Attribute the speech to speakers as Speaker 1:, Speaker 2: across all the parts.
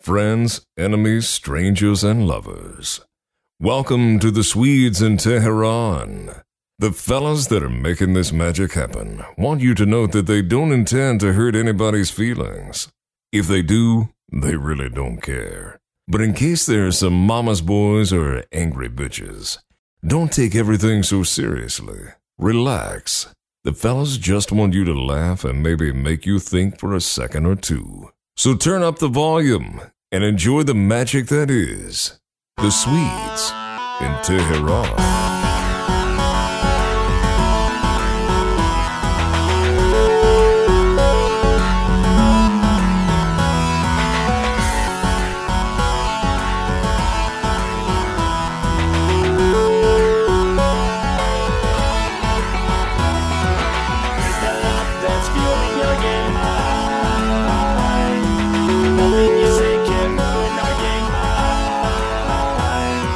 Speaker 1: friends, enemies, strangers, and lovers. Welcome to the Swedes in Tehran. The fellas that are making this magic happen want you to note that they don't intend to hurt anybody's feelings. If they do, they really don't care. But in case there are some mama's boys or angry bitches, don't take everything so seriously. Relax. The fellas just want you to laugh and maybe make you think for a second or two. So turn up the volume and enjoy the magic that is the Swedes in Tehran.
Speaker 2: That's fueling your game high. Nothing you say can ruin our game high.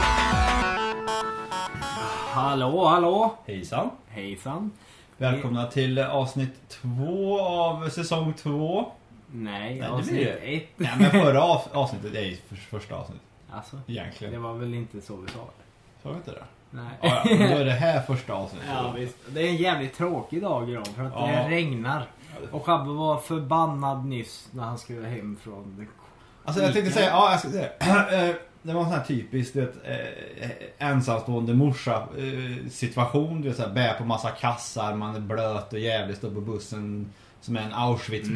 Speaker 3: Hallå, hallå!
Speaker 4: Hejsan!
Speaker 3: Hejsan!
Speaker 4: Välkomna till avsnitt två av säsong två.
Speaker 3: Nej,
Speaker 4: det
Speaker 3: avsnitt
Speaker 4: blir det.
Speaker 3: ett.
Speaker 4: Nej men förra av, avsnittet är ju för, första avsnittet
Speaker 3: Alltså, det
Speaker 4: egentligen.
Speaker 3: var väl inte så vi sa det?
Speaker 4: Sa vi inte det?
Speaker 3: Nej.
Speaker 4: Ja, ja, men då är det här första avsnittet.
Speaker 3: Ja, visst. Det är en jävligt tråkig dag idag för att
Speaker 4: Ja.
Speaker 3: det regnar. Och Shabbe var förbannad nyss när han skulle hem från...
Speaker 4: Alltså jag tänkte säga, ja jag ska säga det. Eh, Det var en sån här typisk du vet, eh, ensamstående morsa eh, situation. Du vet såhär, bär på massa kassar, man är blöt och jävlig, står på bussen som är en Auschwitz.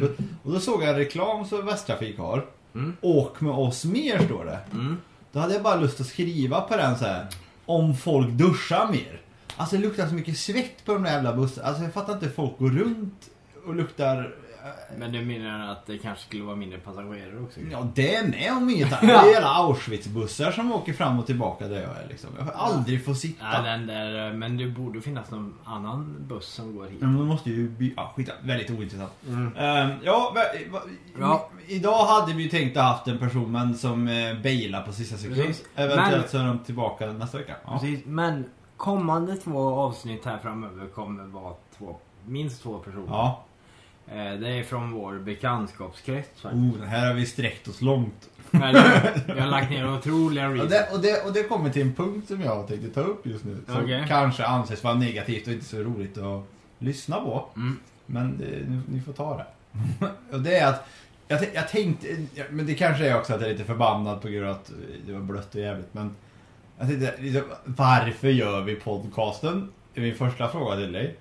Speaker 4: Och då såg jag en reklam som Västtrafik har.
Speaker 3: Mm.
Speaker 4: Åk med oss mer står det.
Speaker 3: Mm.
Speaker 4: Då hade jag bara lust att skriva på den så här. Om folk duschar mer. Alltså det luktar så mycket svett på de där jävla bussarna. Alltså jag fattar inte hur folk går runt och luktar... eh,
Speaker 3: Men du menar att det kanske skulle vara mindre passagerare också?
Speaker 4: Ja, det är med om inget annat. Det är hela Auschwitz-bussar som åker fram och tillbaka där jag är liksom. Jag får aldrig få sitta.
Speaker 3: Ja, den där, eh, men det borde finnas någon annan buss som går hit.
Speaker 4: Men man måste ju by- ja, skita. Väldigt ointressant.
Speaker 3: Mm.
Speaker 4: Ehm, ja, vä- va-
Speaker 3: Ja.
Speaker 4: i- Idag hade vi ju tänkt att haft en person men som eh, bailar på sista sekund.
Speaker 3: Precis.
Speaker 4: Eventuellt
Speaker 3: Men-
Speaker 4: så är de tillbaka nästa vecka. Ja.
Speaker 3: Precis, men kommande två avsnitt här framöver kommer vara två, minst två personer.
Speaker 4: ja.
Speaker 3: Eh, Det är från vår bekantskapskrets faktiskt.
Speaker 4: Oh, den här har vi sträckt oss långt.
Speaker 3: Men jag har lagt ner otroliga
Speaker 4: Och
Speaker 3: research.
Speaker 4: det, och, det, och det kommer till en punkt som jag tänkte ta upp just nu. Som
Speaker 3: Okej.
Speaker 4: kanske anses vara negativt och inte så roligt att lyssna på.
Speaker 3: Mm.
Speaker 4: Men eh, ni, ni får ta det. och det är att jag, tän- jag tänkte, ja, men det kanske är också att jag är lite förbannad på grund av att eh, det var blött och jävligt. Men jag tänkte, liksom, varför gör vi podcasten? Det är min första fråga till dig.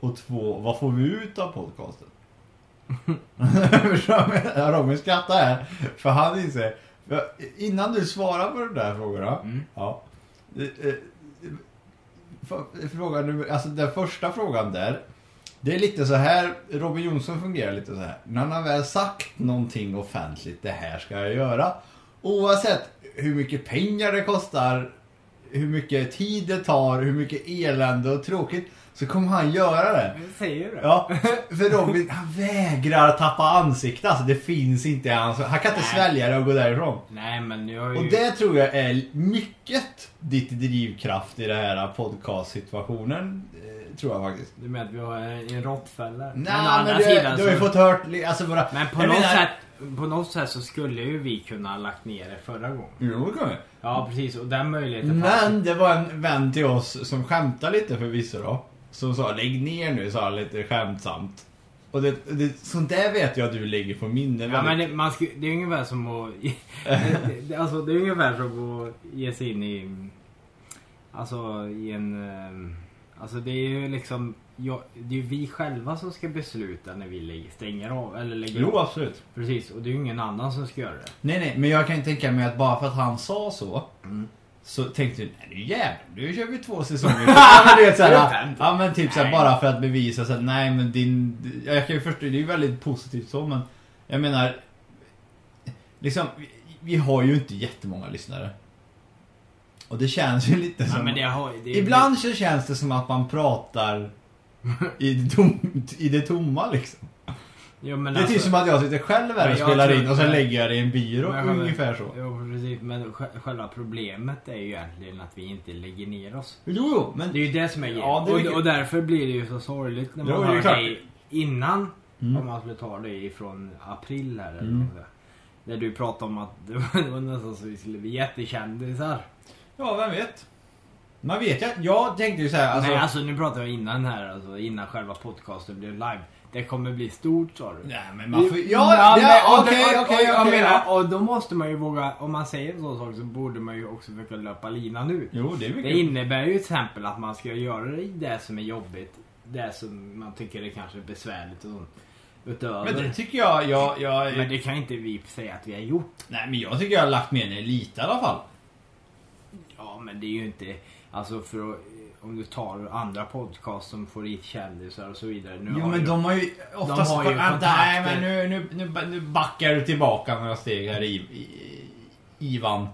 Speaker 4: Och två, vad får vi ut av podcasten? Förstår du vad jag menar? Robin skrattar här, för han inser. för Innan du svarar på de där frågorna.
Speaker 3: Mm.
Speaker 4: Ja, eh, eh, f- frågan, nummer- alltså den första frågan där. Det är lite så här, Robin Jonsson fungerar lite så här. När han har väl sagt någonting offentligt, det här ska jag göra. Oavsett hur mycket pengar det kostar, hur mycket tid det tar, hur mycket elände och tråkigt. Så kommer han göra det.
Speaker 3: Jag säger ju det.
Speaker 4: Ja, för Robin han vägrar tappa ansiktet. Alltså det finns inte i hans... Han kan inte
Speaker 3: Nej.
Speaker 4: svälja det och gå därifrån.
Speaker 3: Nej men jag är ju...
Speaker 4: Och det tror jag är mycket ditt drivkraft i den här podcast-situationen. eh, Tror jag faktiskt.
Speaker 3: Du menar att vi har eh, en råttfälla?
Speaker 4: Nej, men, du, du har ju fått hört... li- Alltså våra...
Speaker 3: Men på
Speaker 4: jag
Speaker 3: något,
Speaker 4: menar-
Speaker 3: sätt, på något sätt så skulle ju vi kunna ha lagt ner det förra gången.
Speaker 4: Jo, det kommer.
Speaker 3: Ja precis och den möjligheten fanns ju.
Speaker 4: Men det var en vän till oss som skämtade lite förvisso då. Som sa lägg ner nu, sa han lite skämtsamt. Och det, det, sånt där vet jag att du lägger på minnen.
Speaker 3: Ja, men
Speaker 4: väldigt-
Speaker 3: det, man sku, det är ungefär som att... det- det- alltså det är ungefär som att ge sig in i... Alltså i en... eh, Alltså det är ju liksom... Jag, det är ju vi själva som ska besluta när vi lägger, stänger av eller lägger
Speaker 4: Jo,
Speaker 3: av.
Speaker 4: absolut.
Speaker 3: Precis och det är ju ingen annan som ska göra det.
Speaker 4: Nej, nej, men jag kan ju tänka mig att bara för att han sa så
Speaker 3: Mm.
Speaker 4: Så tänkte du, nej nu jävlar, nu kör vi två säsonger ja, men du vet,
Speaker 3: Det är
Speaker 4: såhär,
Speaker 3: sant.
Speaker 4: ja men typ såhär,
Speaker 3: Nej.
Speaker 4: bara för att bevisa såhär, nej men din Jag kan ju förstå, det är ju väldigt positivt så men Jag menar Liksom, vi, vi har ju inte jättemånga lyssnare Och det känns ju lite
Speaker 3: Ja,
Speaker 4: som
Speaker 3: men det har, det är,
Speaker 4: Ibland så känns det som att man pratar i det, tom, i det tomma liksom
Speaker 3: Jo, men alltså-
Speaker 4: Det är typ som att jag sitter själv här
Speaker 3: Men
Speaker 4: och
Speaker 3: jag
Speaker 4: spelar
Speaker 3: tror
Speaker 4: in och sen
Speaker 3: inte-
Speaker 4: lägger jag det i en byrå,
Speaker 3: Men jag-
Speaker 4: ungefär så
Speaker 3: Jo, precis. Men sj- själva problemet är ju egentligen att vi inte lägger ner oss.
Speaker 4: Jo, jo, men...
Speaker 3: Det är ju det som är grejen.
Speaker 4: Ja, det är
Speaker 3: och,
Speaker 4: mycket-
Speaker 3: och därför blir det ju så sorgligt när
Speaker 4: Jo,
Speaker 3: man
Speaker 4: det är
Speaker 3: hör
Speaker 4: klart.
Speaker 3: dig innan.
Speaker 4: Mm.
Speaker 3: Om man skulle ta dig ifrån april här eller
Speaker 4: Mm.
Speaker 3: något sånt där. När du pratade om att det var det var nästan så vi skulle bli jättekändisar.
Speaker 4: Ja, vem vet? Man vet jag. Jag tänkte ju så här, alltså...
Speaker 3: Nej alltså nu pratar jag innan här, alltså innan själva podcasten blev live. Det kommer bli stort sa du.
Speaker 4: Nej, men man får... Ja,
Speaker 3: men-
Speaker 4: ja,
Speaker 3: och-
Speaker 4: okej,
Speaker 3: och-
Speaker 4: okej,
Speaker 3: och-
Speaker 4: okej.
Speaker 3: jag menar,
Speaker 4: ja.
Speaker 3: Och då måste man ju våga, om man säger en sån sak så borde man ju också försöka löpa linan ut.
Speaker 4: Jo, det är
Speaker 3: Det
Speaker 4: mycket.
Speaker 3: innebär ju till exempel att man ska göra det som är jobbigt. Det som man tycker är kanske besvärligt och sånt. Utöver.
Speaker 4: Men det tycker jag, jag, jag...
Speaker 3: Men det kan inte vi säga att vi har gjort.
Speaker 4: Nej, men jag tycker jag har lagt med en lite i alla fall.
Speaker 3: Ja, men det är ju inte... Alltså för att, om du tar andra podcast som får hit kändisar och så vidare. Nu
Speaker 4: Jo
Speaker 3: har
Speaker 4: men
Speaker 3: ju-
Speaker 4: de har ju oftast...
Speaker 3: har ju
Speaker 4: Ah, Nej
Speaker 3: kontakter.
Speaker 4: men nu, nu, nu, nu backar du tillbaka några steg här i, i, Ivan.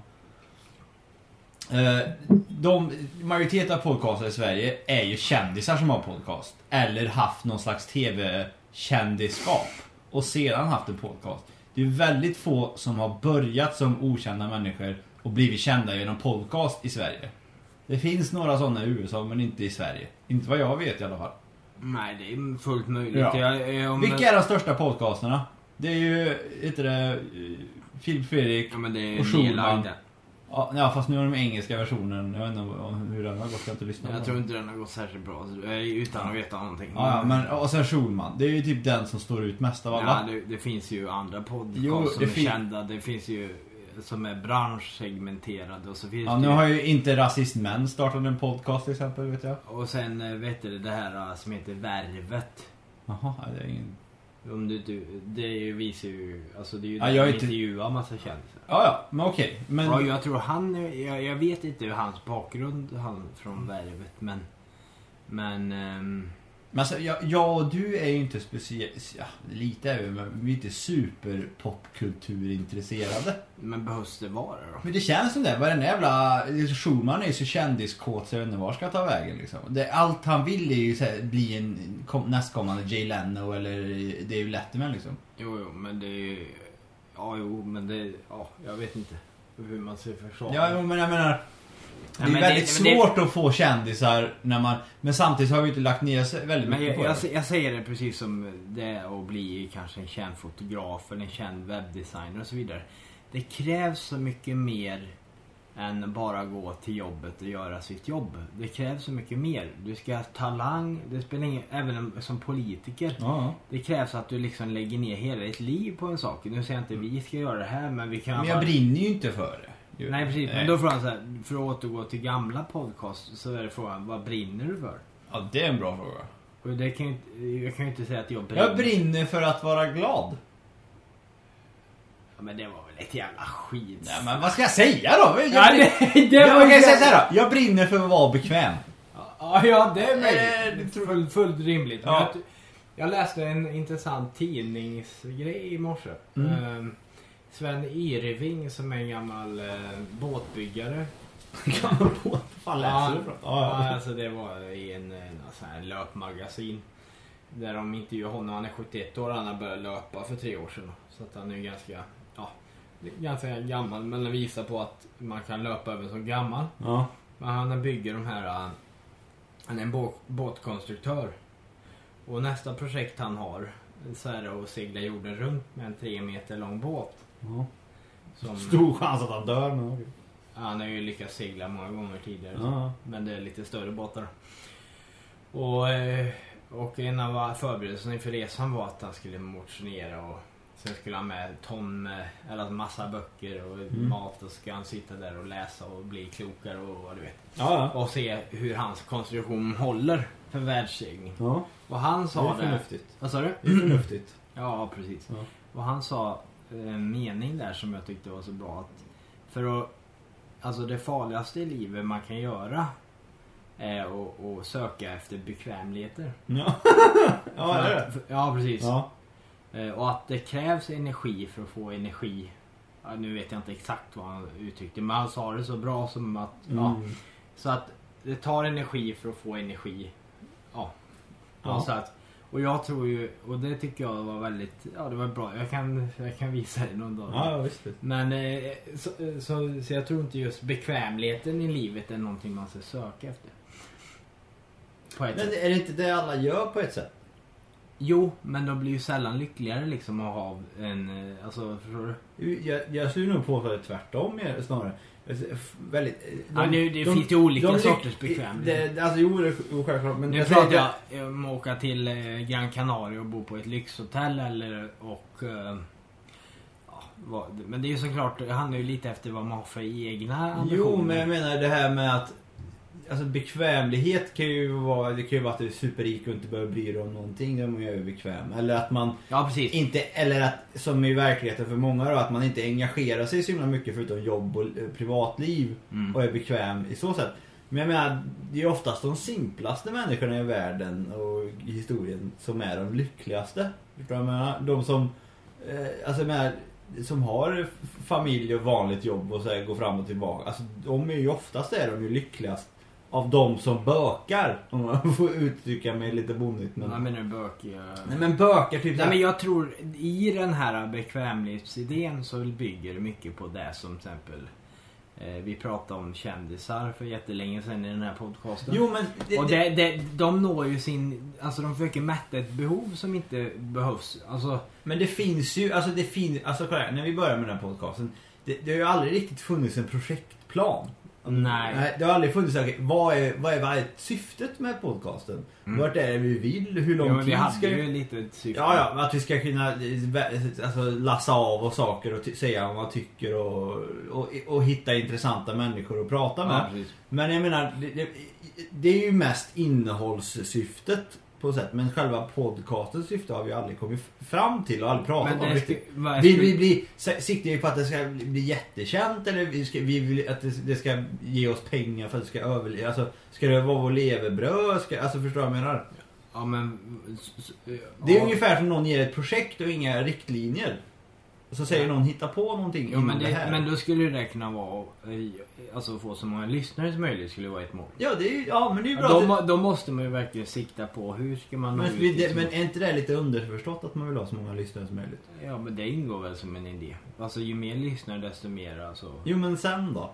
Speaker 4: Eh, De, majoriteten av podcaster i Sverige är ju kändisar som har podcast. Eller haft någon slags TV-kändisskap. Och sedan haft en podcast. Det är väldigt få som har börjat som okända människor och blivit kända genom podcast i Sverige. Det finns några sådana i USA men inte i Sverige. Inte vad jag vet i alla fall.
Speaker 3: Nej, det är fullt möjligt.
Speaker 4: Ja.
Speaker 3: Jag, eh, om,
Speaker 4: Vilka är de största podcasterna? Det är ju, heter det, eh, Filip Fredrik.
Speaker 3: Ja, men det
Speaker 4: Och
Speaker 3: är
Speaker 4: Schulman.
Speaker 3: nedlagda.
Speaker 4: Ja, ja, fast nu har de engelska versionen. Jag vet inte om- hur den har gått, jag har inte lyssnat på
Speaker 3: Jag tror
Speaker 4: den.
Speaker 3: inte den har gått särskilt bra. så- eh, Utan att veta någonting.
Speaker 4: Ja, ja, men och sen Schulman. Det är ju typ den som står ut mest av
Speaker 3: Ja,
Speaker 4: alla.
Speaker 3: det, det finns ju andra podcasts
Speaker 4: Jo,
Speaker 3: som
Speaker 4: det
Speaker 3: är
Speaker 4: fin-
Speaker 3: kända. Det finns ju eh, som är branschsegmenterade och så finns
Speaker 4: Ja,
Speaker 3: det
Speaker 4: nu
Speaker 3: ju...
Speaker 4: har ju inte rasistmän startat en podcast till exempel, vet jag.
Speaker 3: Och sen eh, vet du det här eh, som heter Värvet.
Speaker 4: Jaha, ja, det är ingen...
Speaker 3: Om du, du, det är ju- visar ju... Alltså det är ju
Speaker 4: Ja,
Speaker 3: där
Speaker 4: jag
Speaker 3: de
Speaker 4: är inte-
Speaker 3: intervjuar massa kändisar.
Speaker 4: Ja, ja, men okej. Men...
Speaker 3: Ja, jag tror han... är- Jag, jag vet inte hur hans bakgrund han från
Speaker 4: Mm.
Speaker 3: Värvet men... Men... ehm,
Speaker 4: Men alltså, jag, jag och du är ju inte speciellt, ja, lite är vi, men vi är inte superpopkulturintresserade.
Speaker 3: men behövs det vara det då?
Speaker 4: Men det känns som det. Varenda jävla... Schulman är ju så kändiskåt så jag vet inte var han ska ta vägen liksom. Det, allt han vill är ju så här, bli en kom, nästkommande Jay Leno eller Dave Letterman liksom.
Speaker 3: Jo, jo, men det är ju... Ja, jo, men det... Ja, jag vet inte hur man ska försvara
Speaker 4: Ja,
Speaker 3: det.
Speaker 4: jo, men jag menar... Det är
Speaker 3: men det-
Speaker 4: väldigt
Speaker 3: men det-
Speaker 4: svårt att få kändisar när man... Men samtidigt har vi inte lagt ner så
Speaker 3: Men
Speaker 4: väldigt mycket
Speaker 3: jag,
Speaker 4: på
Speaker 3: jag,
Speaker 4: det.
Speaker 3: se- jag säger det precis som det är att bli kanske en känd fotograf eller en känd webbdesigner och så vidare. Det krävs så mycket mer än bara gå till jobbet och göra sitt jobb. Det krävs så mycket mer. Du ska ha talang, det spelar ingen, även om- som politiker.
Speaker 4: Ja,
Speaker 3: Det krävs att du liksom lägger ner hela ditt liv på en sak. Nu säger jag inte vi ska göra det här men vi kan...
Speaker 4: men
Speaker 3: bara-
Speaker 4: jag brinner ju inte för det. Ju.
Speaker 3: Nej precis, men då är frågan så här, för att återgå till gamla podcast så är det frågan, vad brinner du för?
Speaker 4: Ja, det är en bra fråga.
Speaker 3: Och det kan ju, inte- jag kan ju inte säga att jag brinner.
Speaker 4: Jag brinner för att vara glad.
Speaker 3: Ja, men det var väl ett jävla skit.
Speaker 4: Nej, men vad ska jag säga då? Jag,
Speaker 3: Ja,
Speaker 4: brinner...
Speaker 3: det, det
Speaker 4: jag,
Speaker 3: var
Speaker 4: jag, kan
Speaker 3: ju-
Speaker 4: säga så här då. jag brinner för att vara bekväm.
Speaker 3: Ja, ja, det är
Speaker 4: Eh, det
Speaker 3: möjligt.
Speaker 4: tror-
Speaker 3: Full, fullt rimligt. Men
Speaker 4: Ja.
Speaker 3: Jag, jag läste en intressant tidningsgrej i morse.
Speaker 4: Mm.
Speaker 3: Ehm, Sven Irving som är en gammal eh, båtbyggare.
Speaker 4: Kan man på? Vad fan läser du
Speaker 3: ja,
Speaker 4: från?
Speaker 3: ja, alltså det var i en, en sån här löpmagasin. Där de intervjuade honom. Han är 71 år. Han har börjat löpa för tre år sedan. Så att han är ju ganska, ja, ganska gammal. Men det visar på att man kan löpa även som gammal.
Speaker 4: ja.
Speaker 3: Men han bygger de här... äh, Han är en bå- båtkonstruktör. Och nästa projekt han har så är det att segla jorden runt med en tre meter lång båt.
Speaker 4: Ja.
Speaker 3: Som, äh,
Speaker 4: Stor chans att han dör men okej.
Speaker 3: han har ju lyckats segla många gånger tidigare.
Speaker 4: Ja.
Speaker 3: Men det är lite större båtar. Och, eh, och en av äh, förberedelserna inför resan var att han skulle motionera och sen skulle han med ton med, eller en massa böcker och
Speaker 4: Mm.
Speaker 3: mat och ska han sitta där och läsa och bli klokare och vad du vet.
Speaker 4: Ja,
Speaker 3: och se hur hans konstruktion håller för världssegling.
Speaker 4: ja.
Speaker 3: Och han sa
Speaker 4: det är förnuftigt.
Speaker 3: Vad sa du?
Speaker 4: Det är förnuftigt.
Speaker 3: Ja, precis.
Speaker 4: Ja.
Speaker 3: Och han sa en mening där som jag tyckte var så bra att för att alltså det farligaste i livet man kan göra är att, att söka efter bekvämligheter.
Speaker 4: Ja, ja
Speaker 3: För
Speaker 4: det
Speaker 3: att-
Speaker 4: är det.
Speaker 3: för- ja precis.
Speaker 4: Ja.
Speaker 3: Eh, Och att det krävs energi för att få energi. Ja, nu vet jag inte exakt vad han uttryckte men han sa det så bra som att ja,
Speaker 4: Mm.
Speaker 3: så att det tar energi för att få energi. Ja.
Speaker 4: Ja.
Speaker 3: Och, så att, och jag tror ju, och det tycker jag var väldigt, ja det var bra. Jag kan, jag kan visa dig någon dag.
Speaker 4: Ja, ja, visst. det.
Speaker 3: Men eh, så, så, så jag tror inte just bekvämligheten i livet är någonting man ska söka efter. På ett
Speaker 4: Men
Speaker 3: sätt.
Speaker 4: är det inte det alla gör på ett sätt?
Speaker 3: Jo, men de blir ju sällan lyckligare liksom att ha en... eh, Alltså, förstår du?
Speaker 4: Jag, jag skulle nog påstå det tvärtom mer- snarare. Alltså, f- Väldigt, eh,
Speaker 3: Ja, nu, det finns ju olika sorters bekvämlighet.
Speaker 4: Det, det- alltså, jo, det är sj- självklart. Men
Speaker 3: Nu
Speaker 4: jag säger
Speaker 3: pratar
Speaker 4: att jag...
Speaker 3: jag om att åka till eh, Gran Canaria och bo på ett lyxhotell eller och... eh, ja, vad- Men det är ju såklart, det handlar ju lite efter vad man har för egna ambitioner.
Speaker 4: Jo, men jag menar det här med att Alltså bekvämlighet kan ju vara, det kan ju vara att du är superrik och inte behöver bry dig om någonting. Då är man ju överbekväm. Eller att man
Speaker 3: Ja, precis.
Speaker 4: inte, eller att, som i verkligheten för många då, att man inte engagerar sig så himla mycket förutom jobb och eh, privatliv
Speaker 3: Mm.
Speaker 4: och är bekväm i så sätt. Men jag menar, det är ju oftast de simplaste människorna i världen och i historien som är de lyckligaste. Förstår du vad jag menar? De som, eh, alltså jag menar, som har f- familj och vanligt jobb och så här går fram och tillbaka. Alltså de är ju oftast är de ju lyckligast av de som bökar. Om man får uttrycka mig lite bonigt men.
Speaker 3: Jag menar bökiga...
Speaker 4: Nej men bökar typ så
Speaker 3: Nej
Speaker 4: här-
Speaker 3: men jag tror i den här bekvämlighetsidén så bygger det mycket på det som till exempel eh, vi pratade om kändisar för jättelänge sedan i den här podcasten.
Speaker 4: Jo men det,
Speaker 3: och
Speaker 4: det,
Speaker 3: det, det, de når ju sin, alltså de försöker mätta ett behov som inte behövs. Alltså,
Speaker 4: men det finns ju, alltså det finns, alltså kolla här, när vi började med den här podcasten. Det, det har ju aldrig riktigt funnits en projektplan.
Speaker 3: Nej.
Speaker 4: det har aldrig funnits, okay, vad, är, vad, är, vad är syftet med podcasten?
Speaker 3: Mm.
Speaker 4: Vart är det vi vill? Hur lång
Speaker 3: jo, vi
Speaker 4: tid
Speaker 3: hade
Speaker 4: ska
Speaker 3: ju
Speaker 4: vi...
Speaker 3: lite ett syfte.
Speaker 4: Ja, ja, att vi ska kunna eh, vä- alltså, lassa av oss saker och ty- säga vad man tycker och, och, och hitta intressanta människor att prata med.
Speaker 3: Ja, precis.
Speaker 4: Men jag menar, det, det, det är ju mest innehållssyftet på ett sätt. Men själva podcastens syfte har vi aldrig kommit fram till och aldrig pratat
Speaker 3: Men
Speaker 4: om
Speaker 3: det, skulle-
Speaker 4: riktigt.
Speaker 3: vad
Speaker 4: Vill
Speaker 3: skulle-
Speaker 4: vi bli, s- siktar vi på att det ska bli jättekänt eller vi, ska, vi vill att det, det ska ge oss pengar för att det ska överleva? Alltså, ska det vara vår levebröd? Ska, alltså förstår du vad jag menar?
Speaker 3: ja, men, s- s-
Speaker 4: Det är
Speaker 3: ja.
Speaker 4: ungefär som någon ger ett projekt och inga riktlinjer. Och så säger någon hitta på någonting
Speaker 3: Jo,
Speaker 4: inom
Speaker 3: men,
Speaker 4: det
Speaker 3: det,
Speaker 4: här.
Speaker 3: men då skulle ju det kunna vara, eh, alltså att få så många lyssnare som möjligt skulle vara ett mål.
Speaker 4: Ja, det är, ju- ja, men det är ju bra.
Speaker 3: Ja,
Speaker 4: att-
Speaker 3: då, må- då måste man ju verkligen sikta på hur ska man nå
Speaker 4: Men,
Speaker 3: ut
Speaker 4: vi- det,
Speaker 3: liksom.
Speaker 4: men är inte det lite underförstått att man vill ha så många lyssnare som möjligt?
Speaker 3: Ja men det ingår väl som en idé. Alltså ju mer lyssnare desto mer alltså.
Speaker 4: Jo men sen då?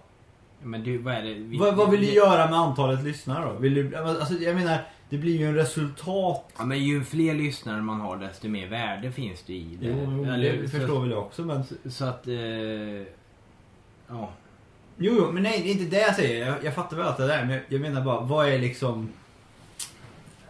Speaker 3: Men du, vad är det? vi-
Speaker 4: vad, vad vill du
Speaker 3: vi-
Speaker 4: göra med antalet lyssnare då? Vill du, alltså, jag menar, det blir ju en resultat.
Speaker 3: Ja, men ju fler lyssnare man har desto mer värde finns det i det.
Speaker 4: Jo, jo,
Speaker 3: Eller,
Speaker 4: det
Speaker 3: så,
Speaker 4: förstår väl jag också men...
Speaker 3: Så, så att... Eh, ja.
Speaker 4: Jo, jo, men nej det är inte det jag säger. Jag, jag fattar väl allt det där men jag, jag menar bara, vad är liksom...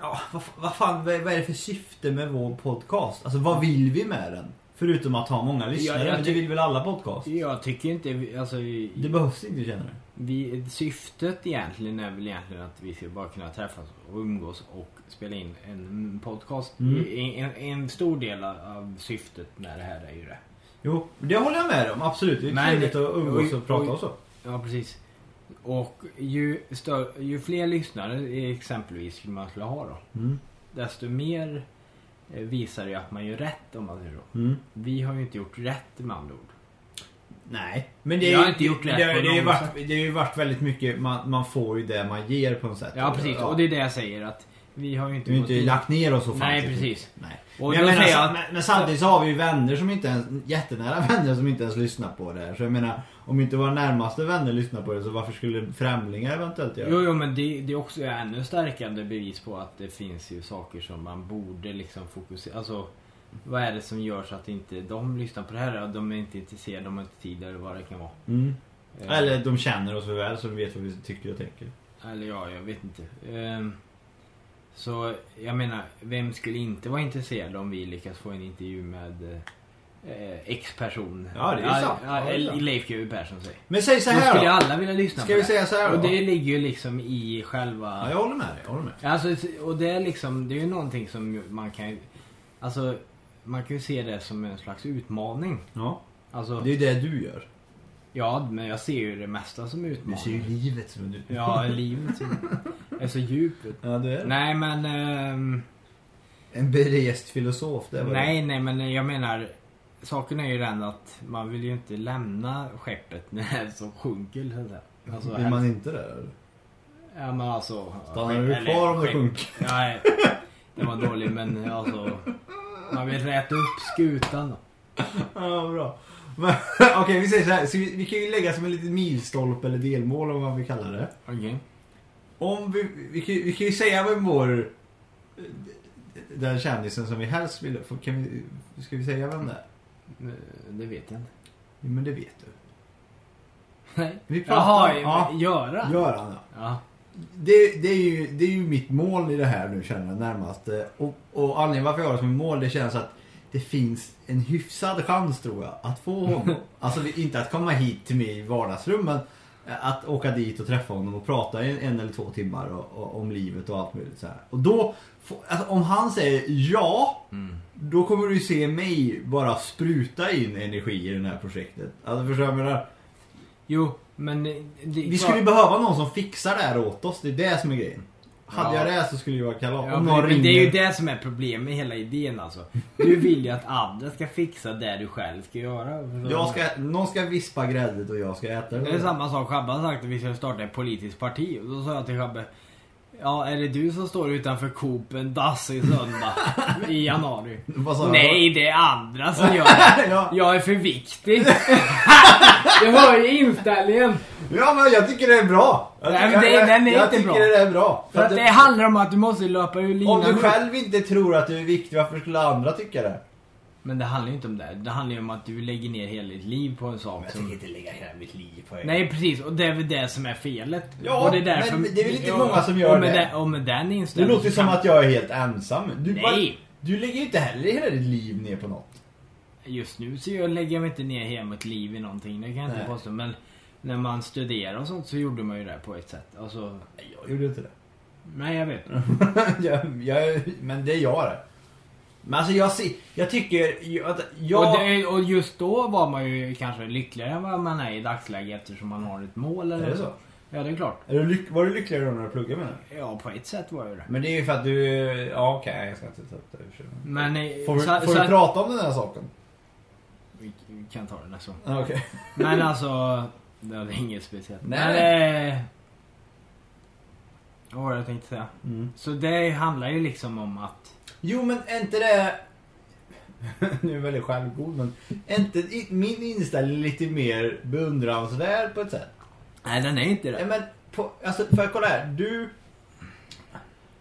Speaker 4: Ja, vad, fa- vad fan, vad är, vad är det för syfte med vår podcast? Alltså vad vill vi med den? Förutom att ha många lyssnare,
Speaker 3: Ja, jag
Speaker 4: men det
Speaker 3: tyck-
Speaker 4: vill väl alla podcast?
Speaker 3: Jag tycker inte... vi- Alltså,
Speaker 4: Det behövs inte känner du?
Speaker 3: vi, syftet egentligen är väl egentligen att vi ska bara kunna träffas och umgås och spela in en podcast.
Speaker 4: Mm.
Speaker 3: En, en stor del av syftet med det här är ju det.
Speaker 4: Jo, det håller jag med om, absolut. Det är
Speaker 3: Men-
Speaker 4: trevligt att umgås
Speaker 3: oj,
Speaker 4: och prata
Speaker 3: oj.
Speaker 4: och så.
Speaker 3: Ja, precis. Och ju, stör, ju fler lyssnare exempelvis skulle man skulle ha då,
Speaker 4: Mm.
Speaker 3: desto mer eh, visar det att man gör rätt om man säger så.
Speaker 4: Mm.
Speaker 3: Vi har ju inte gjort rätt med andra ord.
Speaker 4: Nej, men det är,
Speaker 3: Jag har
Speaker 4: ju-
Speaker 3: inte gjort
Speaker 4: det,
Speaker 3: rätt
Speaker 4: det,
Speaker 3: på
Speaker 4: det, har ju
Speaker 3: något
Speaker 4: varit, det har ju varit väldigt mycket, man, man får ju det man ger på något sätt.
Speaker 3: Ja, precis.
Speaker 4: Ja.
Speaker 3: Och det är det jag säger att vi har ju inte
Speaker 4: Vi har ju inte
Speaker 3: in-
Speaker 4: lagt ner oss så
Speaker 3: Nej,
Speaker 4: mycket.
Speaker 3: precis.
Speaker 4: Nej.
Speaker 3: Och
Speaker 4: men, jag
Speaker 3: då
Speaker 4: menar,
Speaker 3: säger jag
Speaker 4: sa- men, men samtidigt så har vi ju vänner som inte ens, jättenära vänner som inte ens lyssnar på det här. Så jag menar, om inte våra närmaste vänner lyssnar på det så varför skulle främlingar eventuellt göra det?
Speaker 3: Jo, jo, men det, det är också ännu stärkande bevis på att det finns ju saker som man borde liksom fokusera... Alltså, vad är det som gör så att inte de lyssnar på det här? Ja, De är inte intresserade, de har inte tid eller vad det kan vara.
Speaker 4: Mm.
Speaker 3: Eh,
Speaker 4: Eller de känner oss för väl så de vet vad vi tycker och tänker.
Speaker 3: Eller ja, jag vet inte. Ehm, så jag menar, vem skulle inte vara intresserad om vi lyckas få en intervju med eh, X-person?
Speaker 4: Ja, det är ju sant.
Speaker 3: Ja,
Speaker 4: Ja, det är
Speaker 3: eller
Speaker 4: sant.
Speaker 3: Leif GW Persson säger.
Speaker 4: Men säg så
Speaker 3: Då
Speaker 4: här
Speaker 3: skulle
Speaker 4: då.
Speaker 3: alla vilja lyssna
Speaker 4: Ska
Speaker 3: på
Speaker 4: vi
Speaker 3: det.
Speaker 4: säga så här
Speaker 3: Och
Speaker 4: då?
Speaker 3: det ligger ju liksom i
Speaker 4: Ja,
Speaker 3: själva...
Speaker 4: jag håller med dig. Jag håller med.
Speaker 3: Alltså, och det är liksom, det är ju någonting som man kan Alltså, man kan ju se det som en slags utmaning.
Speaker 4: Ja.
Speaker 3: Alltså,
Speaker 4: Det är ju det du gör.
Speaker 3: ja, men jag ser ju det mesta som
Speaker 4: Du ser ju
Speaker 3: utmaning.
Speaker 4: livet som du...
Speaker 3: Ja, livet som är så djupt.
Speaker 4: Ja, det är det.
Speaker 3: Nej, men... ehm,
Speaker 4: En berest filosof, det var
Speaker 3: Nej, nej, men jag menar... Saken är ju den att man vill ju inte lämna skeppet när det så sjunker. Så att säga.
Speaker 4: det.
Speaker 3: Alltså,
Speaker 4: Vill man inte det? eller?
Speaker 3: Ja, men alltså...
Speaker 4: Stannar du kvar om det sjunker?
Speaker 3: Nej, det var dåligt, men alltså... Man vill räta upp skutan. då.
Speaker 4: Ja, bra. Men, Okej, vi säger så här. Så vi, vi kan ju lägga som en liten milstolpe eller delmål om vad vi kallar det.
Speaker 3: Okej.
Speaker 4: Om vi, vi, kan, ju- vi kan ju säga vem vår eh, den kändisen som vi helst vill få. Kan vi, ska vi säga vem det är?
Speaker 3: Eh, Det vet jag inte.
Speaker 4: Jo, men det vet du.
Speaker 3: Nej.
Speaker 4: Vi pratar-
Speaker 3: Jaha,
Speaker 4: ja.
Speaker 3: ja. göra?
Speaker 4: Göran ja.
Speaker 3: Ja.
Speaker 4: Det, det, är ju, det är ju mitt mål i det här nu känner jag närmast. Eh, Och, och anledningen varför jag har det som mål det känns att det finns en hyfsad chans tror jag att få honom. Alltså det- inte att komma hit till mig i vardagsrummen. Att åka dit och träffa honom och prata en, en eller två timmar och, och, om livet och allt möjligt så här. Och då, får- alltså, om han säger ja. Då kommer du se mig bara spruta in energi i det här projektet. Alltså förstår du vad jag menar?
Speaker 3: Jo, men det, det är
Speaker 4: Vi
Speaker 3: klart-
Speaker 4: skulle ju behöva någon som fixar det här åt oss. Det är det som är grejen. Hade
Speaker 3: Ja.
Speaker 4: jag det så skulle jag vara kalas.
Speaker 3: Ja,
Speaker 4: Om
Speaker 3: men
Speaker 4: någon ringer.
Speaker 3: det är ju det som är problemet med hela idén alltså. Du vill ju att andra ska fixa det du själv ska göra.
Speaker 4: Jag ska, någon ska vispa gräddet och jag ska äta
Speaker 3: Det är samma sak Shabbe har sagt att vi ska starta ett politiskt parti. Och då sa jag till Shabbe. Ja, är det du som står utanför Coop en dassig söndag i januari?
Speaker 4: Vad sa Alltså, jag?
Speaker 3: Nej, det är andra som gör det.
Speaker 4: Ja.
Speaker 3: Jag är för viktig. Du hör ju inställningen.
Speaker 4: Ja men jag tycker det är bra. Jag
Speaker 3: Nej, men
Speaker 4: tycker-
Speaker 3: det-
Speaker 4: jag-
Speaker 3: den är
Speaker 4: jag
Speaker 3: inte
Speaker 4: tycker
Speaker 3: bra.
Speaker 4: det är bra.
Speaker 3: För att det handlar om att du måste löpa ur linan.
Speaker 4: om du
Speaker 3: ut.
Speaker 4: själv inte tror att du är viktig, varför skulle andra tycka det?
Speaker 3: Men det handlar ju inte om det. Det handlar ju om att du lägger ner hela ditt liv på en sak som...
Speaker 4: inte lägga hela mitt liv på er.
Speaker 3: Nej precis, och det är väl det som är felet.
Speaker 4: Ja,
Speaker 3: och det är därför...
Speaker 4: men det är väl inte
Speaker 3: Ja,
Speaker 4: många som gör
Speaker 3: och med
Speaker 4: det.
Speaker 3: den- och med den
Speaker 4: Det
Speaker 3: inställningen...
Speaker 4: låter ju
Speaker 3: så
Speaker 4: som
Speaker 3: kan-
Speaker 4: att jag är helt ensam. Du,
Speaker 3: Nej.
Speaker 4: du lägger ju inte heller hela ditt liv ner på något.
Speaker 3: Just nu så jag lägger jag mig inte ner hela mitt liv i någonting, det kan jag
Speaker 4: Nej.
Speaker 3: inte påstå. Men när man studerade och sånt så gjorde man ju det på ett sätt. Alltså,
Speaker 4: Nej, jag gjorde inte det.
Speaker 3: nej jag vet.
Speaker 4: jag, jag, men det är jag det. Men alltså jag, ser- jag tycker... Jag, jag,
Speaker 3: Och, det, och just då var man ju kanske lyckligare än vad man är i dagsläget eftersom man har ett mål. Eller
Speaker 4: Är det så?
Speaker 3: Ja det är klart.
Speaker 4: Är du lyck, var du lyckligare då när du pluggade menar du?
Speaker 3: Ja på ett sätt var jag ju det.
Speaker 4: Men det är ju för att du... Ja okej, jag ska inte ta upp det. i och för sig.
Speaker 3: Men... eh,
Speaker 4: Får, vi,
Speaker 3: så-
Speaker 4: får
Speaker 3: så
Speaker 4: vi
Speaker 3: att-
Speaker 4: prata om den här saken?
Speaker 3: Vi vi kan ta det nästa gång.
Speaker 4: Ja, Okej.
Speaker 3: Men alltså, det var inget speciellt.
Speaker 4: Nej.
Speaker 3: Men, eh, vad var det jag tänkte säga?
Speaker 4: Mm.
Speaker 3: Så det handlar ju liksom om att...
Speaker 4: Jo men är inte det... nu är jag väldigt självgod men... är inte i- min inställning lite mer beundransvärd på ett sätt?
Speaker 3: Nej, den är inte
Speaker 4: Nej
Speaker 3: det.
Speaker 4: men, på, alltså för att kolla här. Du...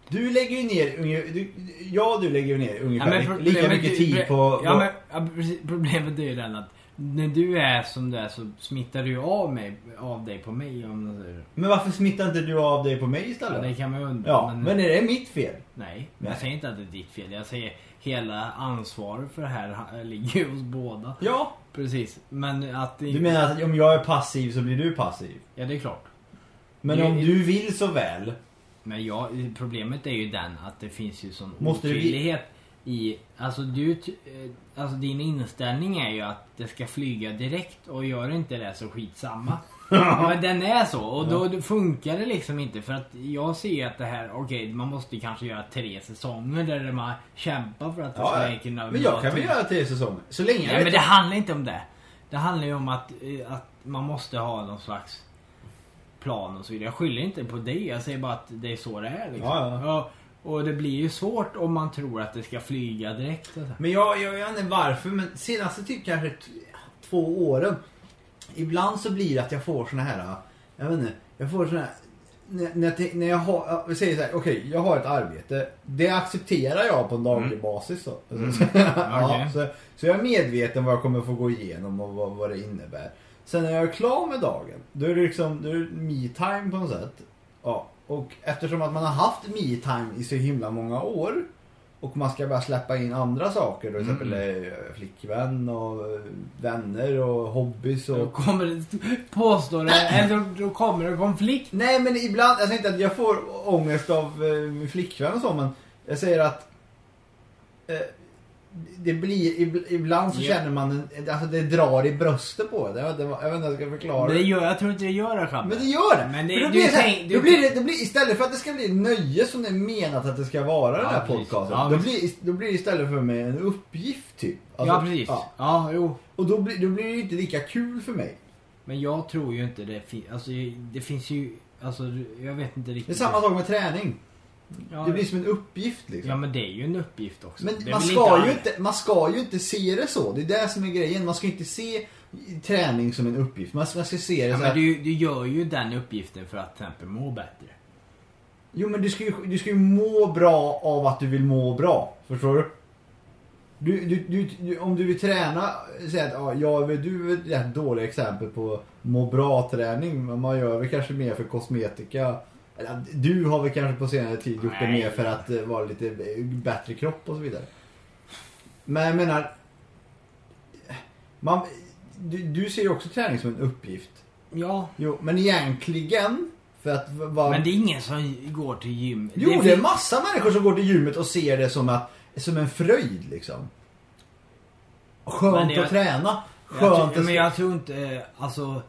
Speaker 4: Du lägger ju ner... unge- Du, jag och du lägger ju ner ungefär
Speaker 3: pro-
Speaker 4: lika
Speaker 3: problemet-
Speaker 4: mycket tid på...
Speaker 3: Ja, men ja, precis. problemet är ju den att när du är som du är så smittar du ju av, mig, av dig på mig om man säger
Speaker 4: Men varför smittar inte du av dig på mig
Speaker 3: så. Det
Speaker 4: istället?
Speaker 3: kan man ju undra.
Speaker 4: Ja,
Speaker 3: men, eh,
Speaker 4: men är det mitt fel?
Speaker 3: nej,
Speaker 4: Nej.
Speaker 3: jag säger inte att det är ditt fel. Jag säger hela ansvaret för det här ha- ligger ju hos båda.
Speaker 4: Ja.
Speaker 3: Precis. Men att... det-
Speaker 4: Du menar att om jag är passiv så blir du passiv?
Speaker 3: Ja, det är klart.
Speaker 4: Men
Speaker 3: Det-
Speaker 4: om du vill så väl?
Speaker 3: Men ja, problemet är ju den att det finns ju sån
Speaker 4: Måste det bli-
Speaker 3: otydlighet i... Alltså, du, ty- eh, alltså din inställning är ju att det ska flyga direkt och gör inte det så skitsamma. Ja, Men den är så och då funkar det liksom inte för att jag ser ju att det här, okej man måste kanske göra tre säsonger där man kämpar för att det ska
Speaker 4: Ja,
Speaker 3: kunna
Speaker 4: men jag kan väl
Speaker 3: till-
Speaker 4: göra tre säsonger? Så länge jag
Speaker 3: Nej men
Speaker 4: vet-
Speaker 3: det handlar inte om det. Det handlar ju om att, eh, att man måste ha någon slags plan och så vidare. Jag skyller inte på dig. Jag säger bara att det är så det är. Liksom.
Speaker 4: Ja, ja.
Speaker 3: och det blir ju svårt om man tror att det ska flyga direkt. alltså. Och så. här.
Speaker 4: Men jag, jag vet inte varför, men senaste typ kanske t- två åren. Ibland så blir det att jag får såna här, jag vet inte, jag får såna här, när, när, jag tänk- när jag har, jag säger så här, okej jag har ett arbete. Det accepterar jag på en daglig basis då. ja,
Speaker 3: okej.
Speaker 4: så, så jag är medveten vad jag kommer få gå igenom och vad, vad det innebär. Sen när jag är klar med dagen, då är det liksom, då är det me-time på något sätt. Ja, och eftersom att man har haft me-time i så himla många år. Och man ska bara släppa in andra saker, då, till exempel
Speaker 3: Mm.
Speaker 4: eh, flickvän och eh, vänner och hobbys och...
Speaker 3: Då kommer det, påstår det, eller då- då kommer det konflikt.
Speaker 4: Nej men ibland, jag säger inte att jag får ångest av eh, min flickvän och så men jag säger att eh, det blir, ib- ibland så
Speaker 3: Ja.
Speaker 4: känner man, en, alltså det drar i bröstet på det. Jag vet inte vad- jag vet inte hur jag ska förklara.
Speaker 3: Det gör, jag tror inte det gör det Shabbe.
Speaker 4: Men det gör det!
Speaker 3: Men det-
Speaker 4: För
Speaker 3: du
Speaker 4: blir så här,
Speaker 3: tänk- du-
Speaker 4: då blir det, det blir, istället för att det ska bli ett nöje som det är menat att det ska vara den
Speaker 3: Ja,
Speaker 4: här
Speaker 3: precis.
Speaker 4: podcasten.
Speaker 3: Ja,
Speaker 4: då,
Speaker 3: visst.
Speaker 4: blir, då blir det istället för mig en uppgift typ. Alltså,
Speaker 3: ja precis. Ja. jo.
Speaker 4: Och då blir, då blir det ju inte lika kul för mig.
Speaker 3: Men jag tror ju inte det finns, alltså det finns ju, alltså jag vet inte
Speaker 4: Det är
Speaker 3: riktigt.
Speaker 4: samma sak med träning.
Speaker 3: ja,
Speaker 4: Det blir som en uppgift liksom.
Speaker 3: ja men det är ju en uppgift också. Det
Speaker 4: Men
Speaker 3: är
Speaker 4: man
Speaker 3: väl
Speaker 4: ska,
Speaker 3: all-
Speaker 4: ju inte, man ska ju inte se det så. Det är det som är grejen. Man ska inte se träning som en uppgift. Man ska, man ska se det
Speaker 3: Ja,
Speaker 4: så
Speaker 3: men
Speaker 4: här.
Speaker 3: du, du gör ju den uppgiften för att till exempel må bättre.
Speaker 4: Jo men du ska, ju, du ska ju må bra av att du vill må bra. Förstår du? Du, du, du, du om du vill träna, säg att ja, jag, vet- du är ett rätt dåligt exempel på må bra-träning. Men man gör väl kanske mer för kosmetika. Eller, du har väl kanske på senare tid gjort det
Speaker 3: Nej.
Speaker 4: mer för att eh, vara lite eh, bättre kropp och så vidare. Men jag menar, man, du, du ser ju också träning som en uppgift.
Speaker 3: Ja.
Speaker 4: Jo, men egentligen, för att v- vara...
Speaker 3: Men det är ingen som går till gym.
Speaker 4: Jo, det är
Speaker 3: fin-
Speaker 4: massa människor som går till gymmet och ser det som, att, som en fröjd liksom.
Speaker 3: Men
Speaker 4: Skönt
Speaker 3: det-
Speaker 4: att träna. Skönt
Speaker 3: jag, tror-
Speaker 4: att...
Speaker 3: Men jag tror inte, eh, alltså.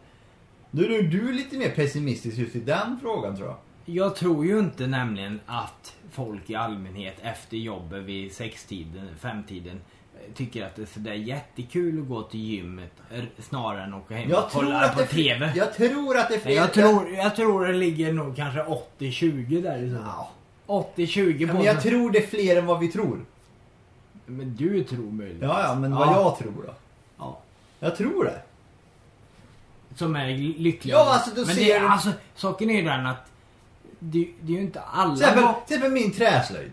Speaker 4: Du, du, du är lite mer pessimistisk just i den frågan tror jag.
Speaker 3: Jag tror ju inte nämligen att folk i allmänhet efter jobbet vid sextiden, femtiden eh, tycker att det är sådär jättekul att gå till gymmet r- snarare än att åka hem
Speaker 4: Jag
Speaker 3: och kolla på
Speaker 4: det är fler-
Speaker 3: TV. Jag,
Speaker 4: Jag tror att det är fler...
Speaker 3: Nej, jag, tror, jag tror det ligger nog kanske 80-20 där i så fall.
Speaker 4: Ja.
Speaker 3: 80-20
Speaker 4: Ja,
Speaker 3: på
Speaker 4: Men jag
Speaker 3: så-
Speaker 4: tror det är fler än vad vi tror.
Speaker 3: Men du tror möjligtvis.
Speaker 4: Ja, ja, men vad jag tror då.
Speaker 3: Ja.
Speaker 4: Jag tror det.
Speaker 3: Som är lyckliga.
Speaker 4: Ja, alltså, då
Speaker 3: men
Speaker 4: ser
Speaker 3: det,
Speaker 4: du-
Speaker 3: alltså, saken är ju den att det, det är ju inte alla...
Speaker 4: Till exempel,
Speaker 3: va-
Speaker 4: till exempel min träslöjd.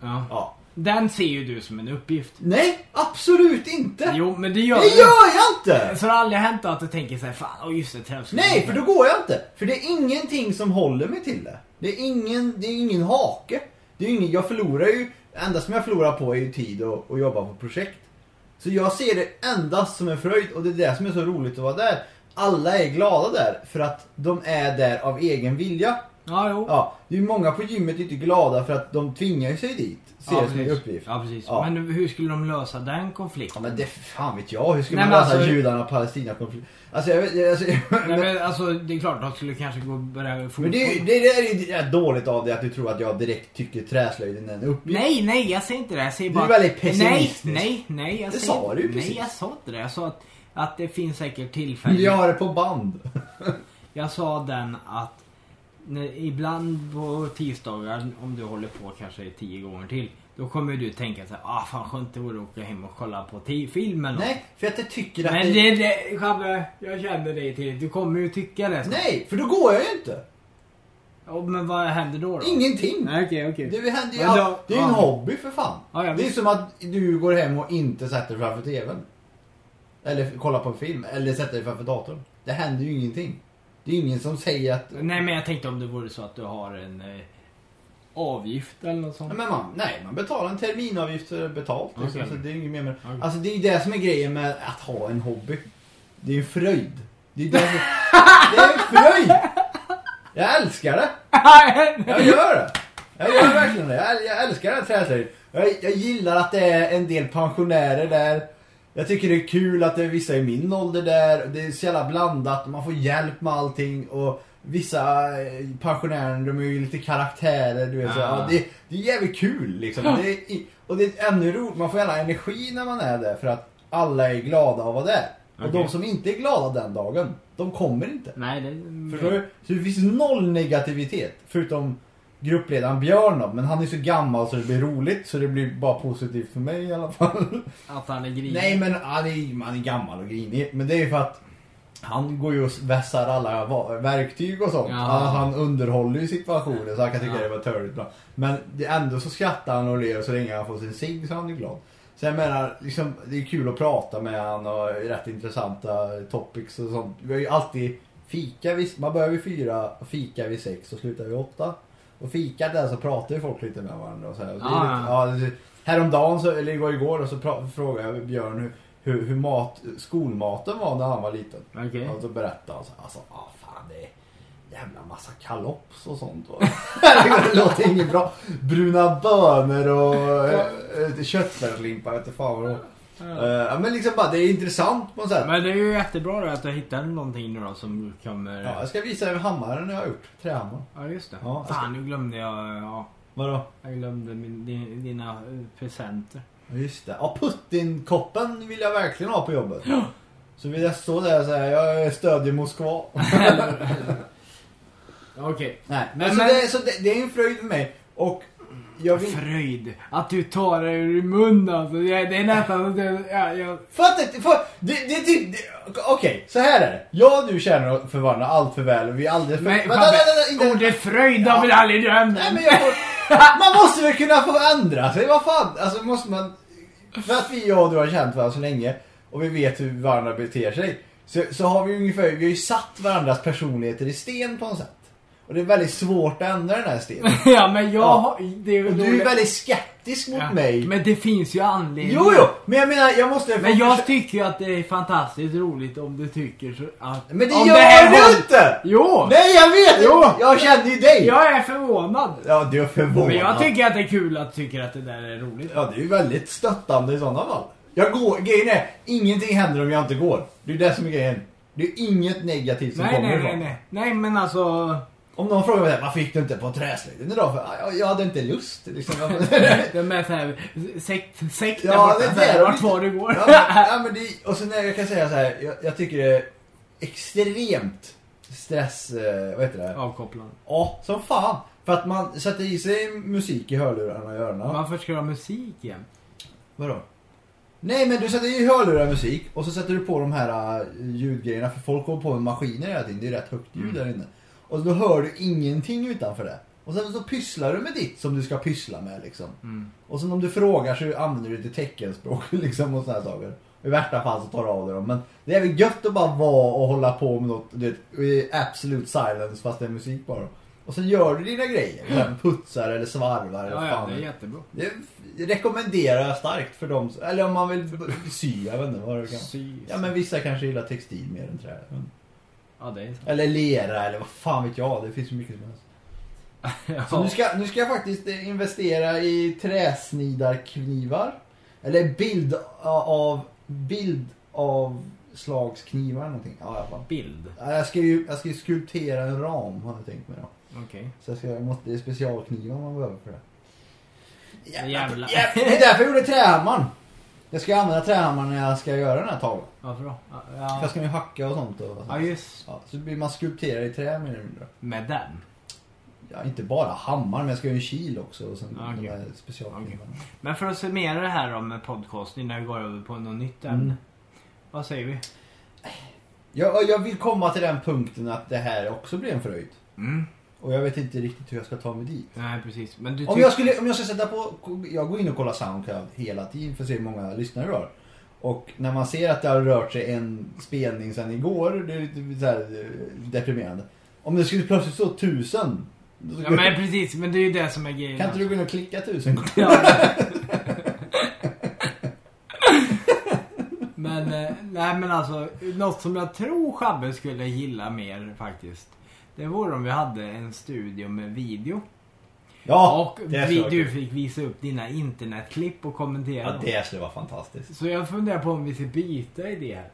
Speaker 3: Ja.
Speaker 4: Ja.
Speaker 3: Den ser ju du som en uppgift.
Speaker 4: Nej, absolut inte!
Speaker 3: Jo, men det gör
Speaker 4: det gör jag inte!
Speaker 3: Så det har aldrig hänt att du tänker såhär, fan, oh, just det, träningsskolan.
Speaker 4: Nej, för då går jag inte. För det är ingenting som håller mig till det. Det är ingen, det är ingen hake. Det är ingen, jag förlorar ju, det enda som jag förlorar på är ju tid och, och jobba på projekt. Så jag ser det endast som en fröjd och det är det som är så roligt att vara där. Alla är glada där för att de är där av egen vilja.
Speaker 3: Ja, jo.
Speaker 4: Ja, det är ju många på gymmet inte glada för att de tvingar sig dit. Ser det som en
Speaker 3: precis.
Speaker 4: uppgift.
Speaker 3: Ja, precis.
Speaker 4: Ja.
Speaker 3: Men hur skulle de lösa den
Speaker 4: Ja,
Speaker 3: konflikten?
Speaker 4: men det fan vet jag, hur ska
Speaker 3: Nej,
Speaker 4: man
Speaker 3: men
Speaker 4: lösa
Speaker 3: alltså-
Speaker 4: judarna och Palestina konflikt? Alltså, jag vet, alltså,
Speaker 3: Nej, men, alltså, det är klart, de skulle kanske gå och börja fotboll.
Speaker 4: Men det, är ju- det, det är ju rätt dåligt av dig att du tror att jag direkt tycker träslöjden är en uppgift.
Speaker 3: Nej, nej, jag säger inte det. Jag säger
Speaker 4: Du
Speaker 3: bara...
Speaker 4: är väldigt pessimistisk.
Speaker 3: Nej, nej, nej. Jag
Speaker 4: Det
Speaker 3: säger...
Speaker 4: sa du ju precis.
Speaker 3: Nej, jag sa inte det. Jag sa att, att det finns säkert tillfällen.
Speaker 4: Vi har det på band.
Speaker 3: Jag sa den att när, ibland på tisdagar, om du håller på kanske tio gånger till, då kommer du tänka så här, ah fan skönt det vore att åka hem och kolla på ti- film eller något."
Speaker 4: Nej, för att jag tycker att
Speaker 3: Men
Speaker 4: det...
Speaker 3: det, det, Chabbe, jag känner dig till. Du kommer ju tycka det.
Speaker 4: Nej, för då går jag ju inte.
Speaker 3: Ja, men vad händer då? då?
Speaker 4: Ingenting.
Speaker 3: Nej, okej, okej.
Speaker 4: Det händer ju
Speaker 3: Men då-
Speaker 4: all... Det är ju en
Speaker 3: ja.
Speaker 4: hobby för fan.
Speaker 3: Ja, ja,
Speaker 4: det är
Speaker 3: visst.
Speaker 4: som att du går hem och inte sätter dig framför TVn. Eller kollar på en film, eller sätter dig framför datorn. Det händer ju ingenting. Det är ingen som säger att...
Speaker 3: Nej, men jag tänkte om det vore så att du har en eh, avgift eller något sånt.
Speaker 4: Nej, men man, nej, man betalar en terminavgift för betalt. Liksom,
Speaker 3: Okej.
Speaker 4: så det är inget mer med
Speaker 3: Okej.
Speaker 4: Alltså det är ju det som är grejen med att ha en hobby. Det är en fröjd. Det är, det som, det är en fröjd! Jag älskar det! Jag gör det! Jag gör verkligen det. Jag, jag älskar den här träslöjden. Jag, jag gillar att det är en del pensionärer där. Jag tycker det är kul att det är vissa i min ålder där. Det är så jävla blandat. Man får hjälp med allting. Och vissa eh, pensionärer, de är ju lite karaktärer. Du vet, så,
Speaker 3: Ah.
Speaker 4: ja, det, det är jävligt kul liksom. Det är, i- och det är ännu roligt. Man får jävla energi när man är där. För att alla är glada av att vara där. Och
Speaker 3: Okej.
Speaker 4: de som inte är glada den dagen, de kommer inte.
Speaker 3: Nej, det...
Speaker 4: Förstår du? Så det finns noll negativitet. Förutom gruppledaren Björn då. Men han är så gammal så det blir roligt. Så det blir bara positivt för mig i alla fall.
Speaker 3: Att han är grinig.
Speaker 4: Nej men han är, han är gammal och grinig. Men det är ju för att han går ju och vässar alla va- verktyg och sånt.
Speaker 3: Ja.
Speaker 4: Alltså, han underhåller ju situationen så han kan tycka
Speaker 3: Ja.
Speaker 4: det var törligt bra. Men det, ändå så skrattar han och ler så länge han får sin cigg så han är glad. Så jag menar, liksom, det är kul att prata med han och rätt intressanta topics och sånt. Vi har ju alltid fika vid, man börjar vid fyra och fika vid sex och slutar vid åtta. Och fika där så pratar ju folk lite med varandra och så här. Och det är
Speaker 3: Ja,
Speaker 4: lite, ja, det är- häromdagen, så, eller igår, igår då, så pra- frågade jag Björn hur, hur, hur mat, skolmaten var när han var liten.
Speaker 3: Okej.
Speaker 4: Och så berättade han så här, alltså, ah, fan det är jävla massa kalops och sånt. Och, det låter inget bra. Bruna bönor och äh, köttfärslimpa, vet inte fan vad det var.
Speaker 3: Ja.
Speaker 4: Eh, ja, men liksom bara, det är intressant på något sätt.
Speaker 3: Men det är ju jättebra då att du hittar någonting nu då som kommer...
Speaker 4: Ja,
Speaker 3: Ja,
Speaker 4: jag ska visa er hammaren jag har gjort, trähammaren.
Speaker 3: just det.
Speaker 4: Ja, jag ska-
Speaker 3: Fan, nu glömde jag... Ja,
Speaker 4: Vadå?
Speaker 3: jag glömde min, din- dina eh, presenter.
Speaker 4: Ja, Just det. Ja, Putin-koppen vill jag verkligen ha på jobbet. Så vill jag stå där och säga, jag stödjer Moskva.
Speaker 3: Okej.
Speaker 4: Nej, men,
Speaker 3: Men-
Speaker 4: så,
Speaker 3: men-
Speaker 4: Det, så det, det är en fröjd för mig. Och
Speaker 5: jag vill...
Speaker 3: Fröjd. Att du tar det ur munnen alltså. Jag- Det är nästan att jag... Ja, jag
Speaker 5: Fattar inte, fa-
Speaker 4: Det, det, det, det, Okej, så här är det. Jag och du känner oss för varandra allt för väl och vi är alldeles för...
Speaker 3: men
Speaker 4: vänta, vänta, vänta, inte-
Speaker 3: Fabbe, ordet fröjd har väl aldrig du använt?
Speaker 4: Nej men jag får... Man måste väl kunna få ändra sig, vad fan? Alltså måste man... För att vi, jag och du har känt varandra så länge och vi vet hur varandra beter sig. Så, så har vi ungefär, vi har ju satt varandras personligheter i sten på något sätt. Och det är väldigt svårt att ändra den här stenen.
Speaker 3: Ja men jag
Speaker 4: Ja.
Speaker 3: har... Det är
Speaker 4: Och
Speaker 3: väl
Speaker 4: du är
Speaker 3: ordet-
Speaker 4: väldigt skeptisk mot
Speaker 3: Ja,
Speaker 4: mig.
Speaker 3: Men det finns ju anledning.
Speaker 4: Jo, jo, men jag menar, jag måste...
Speaker 3: Men jag tycker ju att det är fantastiskt roligt om du tycker så att...
Speaker 4: Men det
Speaker 3: om
Speaker 4: gör
Speaker 3: här
Speaker 4: du
Speaker 3: håll-
Speaker 4: inte!
Speaker 3: Jo!
Speaker 4: Nej, jag vet!
Speaker 3: Jo.
Speaker 4: Jag känner ju dig!
Speaker 3: Jag är förvånad.
Speaker 4: Ja, du är förvånad.
Speaker 3: Men jag tycker att det är kul att du tycker att det där är roligt.
Speaker 4: Ja, det är ju väldigt stöttande i sådana fall. Jag går, grejen är, ingenting händer om jag inte går. Det är det som är grejen. Det är inget negativt som
Speaker 3: Nej,
Speaker 4: kommer
Speaker 3: nej, nej,
Speaker 4: ifrån.
Speaker 3: nej. Nej, men alltså...
Speaker 4: Om någon frågar mig så här, vad fick du inte på träslöjden idag? För, "Ja, jag, jag hade inte lust. Liksom. ja,
Speaker 3: De är såhär, sekt, sekt där
Speaker 4: Ja,
Speaker 3: borta.
Speaker 4: det är
Speaker 3: så här,
Speaker 4: det.
Speaker 3: Vart var du går.
Speaker 4: men, ja, men det, och sen när jag kan säga så här, jag, jag tycker det är extremt stress... Eh, vad heter det? Ja.
Speaker 3: Avkopplande.
Speaker 4: som fan. För att man sätter i sig musik i hörlurarna och i öronen.
Speaker 3: Varför ska du ha musik igen?
Speaker 4: Vadå? Nej men du sätter i hörlurar musik och så sätter du på de här äh, ljudgrejerna för folk håller på med maskiner hela tiden. Det är rätt högt
Speaker 3: Mm.
Speaker 4: ljud där inne. Och då hör du ingenting utanför det. Och sen så pysslar du med ditt som du ska pyssla med liksom.
Speaker 3: Mm.
Speaker 4: Och sen om du frågar så använder du lite teckenspråk liksom och sådana saker. I värsta fall så tar du av dig dem. Men det är väl gött att bara vara och hålla på med något, du vet, i absolute silence fast det är musik bara. Och sen gör du dina grejer. Så här, Putsar eller svarvar eller
Speaker 3: Ja, ja,
Speaker 4: fan
Speaker 3: det är jättebra.
Speaker 4: det rekommenderar jag starkt för dem som- Eller om man vill b- sy, jag vet inte vad det kan
Speaker 3: Sy.
Speaker 4: Ja men vissa kanske gillar textil mer än trä.
Speaker 3: Ja, det är sant.
Speaker 4: Eller lera eller vad fan vet jag, det finns så mycket som helst. Så nu ska, nu ska jag faktiskt eh, investera i träsnidarknivar. Eller bild av, bild av slagsknivar eller någonting. Ja, i alla fall.
Speaker 3: Bild.
Speaker 4: Ja, Jag ska ju, jag ska ju skulptera en ram har jag tänkt mig då.
Speaker 3: Okej.
Speaker 4: Så jag ska, jag måste, det är specialknivar man behöver för det.
Speaker 3: Jävlar.
Speaker 4: Det är därför jag gjorde trähammaren. Jag ska använda trähammaren när jag ska göra den här tavlan.
Speaker 3: Varför då? Ja,
Speaker 4: För
Speaker 3: Ja,
Speaker 4: jag ska ju hacka och sånt. Och,
Speaker 3: ja just
Speaker 4: ja, så blir man skulpterad i trä mer eller mindre.
Speaker 3: Med den.
Speaker 4: Ja, inte bara hammaren, men jag ska göra en kil också. Och sen
Speaker 3: Ja,
Speaker 4: de
Speaker 3: okej.
Speaker 4: här specialknivarna.
Speaker 3: Men för att summera det här då med podcast innan vi går över på något nytt ämne.
Speaker 4: Mm.
Speaker 3: Vad säger vi?
Speaker 4: Jag, jag vill komma till den punkten att det här också blir en fröjd.
Speaker 3: Mm.
Speaker 4: Och jag vet inte riktigt hur jag ska ta mig dit.
Speaker 3: Nej precis. Men du
Speaker 4: Om
Speaker 3: tyck-
Speaker 4: jag, skulle, om jag ska sätta på, jag går in och kollar Soundcloud hela tiden för att se hur många lyssnare vi har. Och när man ser att det har rört sig en spelning sedan igår, det är lite så här eh, deprimerande. Om det skulle plötsligt stå tusen.
Speaker 3: Ja men precis. Men det är ju det som är grejen.
Speaker 4: Kan inte du gå in och klicka tusen gånger?
Speaker 3: Ja. men, eh, nej men alltså, något som jag tror Chabbe skulle gilla mer faktiskt. Det vore om vi hade en studio med video.
Speaker 4: Ja,
Speaker 3: Och
Speaker 4: det
Speaker 3: vi,
Speaker 4: skulle
Speaker 3: du
Speaker 4: vara kul.
Speaker 3: fick visa upp dina internetklipp och kommentera
Speaker 4: Ja,
Speaker 3: dem.
Speaker 4: det skulle vara fantastiskt.
Speaker 3: Så jag funderar på om vi ska byta idé här.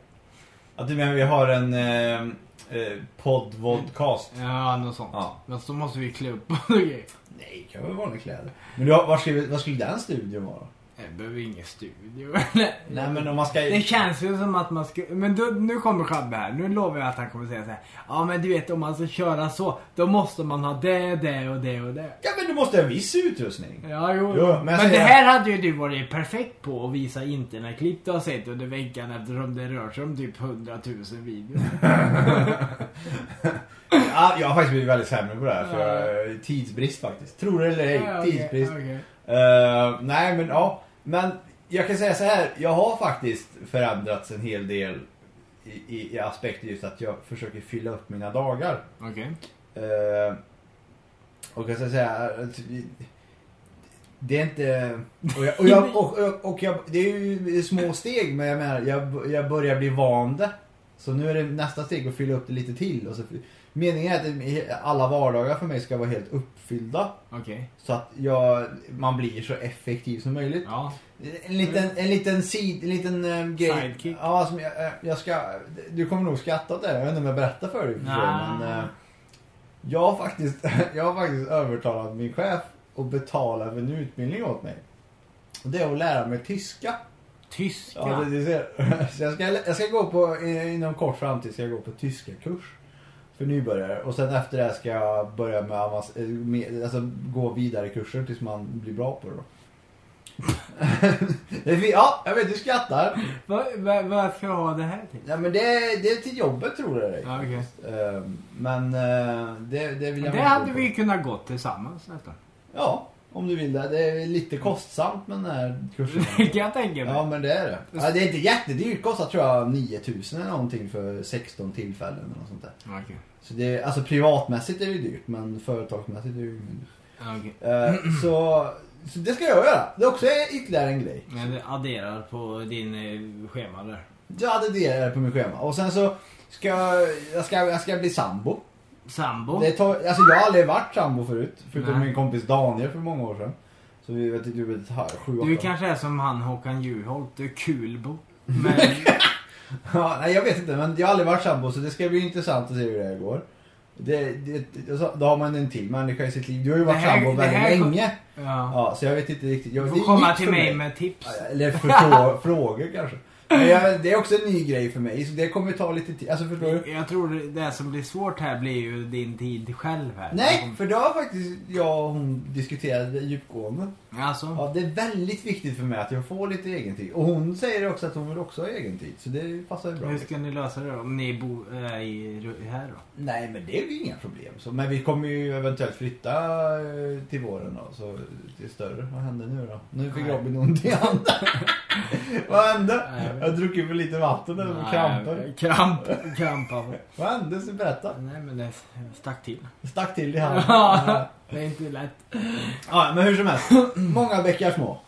Speaker 4: Att du menar vi har en eh, eh, podd-vodcast?
Speaker 3: Ja, något sånt.
Speaker 4: Ja.
Speaker 3: Men så måste vi klä upp på något grejer.
Speaker 4: Nej, det kan väl vara några kläder. Men du, har- vad, skulle, vad skulle den studion vara?
Speaker 3: Nej, behöver vi ingen studio.
Speaker 4: Nej men om man ska...
Speaker 3: Det känns ju som att man ska... Men då, nu kommer Chabbe här. Nu lovar jag att han kommer säga så här. Ja men du vet om man ska köra så. Då måste man ha det, det och det och det.
Speaker 4: Ja men du måste ha en viss utrustning.
Speaker 3: Ja jo.
Speaker 4: Jo, men jag
Speaker 3: men det
Speaker 4: säger-
Speaker 3: här hade ju du varit perfekt på att visa internetklipp du har sett under veckan eftersom det rör sig om typ 100 000 videor.
Speaker 4: Ja, jag har faktiskt blivit väldigt sämre på det här för jag, eh, tidsbrist faktiskt. Tror det eller ej,
Speaker 3: Ja, okej,
Speaker 4: tidsbrist.
Speaker 3: okej.
Speaker 4: Eh, nej men ja, men jag kan säga så här. Jag har faktiskt förändrats en hel del i, i, i aspekter just att jag försöker fylla upp mina dagar.
Speaker 3: Okej.
Speaker 4: Eh, och jag ska säga att vi- det är inte... Och, jag, och, jag, och, och, och jag, det är ju små steg men jag menar, jag, jag börjar bli van det. Så nu är det nästa steg att fylla upp det lite till. Och så, meningen är att alla vardagar för mig ska vara helt uppfyllda.
Speaker 3: Okej.
Speaker 4: Så att jag, man blir så effektiv som möjligt.
Speaker 3: Ja.
Speaker 4: En liten, en liten sid, en liten eh, grej.
Speaker 3: Mm. Sidekick.
Speaker 4: Ja, som jag, eh, jag ska, du kommer nog skratta åt det. Jag vet inte om jag berättar för dig. i och för sig,
Speaker 3: Nej.
Speaker 4: Men, eh, jag, har faktiskt, jag har faktiskt övertalat min chef att betala för en utbildning åt mig. Och det är att lära mig tyska.
Speaker 3: Tyska.
Speaker 4: Ja, det, det ser. Så jag, ska, jag ska gå på, eh, inom kort framtid ska jag gå på tyska kurs. för nybörjare. Och sen efter det här ska jag börja med, avans- eh, med alltså gå vidare kurser tills man blir bra på det då. Det är fi- ja, jag vet du skrattar.
Speaker 3: Vad, vad, vad ska jag ha det här till?
Speaker 4: Ja, men det, det är till jobbet tror jag det är.
Speaker 3: Ja, okej.
Speaker 4: Ehm, Men eh, det, det vill jag
Speaker 3: Det
Speaker 4: inte
Speaker 3: hade
Speaker 4: gå
Speaker 3: vi
Speaker 4: på.
Speaker 3: kunnat gått tillsammans efter.
Speaker 4: Ja, om du vill det. Det är lite kostsamt med den här kursen.
Speaker 3: Det kan jag tänka mig.
Speaker 4: Ja men det är det. Ja, det är inte jättedyrt. Kostar tror jag 9000 eller någonting för 16 tillfällen eller något sånt där.
Speaker 3: Ja, Okej.
Speaker 4: Så det är, alltså privatmässigt är det ju dyrt men företagsmässigt är det ju inget dyrt.
Speaker 3: Ja, okej.
Speaker 4: Eh, så, så det ska jag göra. Det är också ytterligare en grej.
Speaker 3: Men det adderar på din eh, schema där.
Speaker 4: Jag hade det på mitt schema. Och sen så ska jag, jag ska, jag ska bli sambo.
Speaker 3: Sambo.
Speaker 4: Det tar, alltså jag har aldrig varit sambo förut. Förutom
Speaker 3: Nej.
Speaker 4: min kompis Daniel för många år sedan. Så vi vet inte, du vet, här, sju,
Speaker 3: Du
Speaker 4: åtta-
Speaker 3: kanske är som han Håkan Juholt, du är kulbo. Men
Speaker 4: Ja, nej, jag vet inte, men jag har aldrig varit sambo så det ska bli intressant att se hur det här går. Det, det, det- då har man en till människa i sitt liv. Du har ju varit
Speaker 3: Det här-
Speaker 4: sambo
Speaker 3: det här
Speaker 4: väldigt
Speaker 3: kom-
Speaker 4: länge.
Speaker 3: ja.
Speaker 4: Ja, så jag vet inte riktigt. Jag,
Speaker 3: Du
Speaker 4: det är
Speaker 3: får komma
Speaker 4: nytt
Speaker 3: till
Speaker 4: för
Speaker 3: mig med tips.
Speaker 4: Ja, Eller för frå, frågor kanske. Men jag, det är också en ny grej för mig, så det kommer ta lite tid. Alltså förstår du?
Speaker 3: Jag tror det- det som blir svårt här blir ju din tid själv här.
Speaker 4: Nej, för då har faktiskt jag och hon diskuterat det djupgående.
Speaker 3: Alltså,
Speaker 4: Ja, det är väldigt viktigt för mig att jag får lite egen tid. Och hon säger också att hon vill också ha egen tid, så det passar ju bra.
Speaker 3: hur ska ni lösa det då? Om ni bor äh, i, Ru- här då?
Speaker 4: Nej, men det är ju inga problem. Så, men vi kommer ju eventuellt flytta eh, till våren då. Så det är större. Vad hände nu då? Nu fick
Speaker 3: Nej.
Speaker 4: Robin ont i handen. Vad hände?
Speaker 3: Nej, jag vet
Speaker 4: Jag har druckit för lite vatten där och kramper.
Speaker 3: Nej, Kramp. Kramp. alltså.
Speaker 4: Vad hände? Så berätta.
Speaker 3: Nej men det stack till.
Speaker 4: Stack till i handen.
Speaker 3: Ja. Det är inte lätt.
Speaker 4: ja, men hur som helst. Många bäckar små.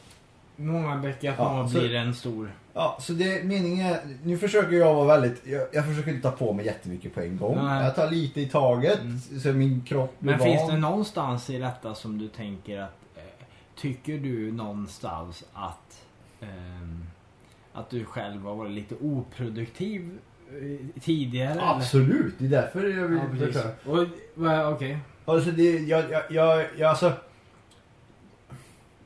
Speaker 3: Många bäckar små
Speaker 4: Ja, så-
Speaker 3: blir en stor.
Speaker 4: Ja, så det meningen är, nu försöker jag vara väldigt, jag, jag försöker inte ta på mig jättemycket på en gång.
Speaker 3: Nej.
Speaker 4: Jag tar lite i taget,
Speaker 3: Mm.
Speaker 4: så min kropp blir
Speaker 3: Men finns
Speaker 4: van.
Speaker 3: det någonstans i detta som du tänker att... Eh, tycker du någonstans att... ehm, att du själv har varit lite oproduktiv eh, tidigare? eller?
Speaker 4: Absolut, det är därför jag vill
Speaker 3: Ja, precis.
Speaker 4: försöka.
Speaker 3: Och, va, okej.
Speaker 4: Alltså det, jag, jag, jag, jag alltså...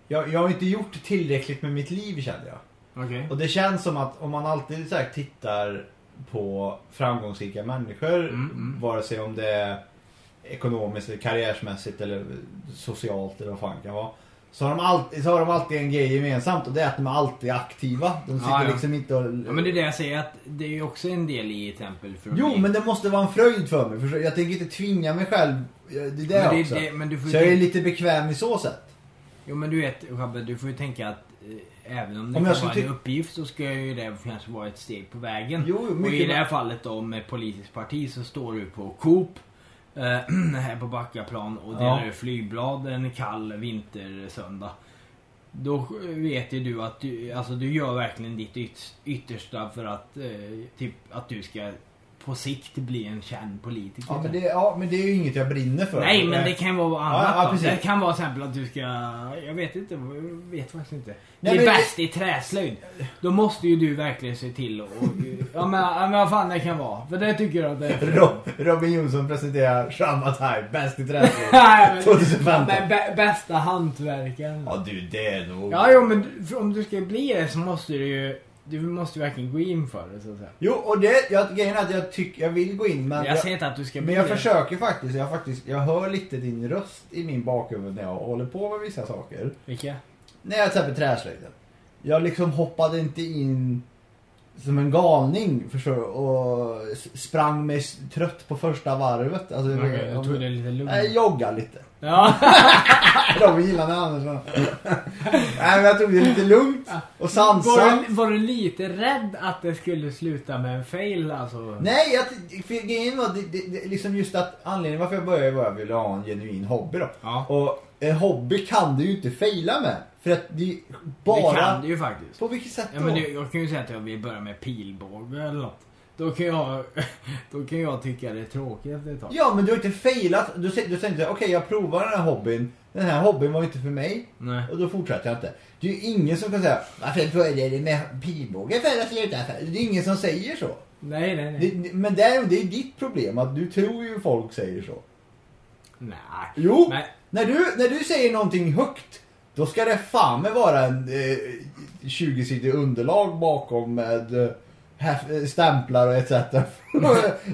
Speaker 4: Jag, jag har inte gjort tillräckligt med mitt liv känner jag.
Speaker 3: Okej.
Speaker 4: Och det känns som att om man alltid så här, tittar på framgångsrika människor,
Speaker 3: Mm, mm.
Speaker 4: vare sig om det är ekonomiskt, eller karriärsmässigt eller socialt eller vad fan det kan vara. Så har, de alltid, så har de alltid en grej gemensamt och det är att de är alltid aktiva. De sitter
Speaker 3: Ja, ja.
Speaker 4: liksom inte och...
Speaker 3: Ja, men det är det jag säger att det är ju också en del i ett exempel för att
Speaker 4: Jo
Speaker 3: bli-
Speaker 4: men det måste vara en fröjd för mig. Förstår du? Jag tänker inte tvinga mig själv. Det är det,
Speaker 3: men,
Speaker 4: också.
Speaker 3: det, det, men du får
Speaker 4: Så jag är
Speaker 3: ju tänka,
Speaker 4: lite bekväm i så sätt.
Speaker 3: Jo men du vet Shabbe, du får ju tänka att eh, även om det
Speaker 4: Om
Speaker 3: kan
Speaker 4: jag skulle
Speaker 3: vara en
Speaker 4: ty-
Speaker 3: uppgift så ska ju det kanske vara ett steg på vägen.
Speaker 4: Jo, jo,
Speaker 3: Och i
Speaker 4: mycket
Speaker 3: det
Speaker 4: väl.
Speaker 3: här fallet då med politiskt parti så står du på Coop eh, här på Backaplan och delar
Speaker 4: Ja.
Speaker 3: ut flygblad en kall vintersöndag. Då vet ju du att du, alltså du gör verkligen ditt yt- yttersta för att, eh, typ, att du ska på sikt bli en känd politiker.
Speaker 4: Ja men, det, ja men det är ju inget jag brinner för.
Speaker 3: Nej men det kan vara annat
Speaker 4: Ja, ja,
Speaker 3: då.
Speaker 4: precis.
Speaker 3: Det kan vara till exempel att du ska, jag vet inte, jag vet faktiskt inte. Du
Speaker 4: Nej,
Speaker 3: är
Speaker 4: men-
Speaker 3: bäst i träslöjd. Då måste ju du verkligen se till och, ja men, ja, men vad fan det kan vara. För det tycker jag att det är.
Speaker 4: Rob, Robin Jonsson presenterar Shabba Time, bäst i träslöjd.
Speaker 3: Nej, men-
Speaker 4: 2015.
Speaker 3: Men bä, bästa hantverkaren.
Speaker 4: ja du det är nog...
Speaker 3: Ja jo men du- för om du ska bli det så måste du ju, du måste ju verkligen gå in för det så att säga.
Speaker 4: Jo och det, jag, grejen är att jag tycker, jag vill gå in men...
Speaker 3: Jag säger inte att du ska bli
Speaker 4: men jag
Speaker 3: det.
Speaker 4: försöker faktiskt, jag faktiskt, jag hör lite din röst i min bakhuvud när jag håller på med vissa saker.
Speaker 3: Vilka?
Speaker 4: När jag till exempel träslöjden. Jag liksom hoppade inte in som en galning förstår du, och s- sprang mig s- trött på första varvet. Alltså,
Speaker 3: Okej, jag tog det lite lugnt.
Speaker 4: Nej, jogga lite.
Speaker 3: Ja.
Speaker 4: Robin gillar när Andersson. Nej men jag tog det lite lugnt och
Speaker 3: Var
Speaker 4: sansat.
Speaker 3: du, var du lite rädd att det skulle sluta med en fail alltså?
Speaker 4: Nej, jag, för grejen var det, det, det, liksom just att anledningen varför jag började var att jag ville ha en genuin hobby då.
Speaker 3: Ja.
Speaker 4: Och en hobby kan du ju inte fejla med. För att det är bara...
Speaker 3: Det kan du ju faktiskt.
Speaker 4: På vilket sätt
Speaker 3: Ja,
Speaker 4: då?
Speaker 3: men det, jag kan ju säga att jag vill börja med pilbåge eller något. Då kan jag, då kan jag tycka det är tråkigt efter ett tag.
Speaker 4: Ja men du har inte failat. Du, sä- du tänkte okej jag provar den här hobbyn. Den här hobbyn var inte för mig.
Speaker 3: Nej.
Speaker 4: Och då fortsätter jag inte. Det är ju ingen som kan säga varför började du med pilbåge för att sluta för? Det är ingen som säger så.
Speaker 3: Nej, nej,
Speaker 4: Det,
Speaker 3: nej.
Speaker 4: det- men däremot, det är ju ditt problem att du tror ju folk säger så.
Speaker 3: Nej.
Speaker 4: Jo!
Speaker 3: Nej.
Speaker 4: När du, när du säger någonting högt, då ska det fan med vara en eh, 20-sidig underlag bakom med eh, hef- eh, stämplar och etc.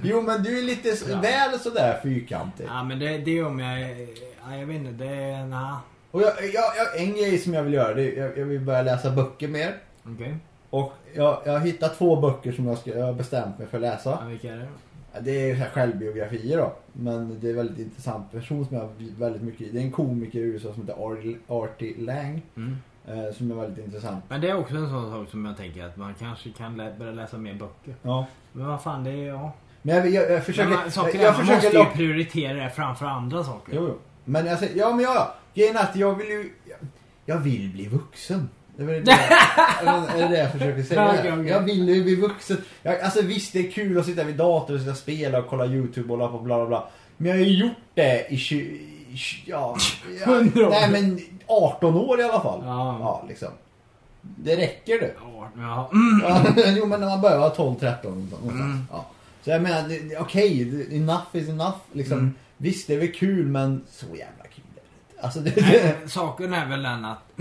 Speaker 4: jo men du är lite s- väl sådär fyrkantig.
Speaker 3: Ja men det, det är om jag... Ja, jag vet inte, det... är- nja.
Speaker 4: Och jag, jag, jag, en grej som jag vill göra, det är, jag, jag vill börja läsa böcker mer.
Speaker 3: Okej.
Speaker 4: Och jag, jag har hittat två böcker som jag, ska, jag har bestämt mig för att läsa.
Speaker 3: Ja, vilka är det?
Speaker 4: Ja, Det är ju så här självbiografier då. Men det är en väldigt intressant person som jag har väldigt mycket i. Det är en komiker i USA som heter Artie- Artie Lang.
Speaker 3: Mm.
Speaker 4: Eh, som är väldigt intressant.
Speaker 3: Men det är också en sån sak som jag tänker att man kanske kan lä- börja läsa mer böcker.
Speaker 4: Ja.
Speaker 3: Men vad fan, det är... Ja.
Speaker 4: Men jag, jag, jag
Speaker 3: Men
Speaker 4: försöker...
Speaker 3: man, saker
Speaker 4: jag, jag
Speaker 3: man måste
Speaker 4: försöker
Speaker 3: ju
Speaker 4: locka...
Speaker 3: prioritera det framför andra saker.
Speaker 4: Jo, jo. Men jag säger, ja men ja, ja. Grejen är att jag vill ju... Jag, jag vill bli vuxen. Det är väl det, är det det jag försöker säga.
Speaker 3: Okej, okej.
Speaker 4: Jag vill ju bli vuxen. Jag, alltså visst, det är kul att sitta vid datorn och sitta och spela och kolla YouTube och bla bla bla. bla, bla. Men jag har ju gjort det i 20... i 20 Ja, ja,
Speaker 3: Hundra år.
Speaker 4: nej men 18 år i alla fall.
Speaker 3: Ja.
Speaker 4: ja liksom. Det räcker det.
Speaker 3: Ja, ja. Mm.
Speaker 4: Ja, jo men när man börjar vara 12, 13 någonstans. Ja. Så jag menar, det- det- okej, det- enough is enough. Liksom. Visst, det är väl kul men så jävla kul är det inte. Alltså, det, det,
Speaker 3: Nej, Eh, saken är väl den att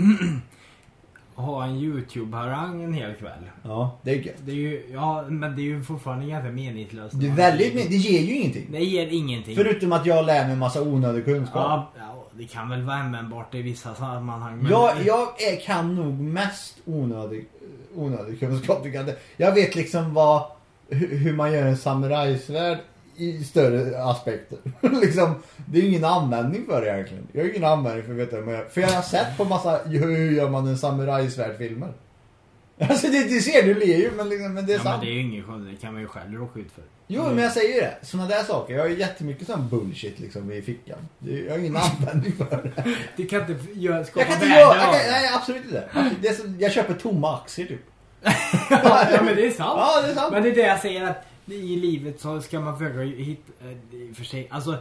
Speaker 3: ha en YouTube-harang en hel kväll.
Speaker 4: ja, det är gött.
Speaker 3: Det är ju, ja, men det är ju fortfarande ganska meningslöst.
Speaker 4: Det, är väldigt, det ger ju ingenting.
Speaker 3: Det ger ingenting.
Speaker 4: Förutom att jag lär mig massa onödig kunskap. Ja,
Speaker 3: ja, ja, det kan väl vara användbart i vissa sammanhang. Men
Speaker 4: jag jag är, kan nog mest onödig, onödig kunskap. Du kan inte- Jag vet liksom vad, hur, hur man gör en samurajsvärd i större aspekter. liksom, det är ju ingen användning för det egentligen. Jag har ju ingen användning för att veta hur man gör. För jag har sett på massa hur gör man en samurajsvärd-filmer. Alltså det, det ser du ler ju men, liksom, men det är
Speaker 3: ja, men
Speaker 4: sant.
Speaker 3: det är ju ingen konstigt. Det kan man ju själv råka ut för.
Speaker 4: Jo men jag säger ju det. Såna där saker. Jag har ju jättemycket sån bullshit liksom i fickan. Det- Jag har ingen användning för det.
Speaker 3: Du kan inte f- göra, skapa
Speaker 4: Jag kan inte
Speaker 3: värde
Speaker 4: göra,
Speaker 3: av
Speaker 4: jag kan,
Speaker 3: det.
Speaker 4: nej absolut inte. Det är som, jag köper tomma aktier typ.
Speaker 3: ja, men det är sant.
Speaker 4: Ja det är sant.
Speaker 3: Men det är det jag säger att i livet så ska man försöka hitta, eh, i och för sig, alltså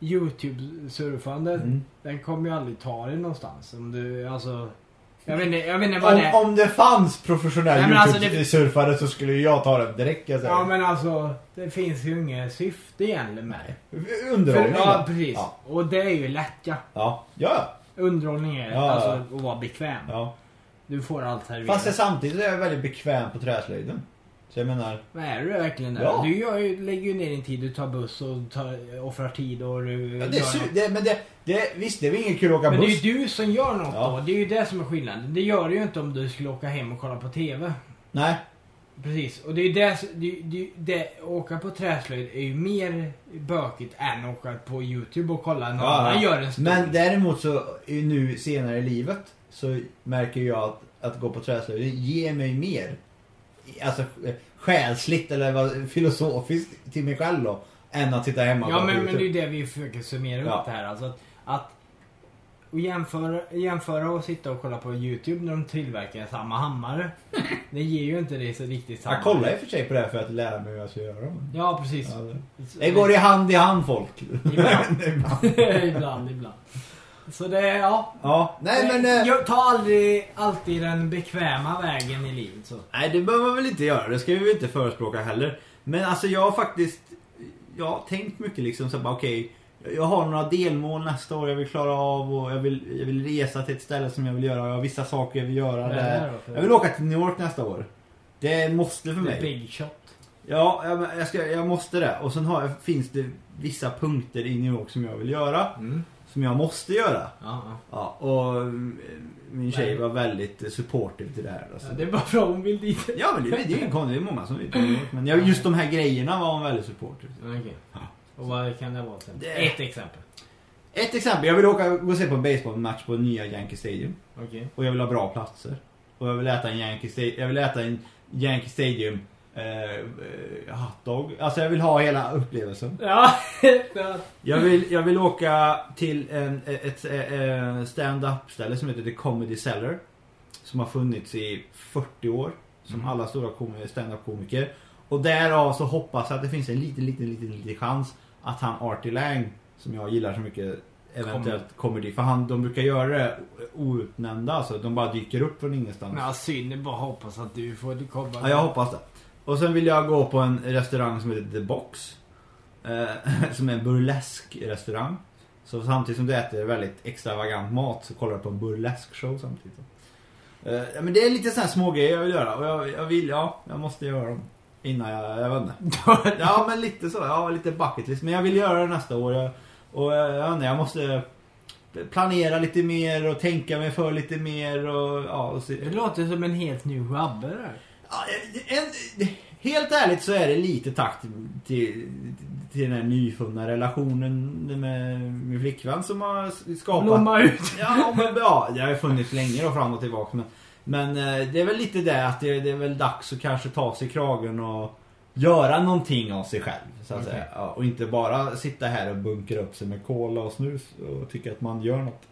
Speaker 3: Youtube-surfande,
Speaker 4: Mm.
Speaker 3: den kommer ju aldrig ta dig någonstans. Om du, alltså, jag vet inte, jag vet inte vad det
Speaker 4: Om,
Speaker 3: är.
Speaker 4: om det fanns professionell
Speaker 3: Nej, men alltså, det-
Speaker 4: Youtube-surfare så skulle ju jag ta den direkt. Jag säger.
Speaker 3: Ja men alltså, det finns ju inget syfte egentligen med det. För,
Speaker 4: Underhållning
Speaker 3: ja
Speaker 4: va?
Speaker 3: precis.
Speaker 4: Ja,
Speaker 3: Och det är ju lätt ja.
Speaker 4: ja. ja.
Speaker 3: Underhållning är
Speaker 4: Ja,
Speaker 3: alltså att vara bekväm.
Speaker 4: ja.
Speaker 3: Du får allt serverat.
Speaker 4: Fast jag, samtidigt är jag väldigt bekväm på träslöjden. Så jag menar,
Speaker 3: Vad är du verkligen där?
Speaker 4: Ja.
Speaker 3: Du gör ju, lägger ju ner din tid, du tar buss och tar, offrar tid och du...
Speaker 4: ja, det är
Speaker 3: gör
Speaker 4: su-
Speaker 3: något.
Speaker 4: det, men det, det, visst det är väl inget kul att åka
Speaker 3: Men det är
Speaker 4: buss.
Speaker 3: ju du som gör något
Speaker 4: Ja.
Speaker 3: då. Det är ju det som är skillnaden. Det gör du ju inte om du skulle åka hem och kolla på TV.
Speaker 4: Nej,
Speaker 3: Precis. Och det är ju det, som- det, det, det åka på träslöjd är ju mer bökigt än att åka på YouTube och kolla när
Speaker 4: Ja,
Speaker 3: annan
Speaker 4: ja.
Speaker 3: gör en stor.
Speaker 4: men däremot så är nu senare i livet så märker jag att, att gå på träslöjden ger mig mer. Alltså eh, själsligt eller vad- filosofiskt till mig själv då. Än att sitta hemma och
Speaker 3: Ja
Speaker 4: kolla på
Speaker 3: men, men det är
Speaker 4: YouTube.
Speaker 3: ju det vi försöker summera
Speaker 4: Ja.
Speaker 3: upp det här. Alltså att, att och jämföra, jämföra och sitta och kolla på YouTube när de tillverkar samma hammare. det ger ju inte det så riktigt samma.
Speaker 4: Jag kollar i och för sig på det här för att lära mig hur jag ska göra dem.
Speaker 3: Ja precis.
Speaker 4: Ja, det- Det går i hand i hand folk.
Speaker 3: Ibland. ibland, ibland. Så det, ja.
Speaker 4: Ja, nej men... eh,
Speaker 3: Jag tar aldrig, alltid den bekväma vägen i livet så.
Speaker 6: Nej, det behöver man väl inte göra. Det ska vi väl inte förespråka heller. Men alltså jag har faktiskt jag har tänkt mycket liksom så här bara okej. jag har några delmål nästa år jag vill klara av och jag vill, jag vill resa till ett ställe som jag vill göra. Jag har vissa saker jag vill göra
Speaker 3: Vad är det här
Speaker 6: där.
Speaker 3: då för-
Speaker 6: Jag vill åka till New York nästa år. Det är ett måste för
Speaker 3: The
Speaker 6: mig.
Speaker 3: big shot.
Speaker 6: Ja, jag, jag, ska, jag måste det. Och sen har, jag- finns det vissa punkter i New York som jag vill göra. Som jag måste göra.
Speaker 3: Mm. Ja, ja.
Speaker 6: Ja, och mm, min tjej var väldigt eh, supportive till det här. Alltså.
Speaker 3: Ja, det är bara för hon vill dit.
Speaker 6: Ja men det, det är ju ingen konstigt, det är många som vill till New York. Men jag- just de här grejerna var hon väldigt supporter till.
Speaker 3: Okej. Och vad kan det vara till?
Speaker 6: Det-
Speaker 3: Ett exempel.
Speaker 6: Ett exempel, jag vill åka gå och se på en baseballmatch på nya Yankee Stadium.
Speaker 3: Okej.
Speaker 6: Och jag vill ha bra platser. Och jag vill äta en Yankee Stadium, jag vill äta en Yankee Stadium eh, eh, hotdog. Alltså jag vill ha hela upplevelsen.
Speaker 3: Ja. ja.
Speaker 6: Jag vill, jag vill åka till en, ett, ett stand-up ställe som heter The Comedy Cellar. Som har funnits i 40 år. Som alla stora komi- stand-up komiker. Och därav så hoppas jag att det finns en liten, liten, liten, liten chans att han Artie Lang, som jag gillar så mycket, eventuellt kommer dit. För han, de brukar göra det outnämnda alltså. De bara dyker upp från ingenstans.
Speaker 3: Men synd, det är bara att hoppas att du får komma.
Speaker 6: Ja, jag hoppas det. Och sen vill jag gå på en restaurang som heter The Box. Eh, som är en burlesk restaurang. Så samtidigt som du äter väldigt extravagant mat så kollar du på en burlesk show samtidigt.
Speaker 4: Eh, ja, men det är lite sådana smågrejer jag vill göra och jag, jag vill, ja, jag måste göra dem. Innan jag, jag vet inte. Ja men lite så, ja lite bucket list. Men jag vill göra det nästa år. Jag, och eh, jag, jag vet inte, jag måste planera lite mer och tänka mig för lite mer och ja. Och se.
Speaker 3: Det låter som en helt ny rabbe där.
Speaker 4: Ja, en, helt ärligt så är det lite tack till, till, till den här nyfunna relationen med min flickvän som har skapat...
Speaker 3: Blomma ut.
Speaker 4: Ja, men ja, det har ju funnits länge då fram och tillbaka. Men, men eh, det är väl lite det att det, det är väl dags att kanske ta sig i kragen och göra någonting av sig själv. Så att säga. Ja, och inte bara sitta här och bunkra upp sig med cola och snus och tycka att man gör något.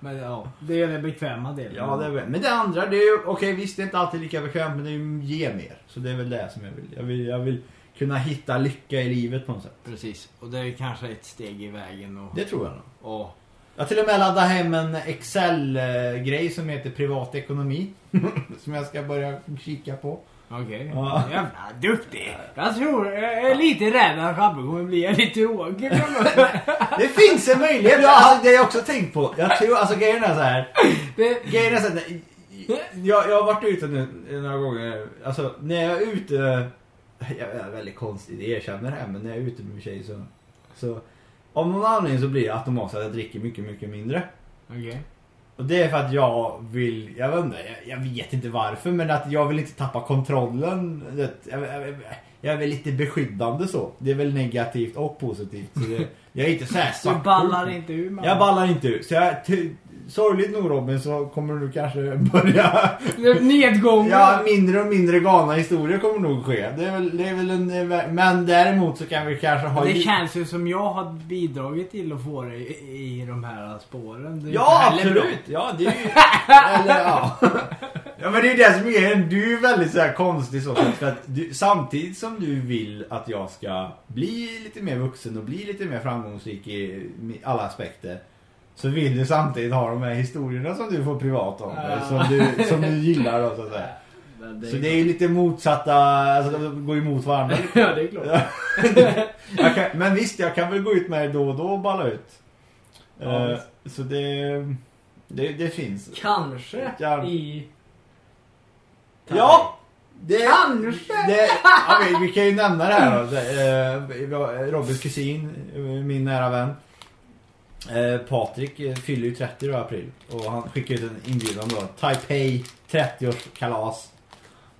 Speaker 3: Men ja, det är den bekväma delen.
Speaker 4: Ja, det är väl. Men det andra, det är ju, okej visst det är inte alltid lika bekvämt men det är ju ge mer. Så det är väl det som jag vill. Jag vill, jag vill kunna hitta lycka i livet på något sätt.
Speaker 3: Precis. Och det är kanske ett steg i vägen och...
Speaker 4: Det tror jag nog.
Speaker 3: och
Speaker 4: Jag har till och med laddat hem en Excel-grej som heter privatekonomi. som jag ska börja kika på.
Speaker 3: Okej.
Speaker 4: Ja.
Speaker 3: Jävla duktig. Jag tror, jag är lite rädd att rabben kommer bli en lite tråkig.
Speaker 4: Det finns en möjlighet! Jag, det har jag också tänkt på. Jag tror, alltså grejen är så här.
Speaker 3: Det-
Speaker 4: Grejen är så här. Jag, jag har varit ute nu några gånger. Alltså när jag är ute. Jag är väldigt konstig, det erkänner det här. Men när jag är ute med min tjej så. så av någon anledning så blir det automatiskt att jag dricker mycket, mycket mindre.
Speaker 3: Okej.
Speaker 4: Och det är för att jag vill, jag vet inte, jag, jag vet inte varför men att jag vill inte tappa kontrollen. Det- Jag, jag, jag är väl lite beskyddande så. Det är väl negativt och positivt. Så det, jag är inte såhär
Speaker 3: Så Du ballar inte ur man.
Speaker 4: Jag ballar inte ur. Så jag, ty, sorgligt nog Robin så kommer du kanske börja...
Speaker 3: Nedgången.
Speaker 4: Ja, mindre och mindre galna historier kommer nog ske. Det är väl, det är väl en... Men däremot så kan vi kanske ha...
Speaker 3: Det
Speaker 4: lite-
Speaker 3: känns ju som jag har bidragit till att få dig i i de här spåren. Det är
Speaker 4: Ja,
Speaker 3: inte heller bra.
Speaker 4: absolut! Ja, det är ju... Eller, ja. ja, men det är ju det som är grejen. Du är väldigt så här konstig så. För att du, samtidigt som du vill att jag ska bli lite mer vuxen och bli lite mer framgångsrik i alla aspekter. Så vill du samtidigt ha de här historierna som du får privat om.
Speaker 3: Ja.
Speaker 4: Som, du, som du gillar då så att säga.
Speaker 3: Men
Speaker 4: Så det är ju lite motsatta, alltså de går ju emot varandra.
Speaker 3: Ja, det är klart.
Speaker 4: Jag kan, men visst, jag kan väl gå ut med det då och då och balla ut.
Speaker 3: Ja,
Speaker 4: Eh, så det, det, det finns.
Speaker 3: Kanske
Speaker 4: Kan-
Speaker 3: i...
Speaker 4: Ja! Det,
Speaker 3: Kanske.
Speaker 4: Det, ja, vi, vi kan ju nämna det här då. Det, eh, vi har Robins kusin, eh, min nära vän. Eh, Patrik eh, fyller ju 30 då i april. Och han skickade ut en inbjudan då. Taipei 30-årskalas.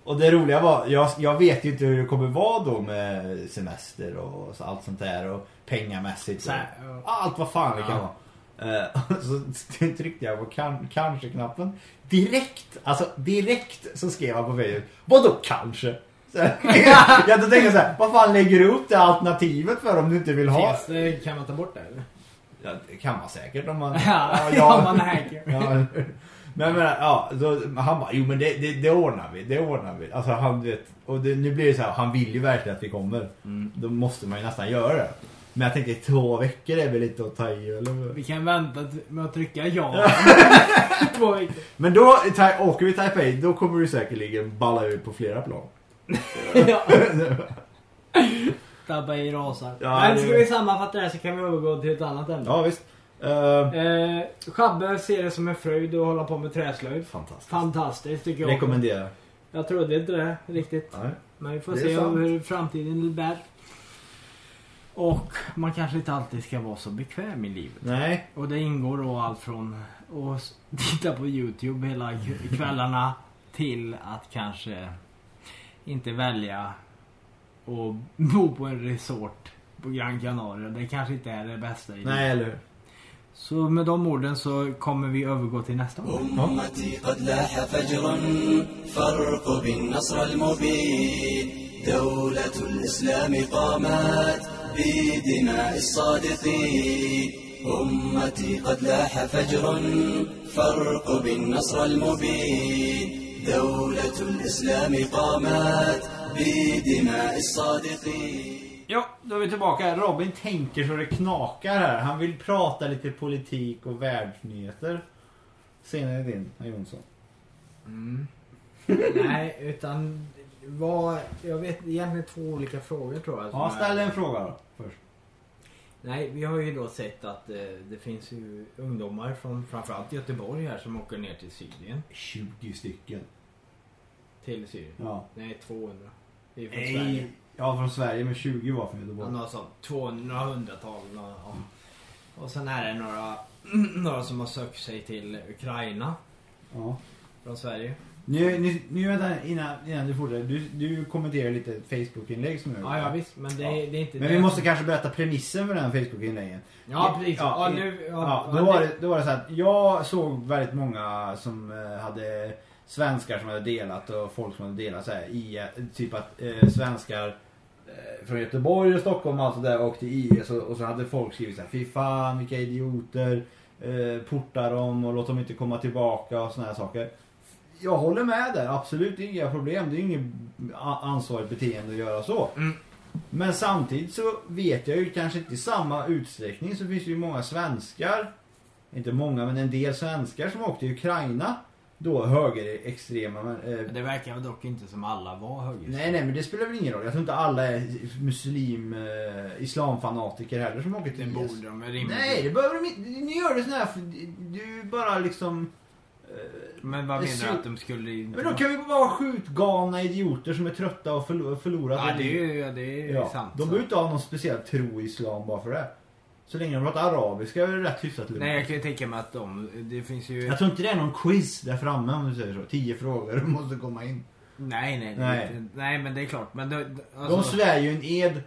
Speaker 4: Och det roliga var, jag, jag vet ju inte hur det kommer vara då med semester och så, allt sånt där. Och pengamässigt.
Speaker 3: Så här,
Speaker 4: och,
Speaker 3: ja.
Speaker 4: allt vad fan det kan
Speaker 3: Ja.
Speaker 4: vara. Eh, Så tryckte jag på kan, kanske-knappen. Direkt, alltså direkt så skrev han på Facebook. Vadå kanske? Så, här. jag tänkte såhär, vad fan lägger du upp det alternativet för om du inte vill ha?
Speaker 3: Finns det, kan man ta bort det eller?
Speaker 4: Ja, det kan man säkert om man...
Speaker 3: Ja,
Speaker 4: ja.
Speaker 3: om man hacker.
Speaker 4: Ja. Men, men ja, så, han bara, jo men det, det, det ordnar vi, det ordnar vi. Alltså han du vet, och det, nu blir det så här, han vill ju verkligen att vi kommer.
Speaker 3: Mm.
Speaker 4: Då måste man ju nästan göra det. Men jag tänkte två veckor är väl inte att ta i eller?
Speaker 3: Vi kan vänta t- med att trycka ja. Två veckor.
Speaker 4: Men då, ta, åker vi till Taipei, då kommer du säkerligen balla ur på flera plan.
Speaker 3: Ja. Tabba i rasar.
Speaker 4: Ja,
Speaker 3: Men
Speaker 4: det-
Speaker 3: ska vi sammanfatta det här så kan vi övergå till ett annat ämne.
Speaker 4: Ja visst. Eh,
Speaker 3: Eh, Schabbe ser det som en fröjd att hålla på med träslöjd.
Speaker 4: fantastiskt.
Speaker 3: Fantastiskt tycker jag.
Speaker 4: Rekommenderar.
Speaker 3: Jag trodde inte det riktigt.
Speaker 4: Nej.
Speaker 3: Men vi får
Speaker 4: Det är
Speaker 3: se
Speaker 4: sant.
Speaker 3: hur framtiden bär. Och man kanske inte alltid ska vara så bekväm i livet.
Speaker 4: Nej.
Speaker 3: Och det ingår då allt från att s- titta på YouTube hela k- kvällarna till att kanske inte välja att bo på en resort på Gran Canaria. Det kanske inte är det bästa i livet.
Speaker 4: Nej eller hur?
Speaker 3: Så med de orden så kommer vi övergå till nästa ord.
Speaker 7: أمتي قد لاح فجرا فارقب النصر المبين دولة الإسلام قامت بدماء الصادقين أمتي قد لاح فجرا فارقب النصر المبين دولة الإسلام قامت بدماء الصادقين
Speaker 4: Ja, då är vi tillbaka. Robin tänker så det knakar här. Han vill prata lite politik och världsnyheter. Scenen är din, herr Jonsson. Mm.
Speaker 3: Nej, utan vad, jag vet egentligen två olika frågor tror jag. som
Speaker 4: Ja,
Speaker 3: är-
Speaker 4: ställ en fråga då. Först.
Speaker 3: Nej, vi har ju då sett att eh, det finns ju ungdomar från framförallt Göteborg här som åker ner till Syrien.
Speaker 4: 20 stycken.
Speaker 3: Till Syrien.
Speaker 4: Ja.
Speaker 3: Nej, 200. Det är ju från Sverige.
Speaker 4: Nej. Ja, från Sverige med 20 var från
Speaker 3: Ja,
Speaker 4: Göteborg.
Speaker 3: några sånt. 200 några hundratal. några- ja. Och sen är det några, några som har sökt sig till Ukraina
Speaker 4: Ja.
Speaker 3: från Sverige.
Speaker 4: Nu, nu, nu vänta, innan, innan du fortsätter. Du, du kommenterar lite Facebook-inlägg som jag
Speaker 3: Ja, ja visst. Men det,
Speaker 4: Ja.
Speaker 3: det är inte
Speaker 4: Men
Speaker 3: det.
Speaker 4: vi måste kanske berätta premissen för den här Facebook-inläggen.
Speaker 3: Ja, precis. Ja,
Speaker 4: i-
Speaker 3: nu,
Speaker 4: Ja, då, var det, då var det så här att jag såg väldigt många som eh, hade svenskar som hade delat och folk som hade delat så här i eh, typ att eh, svenskar eh, från Göteborg och Stockholm och allt det där åkte i IS och, och så hade folk skrivit så här fy fan vilka idioter eh, porta dem och låt dem inte komma tillbaka och såna här saker. Jag håller med där, absolut det är inga problem. Det är inget a- ansvarigt beteende att göra så. Men samtidigt så vet jag ju kanske inte i samma utsträckning så finns det ju många svenskar, inte många men en del svenskar som åkte till Ukraina då högerextrema. Men, eh,
Speaker 3: det verkar dock inte som alla var högerextrema.
Speaker 4: nej nej men det spelar väl ingen roll. Jag tror inte alla är muslim, eh, islamfanatiker heller som åker
Speaker 3: Det
Speaker 4: till IS.
Speaker 3: borde de väl rimligtvis.
Speaker 4: Nej det behöver de inte. Ni gör det sån här, för du bara liksom... Eh,
Speaker 3: Men vad menar
Speaker 4: Det
Speaker 3: du
Speaker 4: ser-
Speaker 3: att de skulle...
Speaker 4: men då kan vi bara vara skjutgalna idioter som är trötta och förlo- förlorat
Speaker 3: Ja, det är
Speaker 4: liv.
Speaker 3: ju ja, det är ju
Speaker 4: Ja,
Speaker 3: sant.
Speaker 4: de behöver inte ha någon speciell tro i islam bara för det. Så länge de pratar arabiska är det rätt hyfsat lugnt.
Speaker 3: Nej, jag kan ju tänka mig att de... Det finns ju...
Speaker 4: Jag tror inte det är någon quiz där framme om du säger så. Tio frågor du måste komma in.
Speaker 3: Nej, nej,
Speaker 4: Nej.
Speaker 3: nej. Nej, men det är klart. Men det,
Speaker 4: De
Speaker 3: alltså,
Speaker 4: svär ju en ed.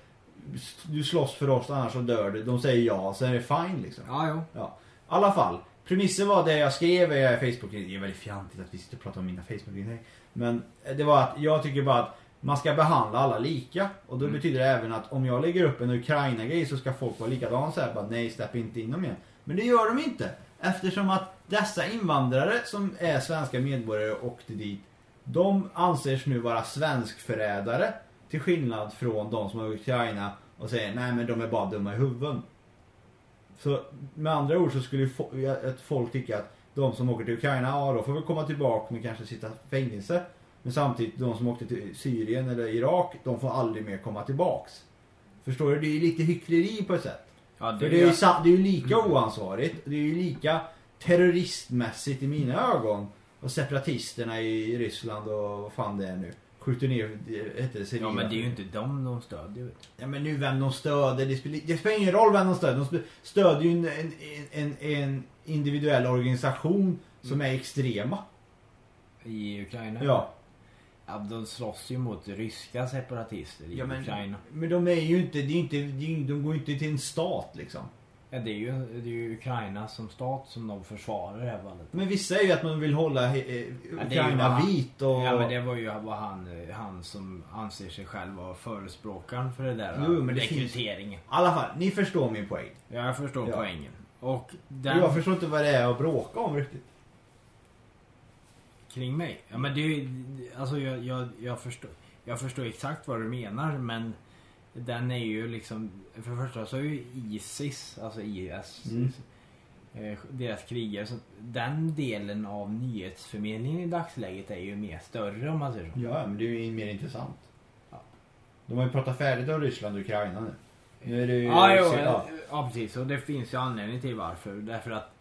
Speaker 4: Du slåss för oss annars så dör du. De säger ja, så är det fine liksom.
Speaker 3: Ja, jo.
Speaker 4: Ja. I alla fall. Premissen var det jag skrev i Facebook. Det är väldigt fjantigt att vi sitter och pratar om mina Facebook-inlägg. Men eh, det var att jag tycker bara att man ska behandla alla lika. Och då betyder det även att om jag lägger upp en Ukraina-grej så ska folk vara likadana så här. Bara, nej, släpp inte in dem igen. Men det gör de inte. Eftersom att dessa invandrare som är svenska medborgare och åkte dit. De anses nu vara svenskförrädare. Till skillnad från de som är i Ukraina och säger nej men de är bara dumma i huvudet. Så med andra ord så skulle ju fo- ja, ett folk tycka att de som åker till Ukraina, ja då får vi komma tillbaka men kanske sitta i fängelse. Men samtidigt de som åkte till Syrien eller Irak, de får aldrig mer komma tillbaks. Förstår du? Det är ju lite hyckleri på ett sätt.
Speaker 3: Ja, det,
Speaker 4: För det är ju, sa- det är ju lika oansvarigt, det är ju lika terroristmässigt i mina ögon. Och separatisterna i Ryssland och vad fan det är nu. Skjuter ner, det heter det, civila.
Speaker 3: Ja, men det är ju inte dem de stödjer. Vet
Speaker 4: Ja men nu vem de stöder, det spelar, det spelar ingen roll vem de stöder. De sp- stöder ju en, en, en, en individuell organisation som är extrema.
Speaker 3: du. I Ukraina.
Speaker 4: Ja.
Speaker 3: ja. De slåss ju mot ryska separatister i
Speaker 4: ja men,
Speaker 3: Ukraina.
Speaker 4: men de är ju inte, det är ju inte, det är ju, de går ju inte till en stat liksom.
Speaker 3: Ja, det är ju det är ju Ukraina som stat som de försvarar i det här fallet.
Speaker 4: Men vissa är ju att man vill hålla he-
Speaker 3: är
Speaker 4: eh,
Speaker 3: ju
Speaker 4: Ukraina
Speaker 3: bara-
Speaker 4: vit och...
Speaker 3: Ja, men det var ju vad han, eh, han som anser sig själv vara förespråkaren för det där
Speaker 4: Jo, men det finns-
Speaker 3: rekryteringen.
Speaker 4: I alla fall, ni förstår min poäng.
Speaker 3: Ja, jag förstår
Speaker 4: Ja.
Speaker 3: poängen. Och den
Speaker 4: Jag förstår inte vad det är att bråka om riktigt.
Speaker 3: kring mig. Ja, men det är ju, alltså jag, jag, jag, förstår, jag förstår exakt vad du menar men den är ju liksom, för det första så är ju Isis, alltså IS,
Speaker 4: Mm.
Speaker 3: eh, deras krigare, så den delen av nyhetsförmedlingen i dagsläget är ju mer större om man säger så.
Speaker 4: Ja, men det är ju mer intressant.
Speaker 3: Ja.
Speaker 4: De har ju pratat färdigt om Ryssland och Ukraina nu. Nu är det ju...
Speaker 3: Ja, jo,
Speaker 4: ja.
Speaker 3: ja. ja precis. Och det finns ju anledning till varför. Därför att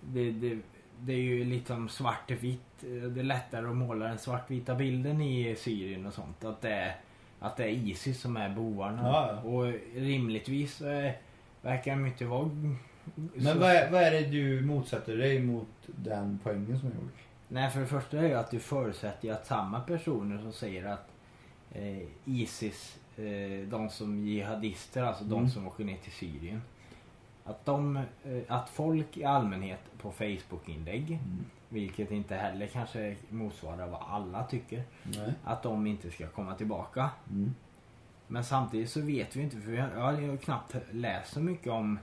Speaker 3: det, det, det är ju liksom svart till vitt. Det är lättare att måla den svartvita bilden i Syrien och sånt. Att det är, att det är Isis som är bovarna.
Speaker 4: Ja, ja.
Speaker 3: Och rimligtvis eh, verkar de inte vara...
Speaker 4: Men vad är, vad är det du motsätter dig mot den poängen som jag gjorde?
Speaker 3: Nej, för det första är ju att du förutsätter ju att samma personer som säger att eh, Isis, eh, de som jihadister, alltså de
Speaker 4: Mm.
Speaker 3: som åker ner till Syrien. Att, de, eh, att folk i allmänhet på Facebook-inlägg, vilket inte heller kanske motsvarar vad alla tycker,
Speaker 4: Nej.
Speaker 3: att de inte ska komma tillbaka.
Speaker 4: Mm.
Speaker 3: Men samtidigt så vet vi inte, för jag jag har ju knappt läst så mycket om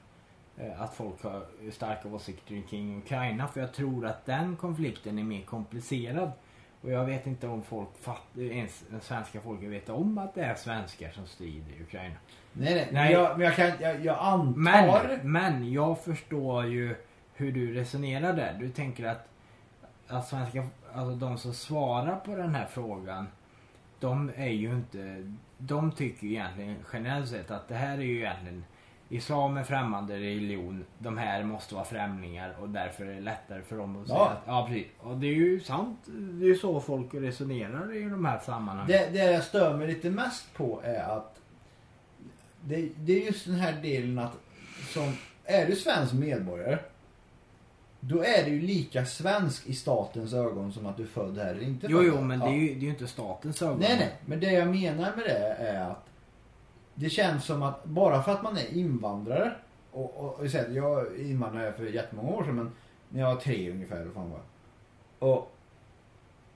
Speaker 3: eh, att folk har starka åsikter kring Ukraina. För jag tror att den konflikten är mer komplicerad. Och jag vet inte om folk fatt, ens den svenska folket vet om att det är svenskar som strider i Ukraina.
Speaker 4: Nej, nej. Men,
Speaker 3: Nej.
Speaker 4: jag, men jag, kan, jag, jag antar...
Speaker 3: Men, men jag förstår ju hur du resonerar där. Du tänker att, att svenska, alltså de som svarar på den här frågan, de är ju inte, de tycker ju egentligen generellt sett att det här är ju egentligen Islam är främmande religion. De här måste vara främlingar och därför är det lättare för dem att
Speaker 8: Ja.
Speaker 3: säga att, ja precis. Och det är ju sant. Det är ju så folk resonerar i de här sammanhangen.
Speaker 4: Det, det jag stör mig lite mest på är att det, det är just den här delen att som, är du svensk medborgare då är du ju lika svensk i statens ögon som att du är född här eller inte
Speaker 3: Jo,
Speaker 4: född
Speaker 3: jo,
Speaker 4: här.
Speaker 3: men
Speaker 4: Ja.
Speaker 3: det är ju, det är ju inte statens ögon.
Speaker 4: Nej, nej. Men det jag menar med det är att det känns som att bara för att man är invandrare och, och, och så här, jag är invandrare för jättemånga år sedan men när jag var tre ungefär eller vad fan var jag. Och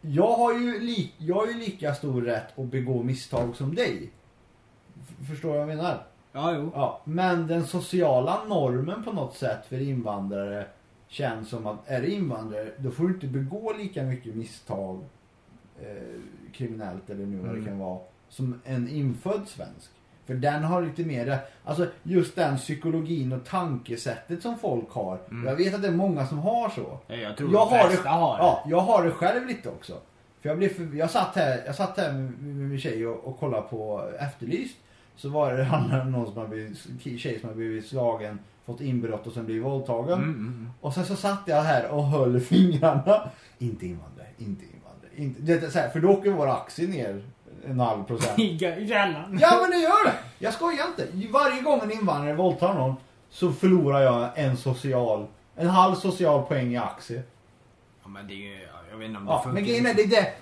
Speaker 4: jag har ju li, jag har ju lika stor rätt att begå misstag som dig. F- förstår du vad jag menar?
Speaker 3: Ja, jo.
Speaker 4: Ja, men den sociala normen på något sätt för invandrare känns som att är du invandrare då får du inte begå lika mycket misstag eh, kriminellt eller nu vad det
Speaker 3: Mm.
Speaker 4: kan vara som en infödd svensk. För den har lite mer, alltså just den psykologin och tankesättet som folk har.
Speaker 3: Mm.
Speaker 4: Jag vet att det är många som har så.
Speaker 3: Ja, Jag tror
Speaker 4: Jag
Speaker 3: de
Speaker 4: har
Speaker 3: flesta
Speaker 4: det,
Speaker 3: har det.
Speaker 4: Ja, jag har det själv lite också. För jag, blev för, jag satt här, jag satt här med, med min tjej och, och kollade på Efterlyst. Så var det handlade om någon som har blivit, tjej som har blivit slagen, fått inbrott och sen blivit våldtagen.
Speaker 3: Mm, mm, mm.
Speaker 4: Och sen så satt jag här och höll fingrarna. Inte invandrare, inte invandrare. Inte, det är så här, för då åker vår aktie ner en halv procent.
Speaker 3: Tigga i källan.
Speaker 4: Ja men det gör det! Jag skojar inte. Varje gång en invandrare våldtar någon så förlorar jag en social, en halv social poäng i aktie.
Speaker 3: Ja, men det är ju, ja, jag vet inte om det
Speaker 4: Ja,
Speaker 3: funkar. liksom.
Speaker 4: men grejen är det, är det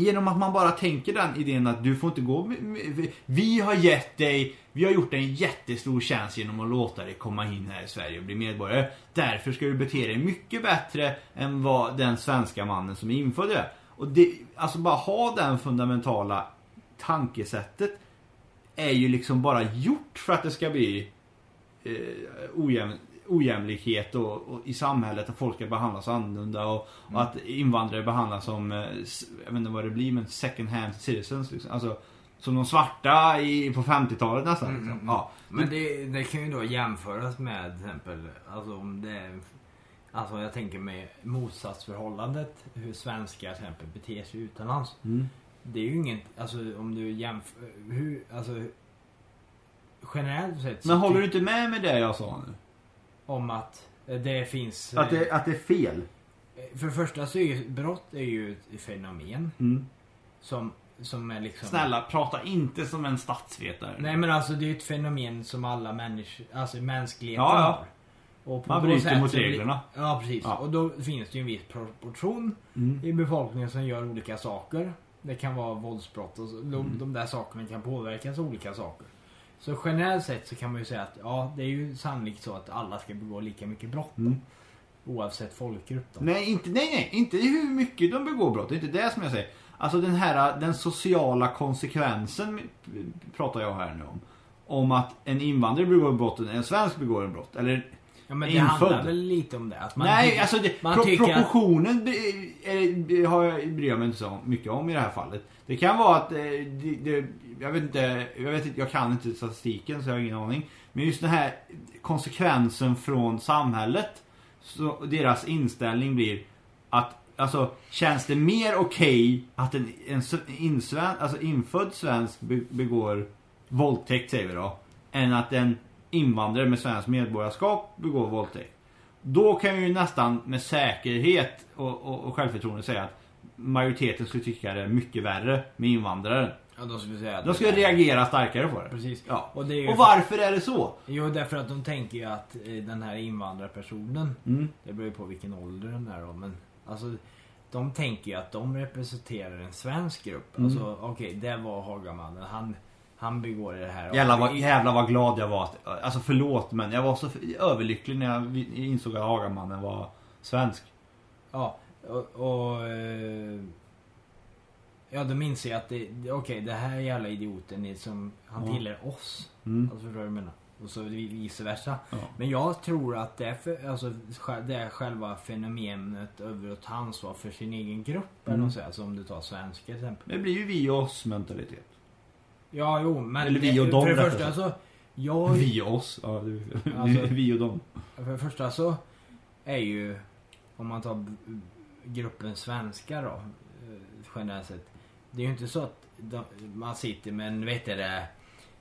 Speaker 4: Genom att man bara tänker den idén att du får inte gå med- med- vi- Vi har gett dig Vi har gjort dig en jättestor tjänst genom att låta dig komma in här i Sverige och bli medborgare Därför ska du bete dig mycket bättre än vad den svenska mannen som är infödd är Och det, alltså bara ha den fundamentala tankesättet Är ju liksom bara gjort för att det ska bli eh, ojäm, ojämlikhet och, och i samhället att folk ska behandlas annorlunda och,
Speaker 3: Mm.
Speaker 4: och att invandrare behandlas som, eh, s- jag vet inte vad det blir, men second hand citizens. Liksom. Alltså, som de svarta i, på 50-talet nästan.
Speaker 3: Mm,
Speaker 4: Liksom.
Speaker 3: mm,
Speaker 4: Ja.
Speaker 3: Men det, det kan ju då jämföras med till exempel, alltså om det är, Alltså jag tänker mig motsatsförhållandet, hur svenskar till exempel beter sig utomlands.
Speaker 4: Mm.
Speaker 3: Det är ju inget, alltså om du jämför, hur, alltså generellt sett så typ-
Speaker 4: Men håller
Speaker 3: ty-
Speaker 4: du inte med med det jag sa nu?
Speaker 3: om att det finns...
Speaker 4: Att det, att det är fel?
Speaker 3: eh, För det första så är ju brott är ju ett fenomen
Speaker 4: Mm.
Speaker 3: som, som är liksom...
Speaker 4: Snälla, prata inte som en statsvetare.
Speaker 3: Nej men alltså det är ju ett fenomen som alla människor, alltså mänskligheten
Speaker 4: Ja, ja.
Speaker 3: har. Och på
Speaker 4: Man
Speaker 3: så
Speaker 4: bryter
Speaker 3: sätt
Speaker 4: mot
Speaker 3: så blir-
Speaker 4: reglerna.
Speaker 3: Ja precis.
Speaker 4: Ja.
Speaker 3: Och då finns det ju en viss proportion
Speaker 4: Mm.
Speaker 3: i befolkningen som gör olika saker. Det kan vara våldsbrott och så. De,
Speaker 4: Mm.
Speaker 3: de där sakerna kan påverkas av olika saker. Så generellt sett så kan man ju säga att ja, det är ju sannolikt så att alla ska begå lika mycket brott. då.
Speaker 4: Mm.
Speaker 3: Oavsett folkgrupp då.
Speaker 4: Nej, inte, nej, nej, inte hur mycket de begår brott. Det är inte det som jag säger. Alltså den här den sociala konsekvensen pratar jag här nu om. Om att en invandrare begår brott, en svensk begår en brott. Eller,
Speaker 3: Ja, men det
Speaker 4: Infödd.
Speaker 3: handlar väl lite om det. Att man
Speaker 4: nej,
Speaker 3: tycker-
Speaker 4: alltså det,
Speaker 3: man
Speaker 4: pro,
Speaker 3: tycker att-
Speaker 4: proportionen bry- är- har jag, bryr jag mig inte så mycket om i det här fallet. Det kan vara att, eh, det, det, jag vet inte, jag vet inte, jag kan inte statistiken så jag har ingen aning. Men just den här konsekvensen från samhället. Så deras inställning blir att Alltså känns det mer okej att en, en s- insven, alltså infödd svensk be- begår våldtäkt säger vi då. Än att en invandrare med svenskt medborgarskap begår våldtäkt. Då kan vi ju nästan med säkerhet och, och, och självförtroende säga att majoriteten skulle tycka det är mycket värre med invandraren.
Speaker 3: Ja, då skulle jag säga att
Speaker 4: De skulle
Speaker 3: det är-
Speaker 4: reagera starkare på det.
Speaker 3: Precis.
Speaker 4: Ja.
Speaker 3: Och det är ju-
Speaker 4: och varför är det så?
Speaker 3: Jo, därför att de tänker ju att eh, den här invandrarpersonen,
Speaker 4: Mm.
Speaker 3: det beror ju på vilken ålder den är då, men alltså de tänker ju att de representerar en svensk grupp.
Speaker 4: Mm.
Speaker 3: Alltså okej, det var Hagamannen. Han, han begår det här.
Speaker 4: Jävlar
Speaker 3: Och
Speaker 4: vad,
Speaker 3: i-
Speaker 4: jävlar vad glad jag var. Att, alltså förlåt men jag var så f- överlycklig när jag vi- insåg att Hagamannen var svensk.
Speaker 3: Ja, och... och eh, ja, de inser ju att det, det- okej, det här jävla idioten är som, han
Speaker 4: Ja.
Speaker 3: tillhör oss.
Speaker 4: Mm.
Speaker 3: Alltså förstår du vad jag menar? Och så vice versa.
Speaker 4: Ja.
Speaker 3: Men jag tror att det är, för, alltså, sj- det är själva fenomenet över att ta ansvar för sin egen grupp. Eller
Speaker 4: Mm.
Speaker 3: något sånt, alltså, om du tar svenskar till exempel.
Speaker 4: Det blir ju vi och oss mentalitet.
Speaker 3: Ja, jo, men
Speaker 4: Eller vi
Speaker 3: det-
Speaker 4: och dem,
Speaker 3: för det
Speaker 4: rättare
Speaker 3: första
Speaker 4: sagt.
Speaker 3: så... Jag,
Speaker 4: Vi och oss. Ja, det,
Speaker 3: Alltså-
Speaker 4: vi och dem.
Speaker 3: För det första så är ju, om man tar b- gruppen svenskar då, eh, generellt sett. Det är ju inte så att de, man sitter med en, vet du det,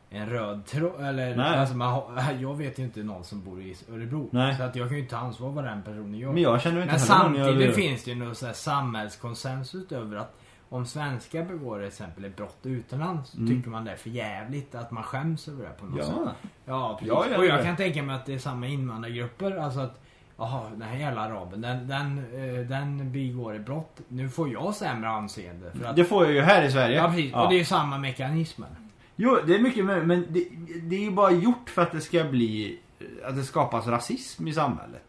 Speaker 3: en röd tråd. Eller,
Speaker 4: Nej.
Speaker 3: alltså man, har- jag vet ju inte någon som bor i Örebro.
Speaker 4: Nej.
Speaker 3: Så att jag kan ju inte ansvara vad den personen gör.
Speaker 4: Men jag känner inte
Speaker 3: Men
Speaker 4: heller någon jag
Speaker 3: samtidigt
Speaker 4: vill-
Speaker 3: finns det ju någon så här samhällskonsensus över att om svenskar begår till exempel ett brott utomlands så tycker man det är för jävligt att man skäms över det på något sätt.
Speaker 4: Mm. Ja.
Speaker 3: Ja, precis.
Speaker 4: Ja, ja,
Speaker 3: och jag
Speaker 4: ja.
Speaker 3: kan tänka mig att det är samma invandrargrupper. Alltså att, jaha, den här jävla araben, den, den, eh, den begår ett brott. Nu får jag sämre anseende. För att,
Speaker 4: Det får jag ju här i Sverige.
Speaker 3: ja, precis. Och det är ju samma mekanismer.
Speaker 4: Jo, det är mycket möjligt, men det, det är ju bara gjort för att det ska bli... Att det skapas rasism i samhället.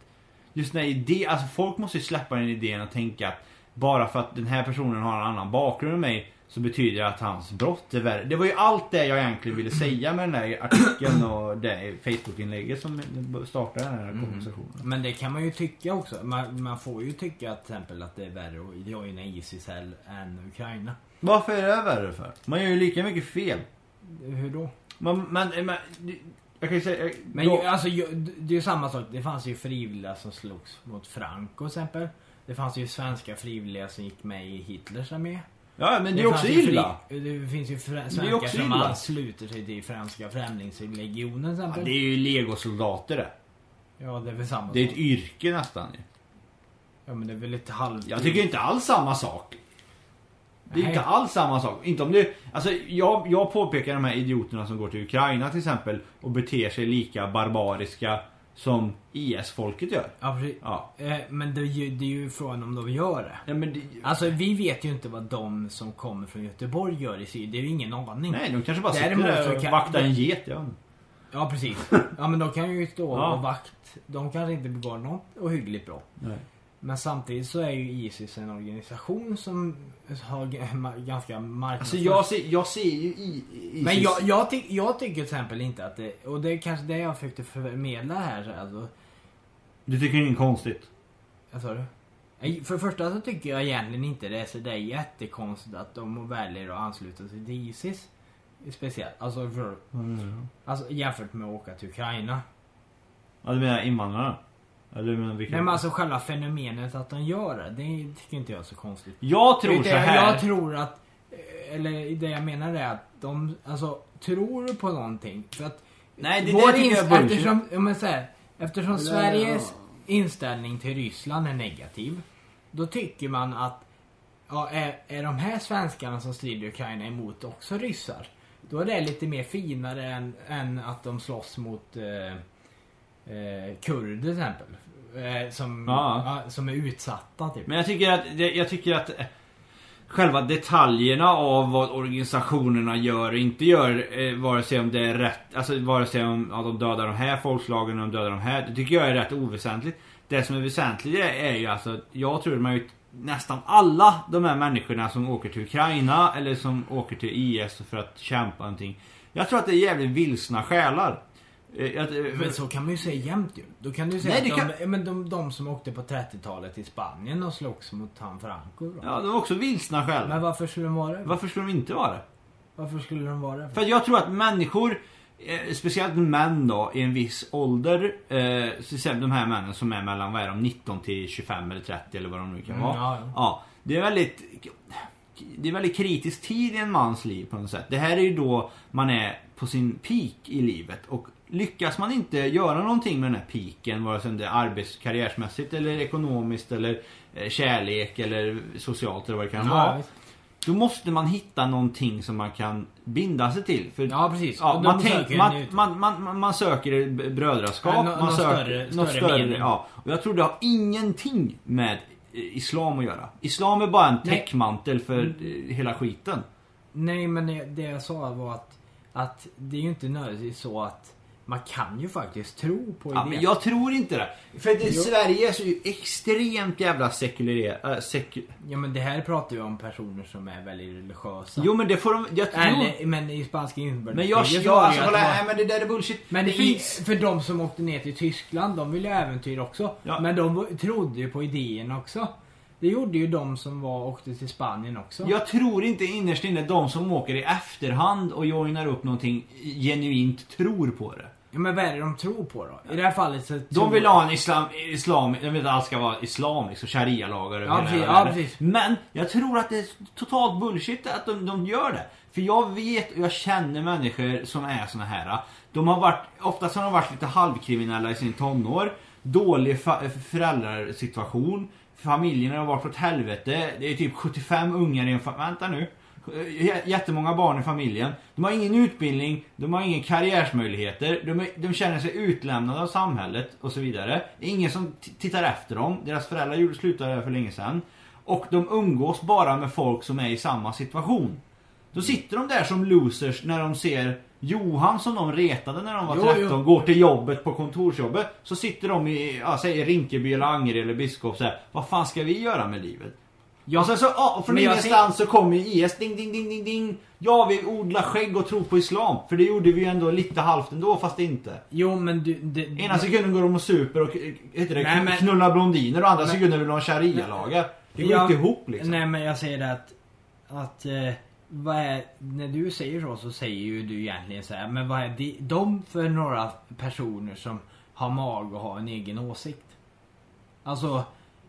Speaker 4: Just när idé, alltså folk måste ju släppa den idén och tänka att bara för att den här personen har en annan bakgrund än mig så betyder det att hans brott är värre. Det var ju allt det jag egentligen ville säga med den där artikeln och det Facebook-inlägget som startade den
Speaker 3: Mm.
Speaker 4: här konversationen.
Speaker 3: Men det kan man ju tycka också. Man, man får ju tycka till exempel att det är värre att joina Isis hell än Ukraina.
Speaker 4: Varför är det värre för? Man gör ju lika mycket fel.
Speaker 3: Hur då?
Speaker 4: Man, man, man, jag kan ju säga...
Speaker 3: Men
Speaker 4: då-
Speaker 3: ju, alltså, ju, det är ju samma sak. Det fanns ju frivilliga som slogs mot Franco till exempel. Det fanns ju svenska frivilliga som gick med i Hitlers armé.
Speaker 4: ja, men det är också
Speaker 3: fanns ju fri-
Speaker 4: illa.
Speaker 3: Det finns ju frä-
Speaker 4: Det är
Speaker 3: svenskar
Speaker 4: också
Speaker 3: som
Speaker 4: illa.
Speaker 3: ansluter sig till franska främlingslegionen till
Speaker 4: Ja,
Speaker 3: exempel.
Speaker 4: det är ju legosoldater det.
Speaker 3: Ja, det är väl samma
Speaker 4: Det är ett
Speaker 3: sak.
Speaker 4: yrke nästan ju.
Speaker 3: Ja, men det är väl lite halv...
Speaker 4: Jag tycker inte alls samma sak. Det är
Speaker 3: Nej.
Speaker 4: inte alls samma sak. Inte om du, alltså jag, jag påpekar de här idioterna som går till Ukraina till exempel och beter sig lika barbariska som IS-folket gör.
Speaker 3: Ja, precis.
Speaker 4: Ja.
Speaker 3: Eh, Men det är, ju, det är ju frågan om de gör det.
Speaker 4: Nej, men det,
Speaker 3: Alltså vi vet ju inte vad de som kommer från Göteborg gör i Syrien. Det är ju ingen aning.
Speaker 4: nej, de kanske bara sitter
Speaker 3: Däremot så
Speaker 4: där och
Speaker 3: kan-
Speaker 4: vaktar en get. Ja.
Speaker 3: Ja precis. Ja men de kan ju stå
Speaker 4: Ja.
Speaker 3: och vakt. De kanske inte begår något ohyggligt bra.
Speaker 4: Nej.
Speaker 3: Men samtidigt så är ju Isis en organisation som har g- ma- ganska marknadsförs...
Speaker 4: Alltså jag ser, jag ser ju i, ISIS.
Speaker 3: Men jag, jag, ty- jag tycker till exempel inte att det... Och det är kanske det jag försökte förmedla här. Alltså,
Speaker 4: Du tycker det är konstigt?
Speaker 3: Vad sa du? Nej, För det första så tycker jag egentligen inte det är så där jättekonstigt att de väljer att ansluta sig till Isis. Speciellt. Alltså, för, alltså jämfört med att åka till Ukraina.
Speaker 4: Ja, du menar invandrarna? Eller du menar vilka?
Speaker 3: Nej men alltså själva fenomenet att de gör det, det tycker inte jag är så konstigt.
Speaker 4: jag tror
Speaker 3: det,
Speaker 4: så här.
Speaker 3: Jag tror att, eh, eller det jag menar är att de, alltså tror du på någonting? För att
Speaker 4: Nej, det-
Speaker 3: vår
Speaker 4: det tycker jag är bullshit.
Speaker 3: eftersom, ja, men så här, eftersom
Speaker 4: där-
Speaker 3: Sveriges inställning till Ryssland är negativ, då tycker man att ja, är, är de här svenskarna som strider i Ukraina emot också ryssar? Då är det lite mer finare än, än att de slåss mot eh, eh, kurder till exempel. Eh, som,
Speaker 4: Ja.
Speaker 3: ja, som är utsatta typ.
Speaker 4: Men jag tycker att, det- jag tycker att eh, själva detaljerna av vad organisationerna gör och inte gör, eh, vare sig om det är rätt, alltså vare sig om ja, de dödar de här folkslagen och de dödar de här, det tycker jag är rätt oväsentligt. Det som är väsentligt är, är ju alltså, att jag tror man ju nästan alla de här människorna som åker till Ukraina eller som åker till IS för att kämpa någonting. Jag tror att det är jävligt vilsna själar. Eh, jag-
Speaker 3: Men så kan man ju säga jämt ju. Då kan du ju säga
Speaker 4: Nej, det
Speaker 3: att de, men de, de som åkte på 30-talet till Spanien och slogs mot han Franco då.
Speaker 4: Ja, de är också vilsna
Speaker 3: Men
Speaker 4: själar.
Speaker 3: varför skulle de vara det?
Speaker 4: Varför skulle de inte vara det?
Speaker 3: Varför skulle de vara det?
Speaker 4: För att jag tror att människor, eh, speciellt män då, i en viss ålder. Eh, så till exempel de här männen som är mellan vad är de, 19 till 25 eller 30 eller vad de nu kan
Speaker 3: Mm,
Speaker 4: vara.
Speaker 3: ja, ja.
Speaker 4: det är väldigt... Det är väldigt kritisk tid i en mans liv på något sätt. Det här är ju då man är på sin peak i livet. Och lyckas man inte göra någonting med den här peaken, vare sig det är arbets-, karriärsmässigt eller ekonomiskt eller eh, kärlek eller socialt eller vad det kan vara.
Speaker 3: visst.
Speaker 4: Då måste man hitta någonting som man kan binda sig till. För,
Speaker 3: Ja, precis.
Speaker 4: Ja,
Speaker 3: Och de
Speaker 4: man,
Speaker 3: söker
Speaker 4: tänk,
Speaker 3: en
Speaker 4: man,
Speaker 3: ut.
Speaker 4: man, man, man, man söker ett b- brödraskap.
Speaker 3: Ja, nå-
Speaker 4: man
Speaker 3: någon
Speaker 4: söker,
Speaker 3: större-
Speaker 4: något
Speaker 3: större mening.
Speaker 4: Ja. Och jag tror det har ingenting med eh, Islam att göra. Islam är bara en
Speaker 3: Nej. Mm.
Speaker 4: täckmantel för eh, hela skiten.
Speaker 3: Nej men det, det jag sa var att, att det är ju inte nödvändigtvis så att man kan ju faktiskt tro på
Speaker 4: Ja,
Speaker 3: idén.
Speaker 4: men jag tror inte det. För det,
Speaker 3: Jo.
Speaker 4: Sverige är så ju extremt jävla sekulär... Äh, sek,
Speaker 3: Ja, men det här pratar ju om personer som är väldigt religiösa.
Speaker 4: jo men det får de... Jag tror,
Speaker 3: Eller, men i spanska
Speaker 4: men jag...
Speaker 3: inbördeskriget
Speaker 4: jag
Speaker 3: var det ju
Speaker 4: alltså,
Speaker 3: att
Speaker 4: kolla,
Speaker 3: man-
Speaker 4: nej, men det där är bullshit.
Speaker 3: Men det
Speaker 4: är-
Speaker 3: finns, för de som åkte ner till Tyskland, de ville ju äventyr också.
Speaker 4: Ja.
Speaker 3: Men de var- trodde ju på idén också. Det gjorde ju de som var, åkte till Spanien också.
Speaker 4: Jag tror inte innerst inne de som åker i efterhand och joinar upp någonting genuint tror på det.
Speaker 3: Ja, Ja, men vad är det de tror på då? I det här fallet så tror-
Speaker 4: De vill ha en islam, islam jag vet inte allt ska vara islamisk och sharia-lagar över
Speaker 3: Ja,
Speaker 4: hela
Speaker 3: precis,
Speaker 4: världen.
Speaker 3: ja, precis.
Speaker 4: Men jag tror att det är totalt bullshit att de, de gör det. För jag vet och jag känner människor som är såna här. De har varit, oftast har de varit lite halvkriminella i sin tonår. Dålig fa- föräldrasituation. Familjen har varit åt helvete. Det är typ 75 ungar i en familj. Vänta nu. J- Jättemånga barn i familjen. De har ingen utbildning, de har ingen karriärsmöjligheter, de, är, de känner sig utlämnade av samhället och så vidare. Det är ingen som t- tittar efter dem, deras föräldrar gjorde- slutade där för länge sedan. Och de umgås bara med folk som är i samma situation.
Speaker 3: Mm.
Speaker 4: Då sitter de där som losers när de ser Johan som de retade när de var
Speaker 3: Jo,
Speaker 4: 13,
Speaker 3: jo.
Speaker 4: går till jobbet på kontorsjobbet. Så sitter de i, ja, säg Rinkeby eller Angered eller Biskop så här. Vad fan ska vi göra med livet?
Speaker 3: Ja.
Speaker 4: Och sen så, ja, från
Speaker 3: Men jag
Speaker 4: ingenstans så kommer IS, ding ding ding ding ding. Ja, vi odlar skägg och tror på Islam. För det gjorde vi ju ändå lite halvt ändå, fast inte.
Speaker 3: Jo men du... Det,
Speaker 4: Ena sekunden går de och super och eh, heter det,
Speaker 3: Mm. Nej, men-
Speaker 4: knullar blondiner och andra
Speaker 3: Men-
Speaker 4: sekunden vill de ha sharia-lagar. Det går
Speaker 3: Ja,
Speaker 4: inte ihop liksom.
Speaker 3: Nej men jag säger det att... Att... Eh, vad är, när du säger så så säger ju du egentligen så här, men vad är de, de för några personer som har mag och har en egen åsikt? Alltså,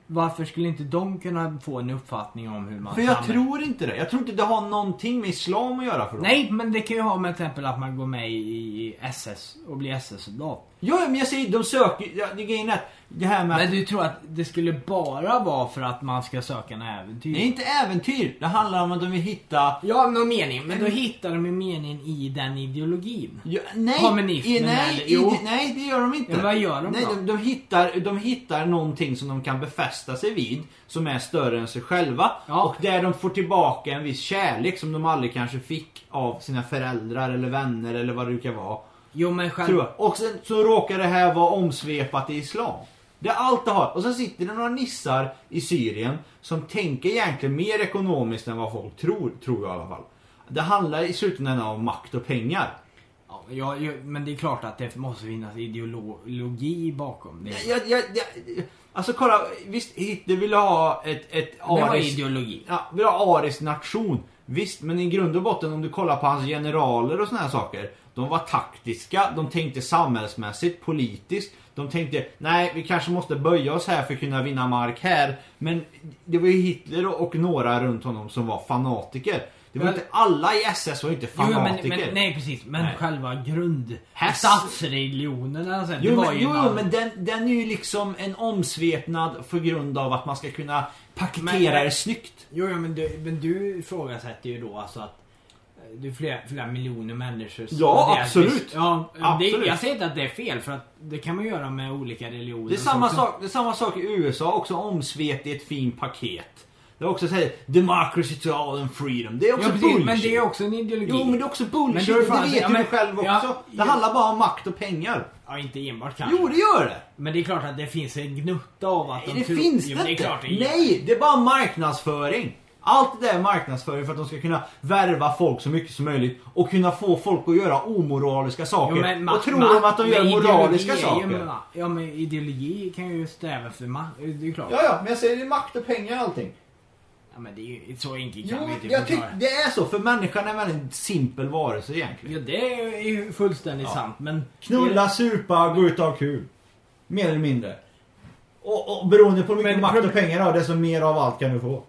Speaker 3: varför skulle inte de kunna få en uppfattning om hur man...
Speaker 4: För jag
Speaker 3: samlar-
Speaker 4: tror inte det. Jag tror inte det har någonting med Islam att göra för dem.
Speaker 3: Nej, men det kan ju ha med till exempel att man går med i SS och blir SS-soldat.
Speaker 4: Jo, men jag säger, de söker ja, det Grejen är att det här med att
Speaker 3: Men du tror att det skulle bara vara för att man ska söka en äventyr?
Speaker 4: Det är inte äventyr. Det handlar om att de vill hitta
Speaker 3: Ja, någon mening. Men då hittar de ju meningen i den ideologin.
Speaker 4: Ja, nej,
Speaker 3: Kommunismen
Speaker 4: i, nej,
Speaker 3: eller-
Speaker 4: i,
Speaker 3: jo.
Speaker 4: nej, det gör de inte.
Speaker 3: Ja, vad gör de
Speaker 4: nej,
Speaker 3: då?
Speaker 4: De, de, hittar, de hittar någonting som de kan befästa sig vid, som är större än sig själva.
Speaker 3: Ja.
Speaker 4: Och där de får tillbaka en viss kärlek som de aldrig kanske fick av sina föräldrar eller vänner eller vad det brukar vara.
Speaker 3: Jo, men själv...
Speaker 4: Tror jag. Och sen så råkar det här vara omsvepat i Islam. Det är allt det har. Och sen sitter det några nissar i Syrien som tänker egentligen mer ekonomiskt än vad folk tror, tror jag i alla fall. Det handlar i slutändan om makt och pengar.
Speaker 3: Ja, ja, ja, men det är klart att det måste finnas ideologi bakom det.
Speaker 4: Jag, jag, jag, alltså kolla, visst Hitler ville ha ett, ett
Speaker 3: det var
Speaker 4: ariskt...
Speaker 3: ideologi.
Speaker 4: Ja, vill ha arisk nation. Visst, men i grund och botten om du kollar på hans generaler och såna här saker. De var taktiska, de tänkte samhällsmässigt, politiskt. De tänkte, nej vi kanske måste böja oss här för att kunna vinna mark här. Men det var ju Hitler och, och några runt honom som var fanatiker. Det var
Speaker 3: Men-
Speaker 4: inte alla i SS var ju inte
Speaker 3: Jo, men,
Speaker 4: fanatiker.
Speaker 3: men, nej precis. Men
Speaker 4: Nej.
Speaker 3: själva grund...
Speaker 4: Häst.
Speaker 3: Statsreligionen alltså, det
Speaker 4: Jo,
Speaker 3: var
Speaker 4: men,
Speaker 3: ju
Speaker 4: jo,
Speaker 3: bara-
Speaker 4: jo, men den, den är ju liksom en omsvepnad för grund av att man ska kunna paketera
Speaker 3: Men-
Speaker 4: det snyggt.
Speaker 3: Jo, ja, men, du, men du ifrågasätter ju då alltså att eh, du flera, flera miljoner människor
Speaker 4: Ja,
Speaker 3: och deras
Speaker 4: absolut.
Speaker 3: vis- Ja,
Speaker 4: Absolut.
Speaker 3: Det, jag säger inte att det är fel för att det kan man göra med olika religioner.
Speaker 4: Det är,
Speaker 3: och
Speaker 4: samma
Speaker 3: sånt.
Speaker 4: sak, det är samma sak i USA, också omsvept i ett fint paket. Det är också såhär, democracy to all and freedom. Det är också
Speaker 3: Ja, precis,
Speaker 4: bullshit.
Speaker 3: men det är också en ideologi.
Speaker 4: Jo men det är också
Speaker 3: Men
Speaker 4: bullshit,
Speaker 3: då är det
Speaker 4: det
Speaker 3: fan-
Speaker 4: vet
Speaker 3: ja,
Speaker 4: du
Speaker 3: men-
Speaker 4: själv också.
Speaker 3: ja,
Speaker 4: det
Speaker 3: ja.
Speaker 4: handlar bara om makt och pengar.
Speaker 3: Ja, inte enbart kanske.
Speaker 4: Jo det gör det!
Speaker 3: Men det är klart att det finns en gnutta av att
Speaker 4: Nej,
Speaker 3: de
Speaker 4: det
Speaker 3: tror-
Speaker 4: finns
Speaker 3: Jo,
Speaker 4: det,
Speaker 3: det är
Speaker 4: inte!
Speaker 3: klart det är.
Speaker 4: Nej, det är bara marknadsföring. Allt det där är marknadsföring för att de ska kunna värva folk så mycket som möjligt och kunna få folk att göra omoraliska saker.
Speaker 3: Jo, men ma-
Speaker 4: och tror
Speaker 3: ma-
Speaker 4: de att de gör
Speaker 3: men ideologi
Speaker 4: moraliska
Speaker 3: är ju
Speaker 4: saker.
Speaker 3: ma- ja men ideologi kan ju stäva för makt. Det är klart.
Speaker 9: Ja, ja, men jag säger det är makt och pengar allting.
Speaker 3: Ja, men det är typ ju så enkelt kan
Speaker 4: Jo,
Speaker 3: vi inte
Speaker 4: jag tycker
Speaker 3: förklara.
Speaker 4: det är så, för människan är en väldigt simpel varelse egentligen.
Speaker 3: Ja det är ju fullständigt sant men...
Speaker 4: Knulla, supa, gå ut och ha kul. Mer eller mindre. Och, och beroende på hur mycket
Speaker 3: Men
Speaker 4: makt och
Speaker 3: prob-
Speaker 4: pengar du har, desto mer av allt kan du få.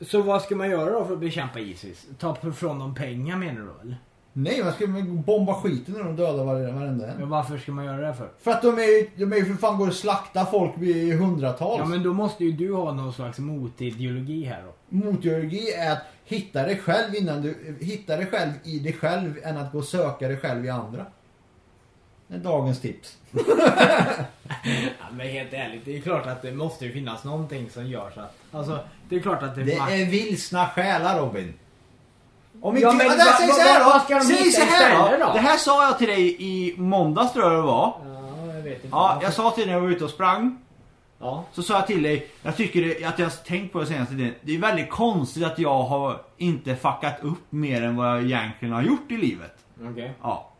Speaker 3: Så vad ska man göra då för att bekämpa Isis? Ta p- från dem pengar menar du då, eller?
Speaker 9: Nej, man ska väl bomba skiten när de dödar varenda varenda en.
Speaker 3: Men varför ska man göra det för?
Speaker 9: För att de är ju de är ju för fan går och slaktar folk i hundratals.
Speaker 3: Ja men då måste ju du ha någon slags motideologi här då.
Speaker 9: Motideologi är att hitta dig själv innan du... Hitta dig själv i dig själv än att gå och söka dig själv i andra. Det är dagens tips.
Speaker 3: Ja, men helt ärligt, det är klart att det måste ju finnas någonting som gör så att... Alltså, det är klart att det,
Speaker 9: Det
Speaker 3: makt-
Speaker 9: är vilsna själar Robin. Om inte...
Speaker 3: Ja, men
Speaker 9: där,
Speaker 3: vad-
Speaker 9: säg
Speaker 3: vad-
Speaker 9: så här
Speaker 3: vad- vad ska
Speaker 9: då!
Speaker 3: de
Speaker 9: Säg
Speaker 3: hitta
Speaker 9: så här
Speaker 3: istället
Speaker 9: då!
Speaker 3: då?
Speaker 4: Det här sa jag till dig i måndags tror jag det var.
Speaker 3: Ja, jag vet inte.
Speaker 4: Ja, jag sa till dig när jag var ute och sprang.
Speaker 3: Ja.
Speaker 4: Så sa jag till dig, jag tycker det- att jag har tänkt på det senaste tiden. Det är väldigt konstigt att jag har inte fuckat upp mer än vad jag egentligen har gjort i livet.
Speaker 3: Okej.
Speaker 4: Ja.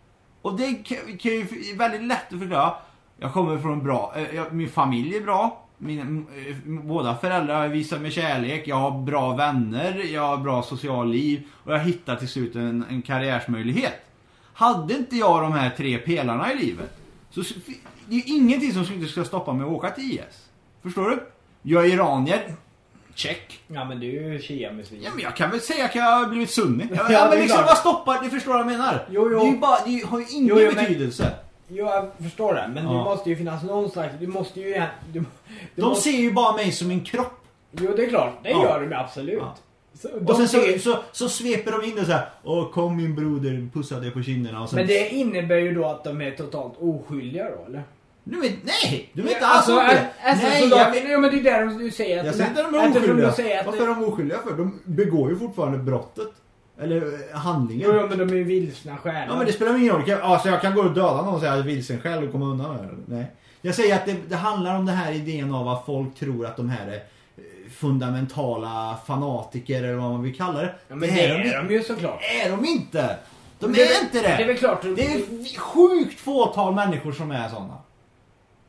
Speaker 4: Och det kan, kan ju är väldigt lätt att förklara. Jag kommer från bra, eh, jag, min familj är bra. Min, m- eh, m- båda föräldrar visar mig kärlek, jag har bra vänner, jag har bra social liv och jag hittar till slut en, en karriärsmöjlighet.
Speaker 10: Hade inte jag de här tre pelarna i livet så s- det är ju ingenting som skulle ska stoppa mig att åka till IS. Förstår du? Jag är iranier. Check.
Speaker 3: Ja men du är ju shia-muslim.
Speaker 10: Ja, men jag kan väl säga att jag har blivit sunni. Ja,
Speaker 3: det är
Speaker 10: men liksom
Speaker 3: klart.
Speaker 10: vad stoppar, du förstår vad jag menar?
Speaker 3: Jo, jo.
Speaker 10: Det, är ju bara, det har ju ingen
Speaker 3: Jo, jo, men-
Speaker 10: betydelse.
Speaker 3: Jo, jag förstår det. Men
Speaker 10: Ja.
Speaker 3: det måste ju finnas någon slags... Du måste ju... Du, du
Speaker 10: De
Speaker 3: måste,
Speaker 10: ser ju bara mig som en kropp.
Speaker 3: Jo, det är klart. Det
Speaker 10: Ja.
Speaker 3: gör de ju absolut.
Speaker 10: Ja.
Speaker 3: Så,
Speaker 10: Och
Speaker 3: de
Speaker 10: sen så,
Speaker 3: ser,
Speaker 10: så, så sveper de in det så här. Åh kom min broder, pussa dig på kinderna och sen...
Speaker 3: men det innebär ju då att de är totalt oskyldiga då, eller?
Speaker 10: Du vet, nej! Du vet inte alls
Speaker 3: Alltså,
Speaker 10: om det. Nej, jag,
Speaker 3: SS-soldater... Jo, men det är där de- du säger att...
Speaker 4: Jag säger inte att de
Speaker 3: att
Speaker 4: är oskyldiga.
Speaker 3: De säger att
Speaker 4: Varför är de oskyldiga för? De begår ju fortfarande brottet. Eller eh, handlingen.
Speaker 3: Jo, jo, men de är ju vilsna själar.
Speaker 4: Ja men det spelar ingen roll. Kan- Alltså jag kan gå och döda någon och säga att jag är vilsen själv och komma undan med det. Nej. Jag säger att det, det handlar om den här idén av att folk tror att de här är eh, fundamentala fanatiker eller vad man vill kalla det.
Speaker 3: Ja, men det
Speaker 4: de,
Speaker 3: är de ju såklart.
Speaker 4: i- är de inte! De
Speaker 3: Det
Speaker 4: är,
Speaker 3: väl-
Speaker 4: inte
Speaker 3: Det är väl klart.
Speaker 4: Det är sjukt fåtal människor som är sådana.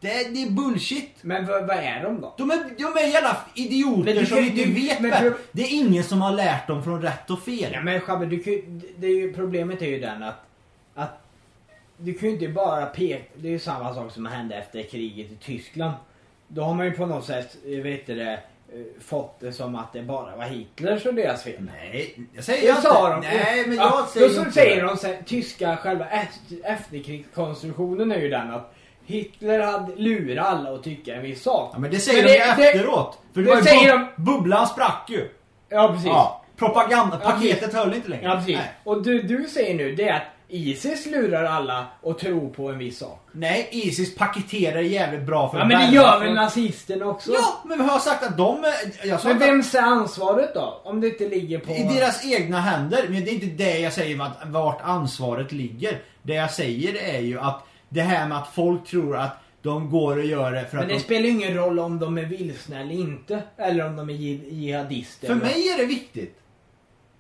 Speaker 4: Det, är- det är bullshit.
Speaker 3: Men vad, vad är de då?
Speaker 4: De är, de är jävla idioter
Speaker 3: Men du
Speaker 4: som
Speaker 3: kan-
Speaker 4: inte
Speaker 3: du-
Speaker 4: vet
Speaker 3: men
Speaker 4: bäst.
Speaker 3: du-
Speaker 4: Det är ingen som har lärt dem från rätt och fel.
Speaker 3: Ja, men Schabbe, du kan, ju- det är ju, problemet är ju den att, att du kan ju inte bara peka... Det är ju samma sak som hände efter kriget i Tyskland. Då har man ju på något sätt, eh, vet du det, eh, fått det som att det bara var Hitlers och deras fel.
Speaker 4: Nej, jag säger
Speaker 3: Det
Speaker 4: jag
Speaker 3: sa de.
Speaker 4: inte. Nej, men jag
Speaker 3: ja,
Speaker 4: säger
Speaker 3: då så
Speaker 4: inte
Speaker 3: säger
Speaker 4: det.
Speaker 3: de så här, tyska själva efter- efterkrigskonstruktionen är ju den att Hitler hade lurat alla att tycka en viss sak.
Speaker 4: Ja, men det säger
Speaker 3: Men det-
Speaker 4: de ju
Speaker 3: det-
Speaker 4: efteråt. För det,
Speaker 3: det
Speaker 4: var ju
Speaker 3: säger
Speaker 4: bu- Bubblan sprack ju.
Speaker 3: Ja, precis.
Speaker 4: Ja. Propagandapaketet
Speaker 3: Ja, precis.
Speaker 4: höll inte längre.
Speaker 3: Ja, precis.
Speaker 4: Nej.
Speaker 3: Och du, du säger nu det är att Isis lurar alla att tro på en viss sak.
Speaker 4: Nej, Isis paketerar jävligt bra för
Speaker 3: Ja, men det
Speaker 4: världen.
Speaker 3: gör väl nazisterna också?
Speaker 4: Ja, men jag har sagt att de... är- Jag sa
Speaker 3: Men
Speaker 4: inte att-
Speaker 3: vem är ansvaret då? Om det inte ligger på...
Speaker 4: I deras egna händer. Men det är inte det jag säger vart, vart ansvaret ligger. Det jag säger är ju att det här med att folk tror att de går och gör det för
Speaker 3: Men
Speaker 4: att
Speaker 3: det
Speaker 4: de
Speaker 3: spelar ju ingen roll om de är vilsna eller inte. Eller om de är jih- jihadister.
Speaker 4: För
Speaker 3: eller-
Speaker 4: mig är det viktigt.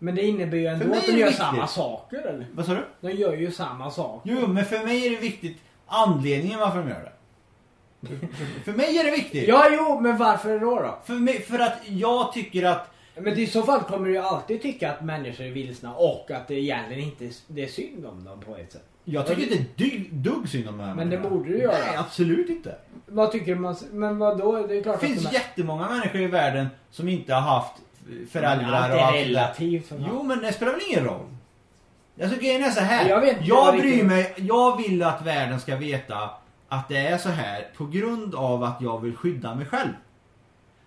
Speaker 3: Men det innebär ju ändå
Speaker 4: mig
Speaker 3: att
Speaker 4: är
Speaker 3: de
Speaker 4: det
Speaker 3: gör
Speaker 4: viktigt.
Speaker 3: samma saker eller?
Speaker 4: Vad sa du?
Speaker 3: De gör ju samma sak.
Speaker 4: Jo, men för mig är det viktigt anledningen varför de gör det. för mig är det viktigt.
Speaker 3: Ja, jo, men varför då då?
Speaker 4: För, mig, för att jag tycker att...
Speaker 3: Men i så fall kommer du ju alltid tycka att människor är vilsna och att det egentligen inte är, det är synd om dem på ett sätt.
Speaker 4: Jag tycker inte ett dugg, dugg synd om de här
Speaker 3: Men det
Speaker 4: människorna.
Speaker 3: borde du göra.
Speaker 4: Nej, absolut inte.
Speaker 3: Vad tycker man? Men vad då? Det är klart
Speaker 4: Det
Speaker 3: att de
Speaker 4: finns
Speaker 3: är...
Speaker 4: jättemånga människor i världen som inte har haft föräldrar
Speaker 3: Allt
Speaker 4: och
Speaker 3: är
Speaker 4: allt det där.
Speaker 3: relativt. För
Speaker 4: Jo, men det spelar väl ingen roll? Alltså grejen är så här.
Speaker 3: Jag vet inte vad
Speaker 4: jag
Speaker 3: det-
Speaker 4: bryr mig. Jag vill att världen ska veta att det är så här på grund av att jag vill skydda mig själv.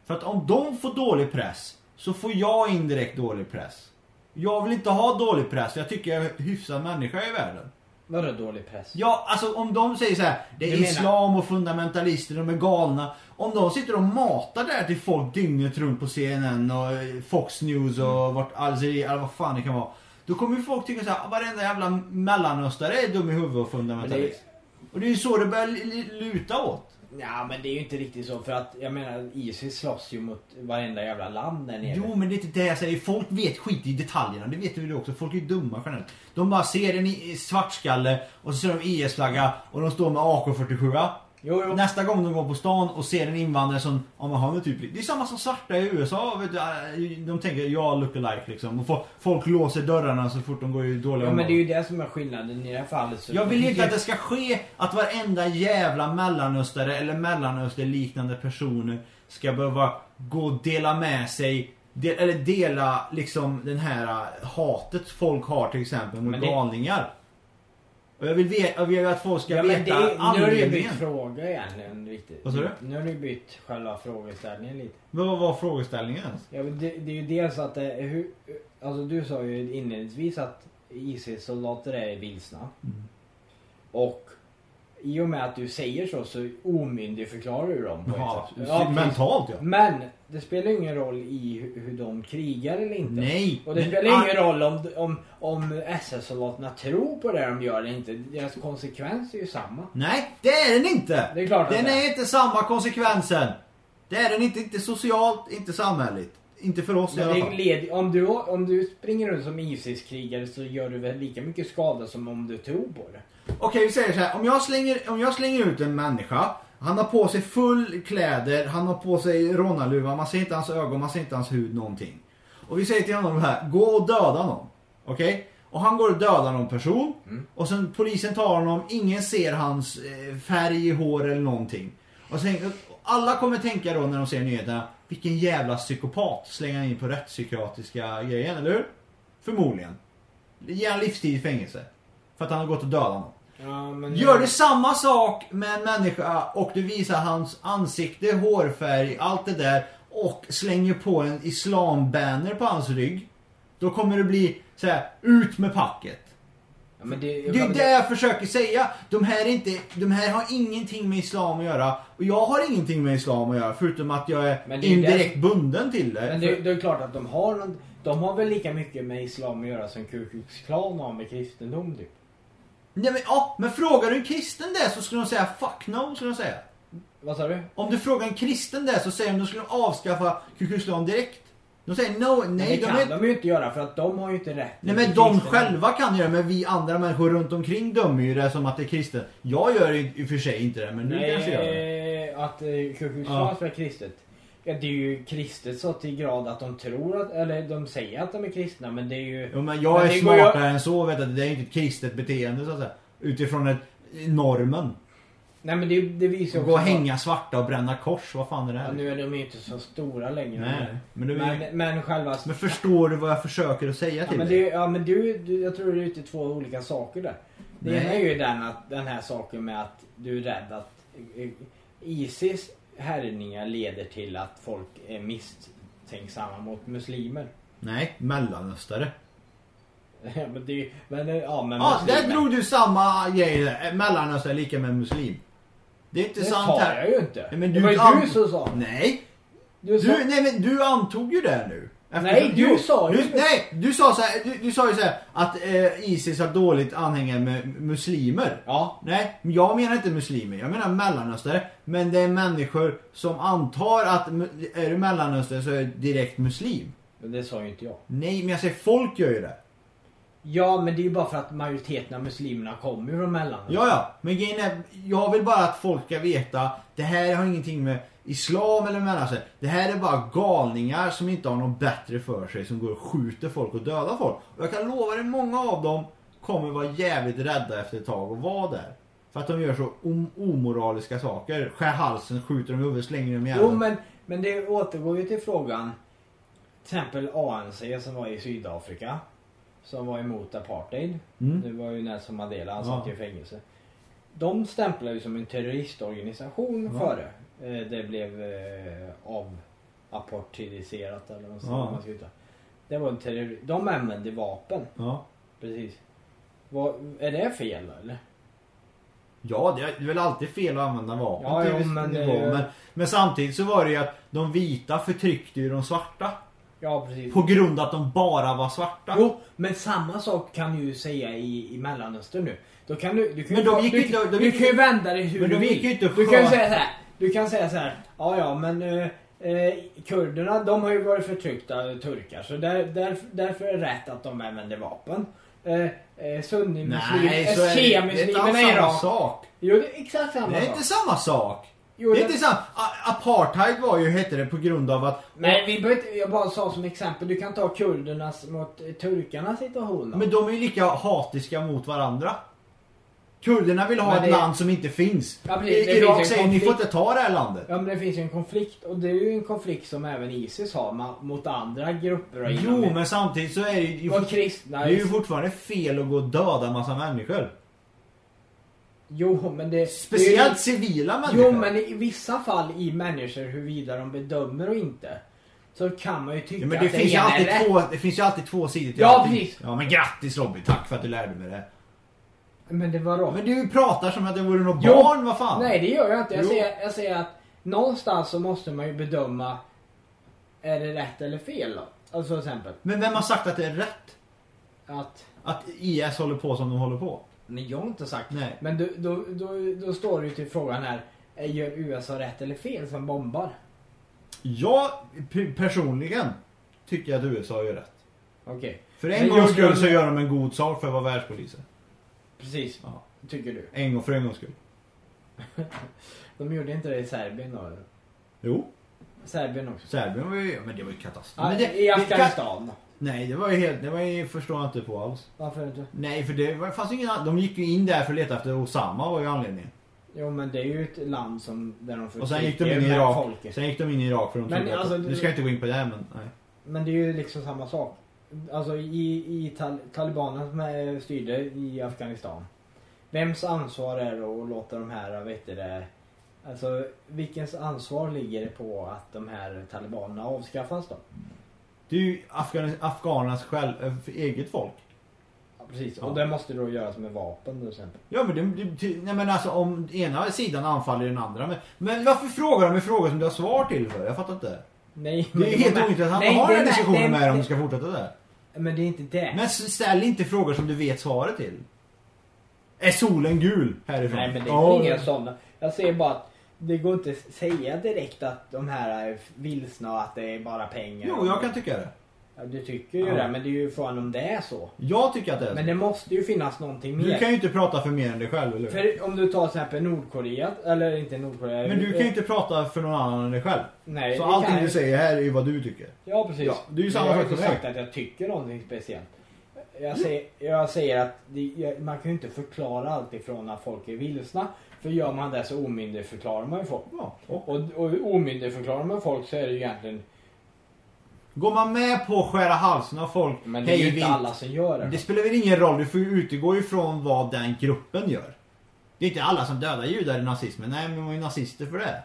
Speaker 4: För att om de får dålig press så får jag indirekt dålig press. Jag vill inte ha dålig press. Jag tycker jag är en hyfsad människa i världen.
Speaker 3: Vadå dålig press?
Speaker 4: Ja, alltså om de säger så här, det är
Speaker 3: Du menar-
Speaker 4: islam och fundamentalister, de är galna. Om de sitter och matar det här till folk dygnet runt på CNN och eh, Fox News och vart Al Jazeera eller vad fan det kan vara. Då kommer ju folk tycka så här, "Ah, varenda jävla mellanöstare är dum i huvudet och fundamentalist. Och det är ju så det börjar li- li- luta åt.
Speaker 3: Ja, men det är ju inte riktigt så för att jag menar Isis slåss ju mot varenda jävla land där nere.
Speaker 4: Jo men det är inte det jag säger. Folk vet skit i detaljerna. Det vet du också. Folk är ju dumma generellt. De bara ser en i- svartskalle och så ser de IS-flagga och de står med AK47.
Speaker 3: jo. jo.
Speaker 4: Nästa gång de går på stan och ser en invandrare som, ja men han är typ Det är samma som svarta i USA. Vet du, Äh, de tänker, ja look alike liksom. Och fo- folk låser dörrarna så fort de går i dåliga
Speaker 3: Ja, men det är
Speaker 4: områden.
Speaker 3: ju det som är skillnaden i det här fallet. Så
Speaker 4: Jag vill ju inte att det ska ske att varenda jävla mellanöstare eller mellanösterliknande personer ska behöva gå och dela med sig de, eller dela liksom den här hatet folk har till exempel mot
Speaker 3: Men det-
Speaker 4: galningar. Och jag vill, veta, jag vill att folk ska
Speaker 3: Ja, men det,
Speaker 4: veta
Speaker 3: nu har du ju bytt
Speaker 4: anledningen.
Speaker 3: fråga egentligen riktigt.
Speaker 4: Vad sa du?
Speaker 3: Nu har du ju bytt själva frågeställningen lite.
Speaker 4: Men vad var frågeställningen ens?
Speaker 3: Ja, men det, det är ju dels att det, är hur, alltså du sa ju inledningsvis att IC-soldater är vilsna.
Speaker 4: Mm.
Speaker 3: Och i och med att du säger så så omyndigförklarar du dem på
Speaker 4: Ja,
Speaker 3: ett sätt. Ja, precis.
Speaker 4: mentalt ja.
Speaker 3: Men det spelar ju ingen roll i hur, hur de krigar eller inte.
Speaker 4: Nej.
Speaker 3: Och det
Speaker 4: men-
Speaker 3: spelar ingen
Speaker 4: ah,
Speaker 3: roll om, om, om SS-soldaterna tror på det de gör eller inte. Deras konsekvens är ju samma.
Speaker 4: Nej, det är den inte.
Speaker 3: Det är klart att
Speaker 4: den
Speaker 3: det är.
Speaker 4: är inte samma konsekvensen. Det är den inte. Inte socialt, inte samhälleligt. Inte för oss i
Speaker 3: Men
Speaker 4: alla
Speaker 3: det
Speaker 4: fall.
Speaker 3: led, om, du, om du springer runt som ISIS-krigare så gör du väl lika mycket skada som om du tror på det.
Speaker 4: Okej, vi säger så här. Om jag, slänger, om jag slänger ut en människa. Han har på sig full kläder. Han har på sig rånarluva. Man ser inte hans ögon, man ser inte hans hud, någonting. Och vi säger till honom här. Gå och döda någon. Okej? Och han går och dödar någon person. Och sen polisen tar honom, ingen ser hans eh, färg i hår eller någonting. Och sen, alla kommer tänka då när de ser nyheterna, vilken jävla psykopat slänger han in på rättspsykiatriska grejen, eller hur? Förmodligen. Ge han livstid i fängelse. För att han har gått och dödat någon.
Speaker 11: Ja, men,
Speaker 4: Gör du samma sak med en människa och du visar hans ansikte, hårfärg, allt det där och slänger på en islambanner på hans rygg. Då kommer det bli så här: ut med packet.
Speaker 11: Ja, men det,
Speaker 4: Det är ju det jag försöker säga. De här, är inte, de här har ingenting med islam att göra. Och jag har ingenting med islam att göra förutom att jag
Speaker 3: Men
Speaker 4: är
Speaker 3: det är ju
Speaker 4: indirekt bunden till det.
Speaker 3: Men det, det är klart att de har, en- de har väl lika mycket med islam att göra som Ku Klux Klan har med kristendom typ.
Speaker 4: Nej, men, ja, men frågar du en kristen det så skulle de säga fuck no, skulle de säga.
Speaker 3: Vad sa du?
Speaker 4: Om du frågar en kristen det så säger de att de skulle avskaffa Ku Klux Klan direkt. De säger no,
Speaker 3: Men
Speaker 4: nej,
Speaker 3: det
Speaker 4: de
Speaker 3: kan
Speaker 4: är...
Speaker 3: de ju inte göra för att de har ju inte rätt.
Speaker 4: Nej
Speaker 3: till
Speaker 4: men de
Speaker 3: kristendom.
Speaker 4: själva kan göra men vi andra människor runt omkring dömer ju det som att det är kristen. Jag gör ju i och för sig inte det men du kanske gör det.
Speaker 3: Nej, att eh, Ku Klux
Speaker 4: Ja.
Speaker 3: Klan är kristet. Ja, det är ju kristet så till grad att de tror att, eller de säger att de är kristna men det är ju...
Speaker 4: Jo, men jag
Speaker 3: Men
Speaker 4: är
Speaker 3: det går ju-
Speaker 4: smartare än så vet du. Det är inte ett kristet beteende så att säga. Utifrån ett, normen.
Speaker 3: Nej men det, det visar ju
Speaker 4: Gå och
Speaker 3: också-
Speaker 4: hänga svarta och bränna kors, vad fan är det
Speaker 3: Ja,
Speaker 4: här?
Speaker 3: nu är de ju inte så stora längre.
Speaker 4: Nej, men, du, men,
Speaker 3: Men, men själva...
Speaker 4: förstår du vad jag försöker att säga
Speaker 3: Ja
Speaker 4: till
Speaker 3: men,
Speaker 4: dig?
Speaker 3: det, ja, men du, du, jag tror du är ute i två olika saker där. Det
Speaker 4: Nej.
Speaker 3: ena är ju den, att, den här saken med att du är rädd att eh, Isis härjningar leder till att folk är misstänksamma mot muslimer.
Speaker 4: Nej, mellanöstare.
Speaker 3: Ja, men det, är ju- men, eh, ja, men
Speaker 4: Ja,
Speaker 3: muslimer.
Speaker 4: Ah, där drog du samma grej där. Eh, Mellanöstern är lika med muslim. Det är inte
Speaker 3: det
Speaker 4: sant
Speaker 3: sa
Speaker 4: här.
Speaker 3: jag ju inte.
Speaker 4: Nej, men
Speaker 3: det
Speaker 4: du
Speaker 3: var ju
Speaker 4: kan-
Speaker 3: du som sa.
Speaker 4: Nej,
Speaker 3: Du, sa
Speaker 4: du, nej men du antog ju det nu.
Speaker 3: Nej, du
Speaker 4: Jo,
Speaker 3: sa ju-
Speaker 4: du, Nej, du sa, så här, du, du sa ju så här att eh, Isis har dåligt anhängare med muslimer.
Speaker 3: Ja.
Speaker 4: Nej, men jag menar inte muslimer. Jag menar mellanöstare. Men det är människor som antar att mu- är du mellanöstern så är du direkt muslim.
Speaker 3: Men det sa ju inte jag.
Speaker 4: Nej, men jag säger folk gör ju det.
Speaker 3: Ja, men det är ju bara för att majoriteten av muslimerna kommer ju från Mellanöstern.
Speaker 4: Ja, ja. Men grejen är, jag vill bara att folk ska veta. Det här har ingenting med islam eller mellanöstern. Det här är bara galningar som inte har något bättre för sig. Som går och skjuter folk och dödar folk. Och jag kan lova dig, många av dem kommer vara jävligt rädda efter ett tag och vara där. För att de gör så om- omoraliska saker. Skär halsen, skjuter dem i huvudet, slänger dem i
Speaker 3: Jo,
Speaker 4: hjärnan.
Speaker 3: men, men det återgår ju till frågan. Till exempel ANC som var i Sydafrika. Som var emot apartheid.
Speaker 4: Mm.
Speaker 3: Nu var ju Nelson Mandela, han
Speaker 4: Ja.
Speaker 3: satt ju i fängelse. De stämplade ju som en terroristorganisation
Speaker 4: Ja.
Speaker 3: före eh, det blev eh, avartidiserat eller vad
Speaker 4: Ja.
Speaker 3: man ska uttala. Det var en terror... De använde vapen,
Speaker 4: Ja.
Speaker 3: precis. Vad, är det fel eller?
Speaker 4: Ja, det är väl alltid fel att använda vapen
Speaker 3: Ja,
Speaker 4: till
Speaker 3: jo,
Speaker 4: viss
Speaker 3: men det är
Speaker 4: nivå,
Speaker 3: ju-
Speaker 4: men, men samtidigt så var det ju att de vita förtryckte ju de svarta.
Speaker 3: Ja, precis.
Speaker 4: På grund av att de bara var svarta.
Speaker 3: Jo, men samma sak kan du ju säga i, i Mellanöstern nu. Då kan du, du kan ju
Speaker 4: Men de
Speaker 3: ta-
Speaker 4: gick
Speaker 3: du,
Speaker 4: inte- de
Speaker 3: du,
Speaker 4: gick
Speaker 3: kan ju
Speaker 4: inte-
Speaker 3: vända det hur
Speaker 4: men
Speaker 3: du
Speaker 4: de
Speaker 3: vill.
Speaker 4: gick ju inte
Speaker 3: du kan ju
Speaker 4: skör-
Speaker 3: säga så här. Du kan säga så här. Ja, ja, men eh, eh, kurderna de har ju varit förtryckta av turkar. Så där, där, därför är det rätt att de använder vapen. Eh, eh,
Speaker 4: Nej,
Speaker 3: Sunnimuslimer,
Speaker 4: så är det, det är inte alls
Speaker 3: shiamuslimer i
Speaker 4: samma
Speaker 3: Irak.
Speaker 4: sak.
Speaker 3: Jo, det är exakt samma
Speaker 4: Det är
Speaker 3: sak.
Speaker 4: inte samma sak.
Speaker 3: Jo,
Speaker 4: det är
Speaker 3: det-
Speaker 4: inte samma. A- Apartheid var ju, hette det, på grund av att...
Speaker 3: Nej, vi behöver inte, jag bara sa som exempel. Du kan ta kurdernas mot eh, turkarnas situation. då.
Speaker 4: Men de är ju lika hatiska mot varandra. Kurderna vill ha
Speaker 3: Men
Speaker 4: ett
Speaker 3: det-
Speaker 4: land som inte finns.
Speaker 3: Ja, precis,
Speaker 4: I-
Speaker 3: det
Speaker 4: Irak
Speaker 3: finns en
Speaker 4: säger ni får
Speaker 3: konflikt."
Speaker 4: inte ta det här landet.
Speaker 3: Ja men det finns ju en konflikt och det är ju en konflikt som även Isis har ma- mot andra grupper. och inom-
Speaker 4: Jo, men samtidigt så är det ju...
Speaker 3: Och kristna.
Speaker 4: Det är ju fortfarande fel att gå och döda en massa människor.
Speaker 3: Jo men det...
Speaker 4: Speciellt civila
Speaker 3: det är
Speaker 4: människor.
Speaker 3: ju, Jo men i vissa fall i människor huruvida de bedömer och inte. Så kan man ju tycka
Speaker 4: Ja, men det,
Speaker 3: att
Speaker 4: finns ju
Speaker 3: ena
Speaker 4: alltid
Speaker 3: är rätt.
Speaker 4: två, det finns ju alltid två sidor till
Speaker 3: Ja,
Speaker 4: allting.
Speaker 3: precis.
Speaker 4: Ja men grattis Robin, tack för att du lärde mig det.
Speaker 3: Men det var då.
Speaker 4: Men du pratar som att det vore något
Speaker 3: Jo.
Speaker 4: barn, vad fan.
Speaker 3: Nej det gör jag inte. Jag
Speaker 4: Jo.
Speaker 3: säger, jag säger att någonstans så måste man ju bedöma. Är det rätt eller fel då? Alltså till exempel
Speaker 4: Men vem har sagt att det är rätt?
Speaker 3: att
Speaker 4: Att IS håller på som de håller på?
Speaker 3: Men jag har inte sagt
Speaker 4: Nej.
Speaker 3: Men du, då, då, då står det ju till frågan här. eh, Gör USA rätt eller fel som bombar?
Speaker 4: Jag pe- personligen tycker att USA gör rätt.
Speaker 3: Okej,
Speaker 4: För en
Speaker 3: Men
Speaker 4: gångs
Speaker 3: gjorde
Speaker 4: skull
Speaker 3: de-
Speaker 4: så gör de en god sak för att vara världspoliser.
Speaker 3: precis.
Speaker 4: Ja.
Speaker 3: Tycker du.
Speaker 4: En gång för en gångs skull.
Speaker 3: De gjorde inte det i Serbien då?
Speaker 4: Jo,
Speaker 3: Serbien också?
Speaker 4: Serbien var ju... Men det var ju katastrof.
Speaker 3: Ja,
Speaker 4: men det,
Speaker 3: I
Speaker 4: det-
Speaker 3: Afghanistan.
Speaker 4: Nej, det var ju helt... Det var ju, förstår jag inte på alls.
Speaker 12: Varför inte?
Speaker 4: Nej, för det var, fanns ju ingen an- De gick ju in där för att leta efter Osama var ju anledningen.
Speaker 12: Jo men det är ju ett land som, där de
Speaker 4: Och sen gick de
Speaker 12: förtrycker
Speaker 4: in i
Speaker 12: med
Speaker 4: Irak.
Speaker 12: folket.
Speaker 4: Sen gick de in i Irak för de
Speaker 12: Men
Speaker 4: trodde
Speaker 12: alltså,
Speaker 4: att... Nu ska jag inte gå in på det här men... Nej.
Speaker 12: Men det är ju liksom samma sak. Alltså i, i tal talibanerna som eh, styrde i Afghanistan. Vems ansvar är det att låta de här, vet du det, alltså vilkens ansvar ligger det på att de här talibanerna avskaffas då?
Speaker 4: Det är ju Afghan, afghanernas själv, eh, eget folk.
Speaker 12: Ja, precis,
Speaker 4: Ja.
Speaker 12: och det måste då göras med vapen till exempel.
Speaker 4: Ja men det, det, ty- nej men alltså om ena sidan anfaller den andra. Men, men varför frågar de en fråga som du har svar till för? Jag fattar inte.
Speaker 12: Nej,
Speaker 4: Det är ju helt ointressant att ha den här diskussionen med dem om du
Speaker 12: dem.
Speaker 4: ska fortsätta där.
Speaker 12: Men det är inte det.
Speaker 4: Men s- ställ inte frågor som du vet svaret till. Är solen gul? Härifrån.
Speaker 12: Nej men det är
Speaker 4: Ja.
Speaker 12: inga sådana. Jag säger bara att det går inte att säga direkt att de här är vilsna och att det är bara pengar.
Speaker 4: Jo, jag kan tycka det.
Speaker 12: Ja, du tycker ju
Speaker 4: Ja.
Speaker 12: det, men det är ju frågan om det är så.
Speaker 4: Jag tycker att det är så.
Speaker 12: Men det måste ju finnas någonting mer.
Speaker 4: Du kan ju inte prata för mer än dig själv, eller hur?
Speaker 12: För om du tar till exempel Nordkorea, eller inte Nordkorea.
Speaker 4: Men du kan
Speaker 12: eh,
Speaker 4: ju inte prata för någon annan än dig själv.
Speaker 12: Nej,
Speaker 4: Så
Speaker 12: det
Speaker 4: allting
Speaker 12: kan
Speaker 4: du
Speaker 12: jag-
Speaker 4: säger här är ju vad du tycker.
Speaker 12: Ja, precis.
Speaker 4: Ja, det är ju samma
Speaker 12: Men jag har
Speaker 4: sak
Speaker 12: inte
Speaker 4: för mig.
Speaker 12: sagt att jag tycker någonting speciellt. Jag säger, jag säger att det, jag, man kan ju inte förklara allt ifrån att folk är vilsna. För gör man det så omyndigförklarar man ju folk.
Speaker 4: Ja. Och
Speaker 12: Och, och omyndigförklarar man folk så är det ju egentligen...
Speaker 4: går man med på att skära halsen av folk
Speaker 12: Men det är ju
Speaker 4: hej
Speaker 12: inte
Speaker 4: vilt,
Speaker 12: alla som gör det.
Speaker 4: Det spelar väl ingen roll, du får ju utgå ifrån vad den gruppen gör. Det är inte alla som dödar judar i nazismen, nej men de var ju nazister för det.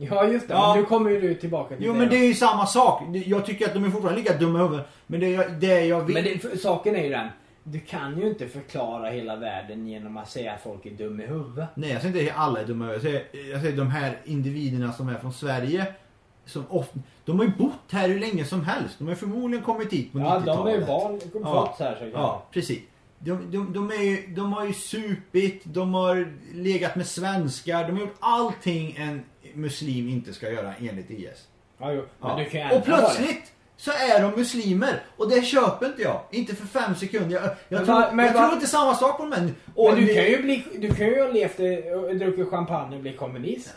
Speaker 12: Ja just det,
Speaker 4: Ja.
Speaker 12: men nu kommer ju du tillbaka till
Speaker 4: Jo
Speaker 12: det.
Speaker 4: men
Speaker 12: då.
Speaker 4: det är ju samma sak, Det- jag tycker att de är fortfarande lika dumma i huvudet. Men det jag, det jag vill...
Speaker 12: Men det, för, saken är ju den. Du kan ju inte förklara hela världen genom att säga att folk är dumma i huvudet.
Speaker 4: Nej jag säger inte att alla är dumma i huvudet, jag säger, jag säger de här individerna som är från Sverige. Som ofta, de har ju bott här hur länge som helst, de har ju förmodligen kommit hit på
Speaker 12: Ja,
Speaker 4: 90-talet.
Speaker 12: de är ju barn.
Speaker 4: Ja.
Speaker 12: Fötts här så kan
Speaker 4: Ja, precis. De, de, de, är ju, de har ju supit, de har legat med svenskar, de har gjort allting en muslim inte ska göra enligt IS.
Speaker 12: ja, jo. Men
Speaker 4: Ja.
Speaker 12: du kan ju ändra
Speaker 4: och
Speaker 12: på det.
Speaker 4: plötsligt så är de muslimer och det köper inte jag. Inte för fem sekunder. Jag, jag,
Speaker 12: Men
Speaker 4: tror,
Speaker 12: va- men
Speaker 4: jag
Speaker 12: va-
Speaker 4: tror inte samma sak på dem än.
Speaker 12: Men
Speaker 4: Och
Speaker 12: du
Speaker 4: ni-
Speaker 12: kan ju bli, du kan ju ha levt eh, och druckit champagne och bli kommunist.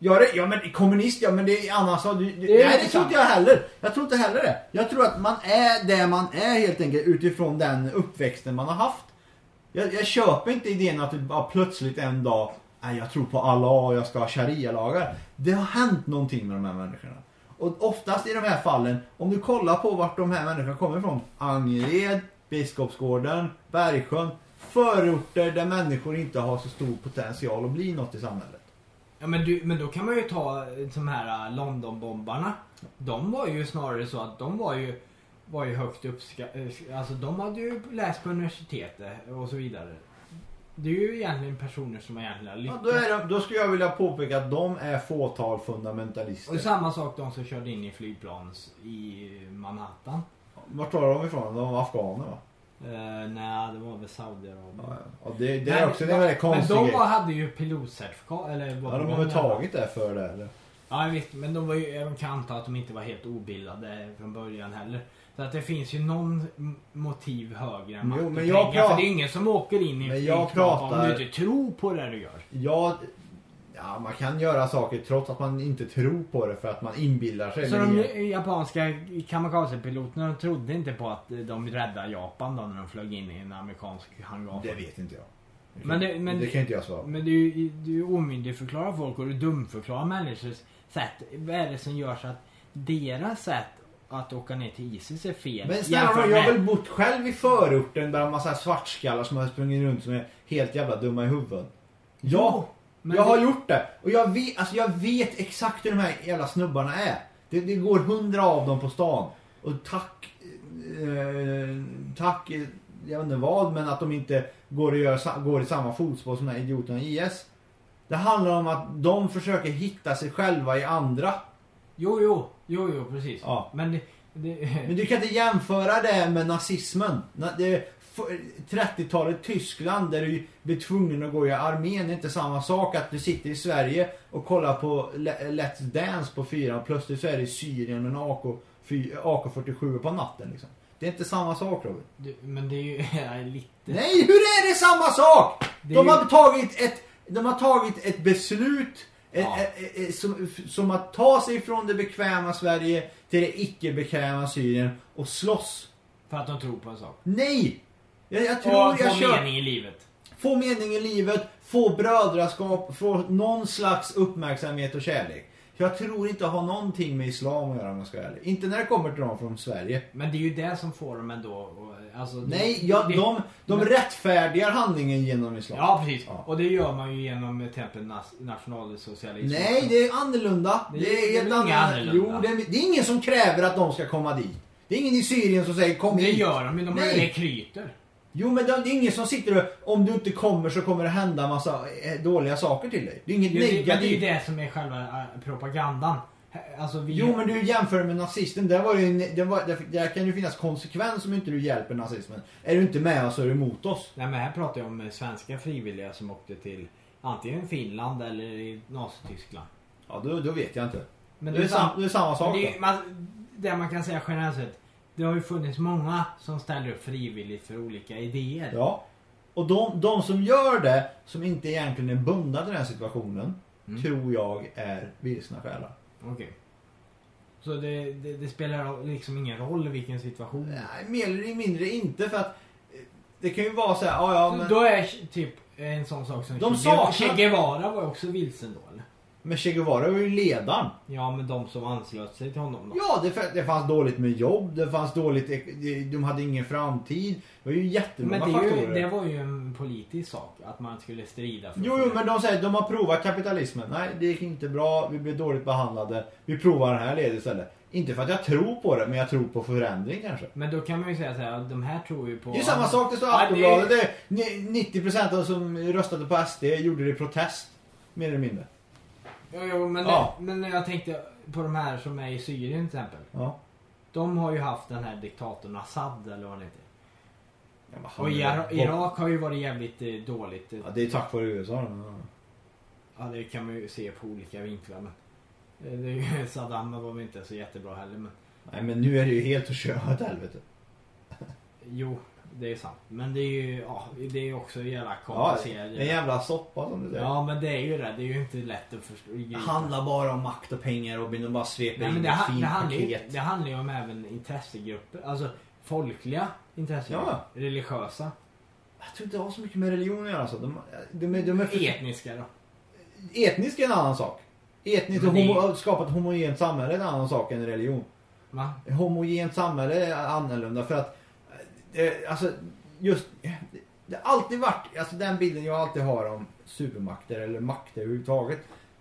Speaker 4: Ja, det, ja men kommunist ja men det är annars har du, det,
Speaker 12: är
Speaker 4: Nej det
Speaker 12: inte
Speaker 4: tror inte jag heller. Jag tror inte heller det. Jag tror att man är det man är helt enkelt utifrån den uppväxten man har haft. Jag, jag köper inte idén att du bara plötsligt en dag Nej jag tror på Allah och jag ska ha sharia-lagar. Det har hänt någonting med de här människorna. Och oftast i de här fallen, om du kollar på vart de här människorna kommer ifrån. Angered, Biskopsgården, Bergsjön. Förorter där människor inte har så stor potential att bli något i samhället.
Speaker 3: Ja, men, du, men då kan man ju ta eh, de här eh, Londonbombarna. De var ju snarare så att de var ju, var ju högt uppskattade. Alltså de hade ju läst på universitetet och så vidare. Det är ju egentligen personer som egentligen har
Speaker 4: Ja,
Speaker 3: lyckats.
Speaker 4: då, är de, då skulle jag vilja påpeka att de är fåtal
Speaker 3: Och
Speaker 4: fundamentalister.
Speaker 3: samma sak de som körde in i flygplans i Manhattan.
Speaker 4: Vart tar de ifrån? De var afghaner va?
Speaker 3: Uh, nej, det var väl Saudiarabien.
Speaker 4: Ja, ja. Det, det är också det är en väldigt konstig
Speaker 3: Men
Speaker 4: grej.
Speaker 3: de var, hade ju pilotcertifikat. Eller
Speaker 4: Ja,
Speaker 3: vad
Speaker 4: de har väl tagit det för det eller?
Speaker 3: Ja, jag vet, men de, var ju, de kan anta att de inte var helt obildade från början heller. Så att det finns ju någon m- motiv högre än
Speaker 4: Jo,
Speaker 3: makt och
Speaker 4: men jag
Speaker 3: pengar. För
Speaker 4: pratar-
Speaker 3: det är ingen som åker in i en
Speaker 4: Men jag
Speaker 3: flygplan om
Speaker 4: pratar-
Speaker 3: du inte tror på det du gör.
Speaker 4: Ja, ja, man kan göra saker trots att man inte tror på det för att man inbillar sig.
Speaker 3: Så
Speaker 4: Men
Speaker 3: de japanska kamikazepiloterna de trodde inte på att de räddade Japan då när de flög in i en amerikansk hangar.
Speaker 4: Det vet inte jag. Det kan,
Speaker 3: Men det- men-
Speaker 4: det kan inte jag svara på.
Speaker 3: Men du, du omyndigförklarar folk och du dumförklarar människors sätt. Vad är det som gör så att deras sätt att åka ner till Isis är fel?
Speaker 4: Men snälla
Speaker 3: jämfört
Speaker 4: jag
Speaker 3: med-
Speaker 4: har väl bott själv i förorten där en massa svartskallar som har sprungit runt som är helt jävla dumma i huvudet. Ja,
Speaker 3: men
Speaker 4: jag har
Speaker 3: det-
Speaker 4: gjort det. Och jag vet, alltså jag vet exakt hur de här jävla snubbarna är. Det, det går hundra av dem på stan. Och tack, eh, tack, eh, jag vet inte vad, men att de inte går, och gör, sa- går i samma fotspår som de här idioterna i IS. Det handlar om att de försöker hitta sig själva i andra.
Speaker 3: Jo, jo, jo, jo precis.
Speaker 4: Ja.
Speaker 3: Men det, det,
Speaker 4: Men du kan inte jämföra det med nazismen. Na- det är f- 30-talet Tyskland där du blir tvungen att gå i armén. Det är inte samma sak att du sitter i Sverige och kollar på Le- Let's Dance på fyran. Plötsligt så är det i Syrien med en AK, fy- AK47 på natten liksom. Det är inte samma sak Robin.
Speaker 3: du, men det är ju ja, lite...
Speaker 4: Nej, hur är det samma sak?
Speaker 3: Det är
Speaker 4: De
Speaker 3: ju-
Speaker 4: har tagit ett, de har tagit ett beslut Eh,
Speaker 12: Ja.
Speaker 4: eh, eh, Som, som att ta sig från det bekväma Sverige till det icke bekväma Syrien och slåss.
Speaker 3: För att de tror på en sak.
Speaker 4: Nej! Jag, jag tror
Speaker 3: Och
Speaker 4: jag
Speaker 3: få
Speaker 4: kör...
Speaker 3: mening i livet.
Speaker 4: Få mening i livet, få brödraskap, få någon slags uppmärksamhet och kärlek. Jag tror inte det har någonting med islam att göra om jag ska vara ärlig. Inte när det kommer till någon från Sverige.
Speaker 3: Men det är ju det som får dem ändå. Och, alltså, det-
Speaker 4: Nej, ja,
Speaker 3: det-
Speaker 4: de, de
Speaker 3: men-
Speaker 4: rättfärdigar handlingen genom islam.
Speaker 3: Ja, precis.
Speaker 4: Ja.
Speaker 3: Och det gör man ju genom till exempel nas- nationalsocialism.
Speaker 4: Nej, det är annorlunda.
Speaker 3: Det
Speaker 4: Det
Speaker 3: är-
Speaker 4: är,
Speaker 3: det är
Speaker 4: helt
Speaker 3: väl inga
Speaker 4: annorlunda. Jo,
Speaker 3: annorlunda.
Speaker 4: det är, det är ingen som kräver att de ska komma dit. Det är ingen i Syrien som säger kom
Speaker 3: Det
Speaker 4: hit.
Speaker 3: gör de ju. De har ju
Speaker 4: Nej.
Speaker 3: rekryter.
Speaker 4: Jo, men det det är ingen som sitter och om du inte kommer så kommer det hända massa eh, dåliga saker till dig. Det är inget
Speaker 3: Jo, det, men det är ju
Speaker 4: negativt.
Speaker 3: det som är själva eh, propagandan. Alltså, vi,
Speaker 4: Jo men du jämför med nazisten, där, var det ju, en- det var, där, där kan ju finnas konsekvens om inte du hjälper nazismen. Är du inte med oss så är du emot oss.
Speaker 3: Nej, men här pratar jag om eh, svenska frivilliga som åkte till antingen Finland eller i Nazityskland.
Speaker 4: Ja då, då vet jag inte.
Speaker 3: Men
Speaker 4: det, är sam, det är samma
Speaker 3: Men
Speaker 4: sak
Speaker 3: det,
Speaker 4: då.
Speaker 3: är ju- man, det man kan säga generellt sett. Det har ju funnits många som ställer upp frivilligt för olika idéer.
Speaker 4: Ja. Och de, de som gör det, som inte egentligen är bundna till den här situationen,
Speaker 3: Mm.
Speaker 4: tror jag är vilsna själar.
Speaker 3: Okej. Så det, det, det spelar liksom ingen roll vilken situation.
Speaker 4: Nej, mer eller mindre inte för att eh, det kan ju vara så här, ja ja men,
Speaker 3: Då är typ en sån sak som
Speaker 4: De
Speaker 3: Che-
Speaker 4: saknar-
Speaker 3: Che Guevara var ju också vilsen då eller?
Speaker 4: men Che Guevara var ju ledaren.
Speaker 3: Ja men de som anslöt sig till honom då.
Speaker 4: Ja, det, f- det fanns dåligt med jobb, det fanns dåligt, ek- de- de hade ingen framtid. Det var ju jättemånga
Speaker 3: men det, är ju,
Speaker 4: faktorer.
Speaker 3: det var ju en politisk sak att man skulle strida för
Speaker 4: Jo, jo, men de säger de har provat kapitalismen. Nej, det gick inte bra. Vi blev dåligt behandlade. Vi provar den här leden istället. Inte för att jag tror på det, men jag tror på förändring kanske.
Speaker 3: Men då kan man ju säga så här, de här tror ju på...
Speaker 4: Det är ju samma sak, det står i
Speaker 3: Ja, det är-
Speaker 4: Aftonbladet. Det är ni- 90% av som röstade på SD gjorde det i protest. Mer eller mindre.
Speaker 3: Jo, jo men,
Speaker 4: Ja.
Speaker 3: men jag tänkte på de här som är i Syrien till exempel.
Speaker 4: Ja.
Speaker 3: De har ju haft den här diktatorn Assad eller vad han heter.
Speaker 4: Ja, men han-
Speaker 3: Och Ira- Irak har ju varit jävligt eh, dåligt.
Speaker 4: Ja, det är tack vare USA. då.
Speaker 3: Ja, det kan man ju se på olika vinklar. Men... Eh, det är ju- Saddam var väl inte så jättebra heller. Men...
Speaker 4: Nej, men nu är det ju helt att köra åt helvete.
Speaker 3: Jo, det är sant. Men det är ju ja, det är ju också jävla
Speaker 4: Ja,
Speaker 3: komplicerat.
Speaker 4: en jävla soppa som du säger.
Speaker 3: Ja, men det är ju det. Det är ju inte lätt att förstå.
Speaker 4: Det handlar bara om makt och pengar Robin. De bara sveper
Speaker 3: Nej, men
Speaker 4: in
Speaker 3: det,
Speaker 4: ett
Speaker 3: ha-
Speaker 4: fint
Speaker 3: det, handlar ju,
Speaker 4: paket.
Speaker 3: det handlar ju om även intressegrupper. Alltså folkliga intressegrupper.
Speaker 4: Ja.
Speaker 3: Religiösa.
Speaker 4: Jag tror inte det har så mycket med religion att göra. Alltså. De, de, är- de är
Speaker 3: E-
Speaker 4: för...
Speaker 3: Etniska då.
Speaker 4: Etnisk är en annan sak. Etniskt
Speaker 3: Men
Speaker 4: och
Speaker 3: det är-
Speaker 4: homo... skapa ett homogent samhälle är en annan sak än religion.
Speaker 3: Va?
Speaker 4: Ett Homogent samhälle är annorlunda för att... Eh, alltså, just... Det har alltid varit... Alltså den bilden jag alltid har om supermakter eller makter överhuvudtaget.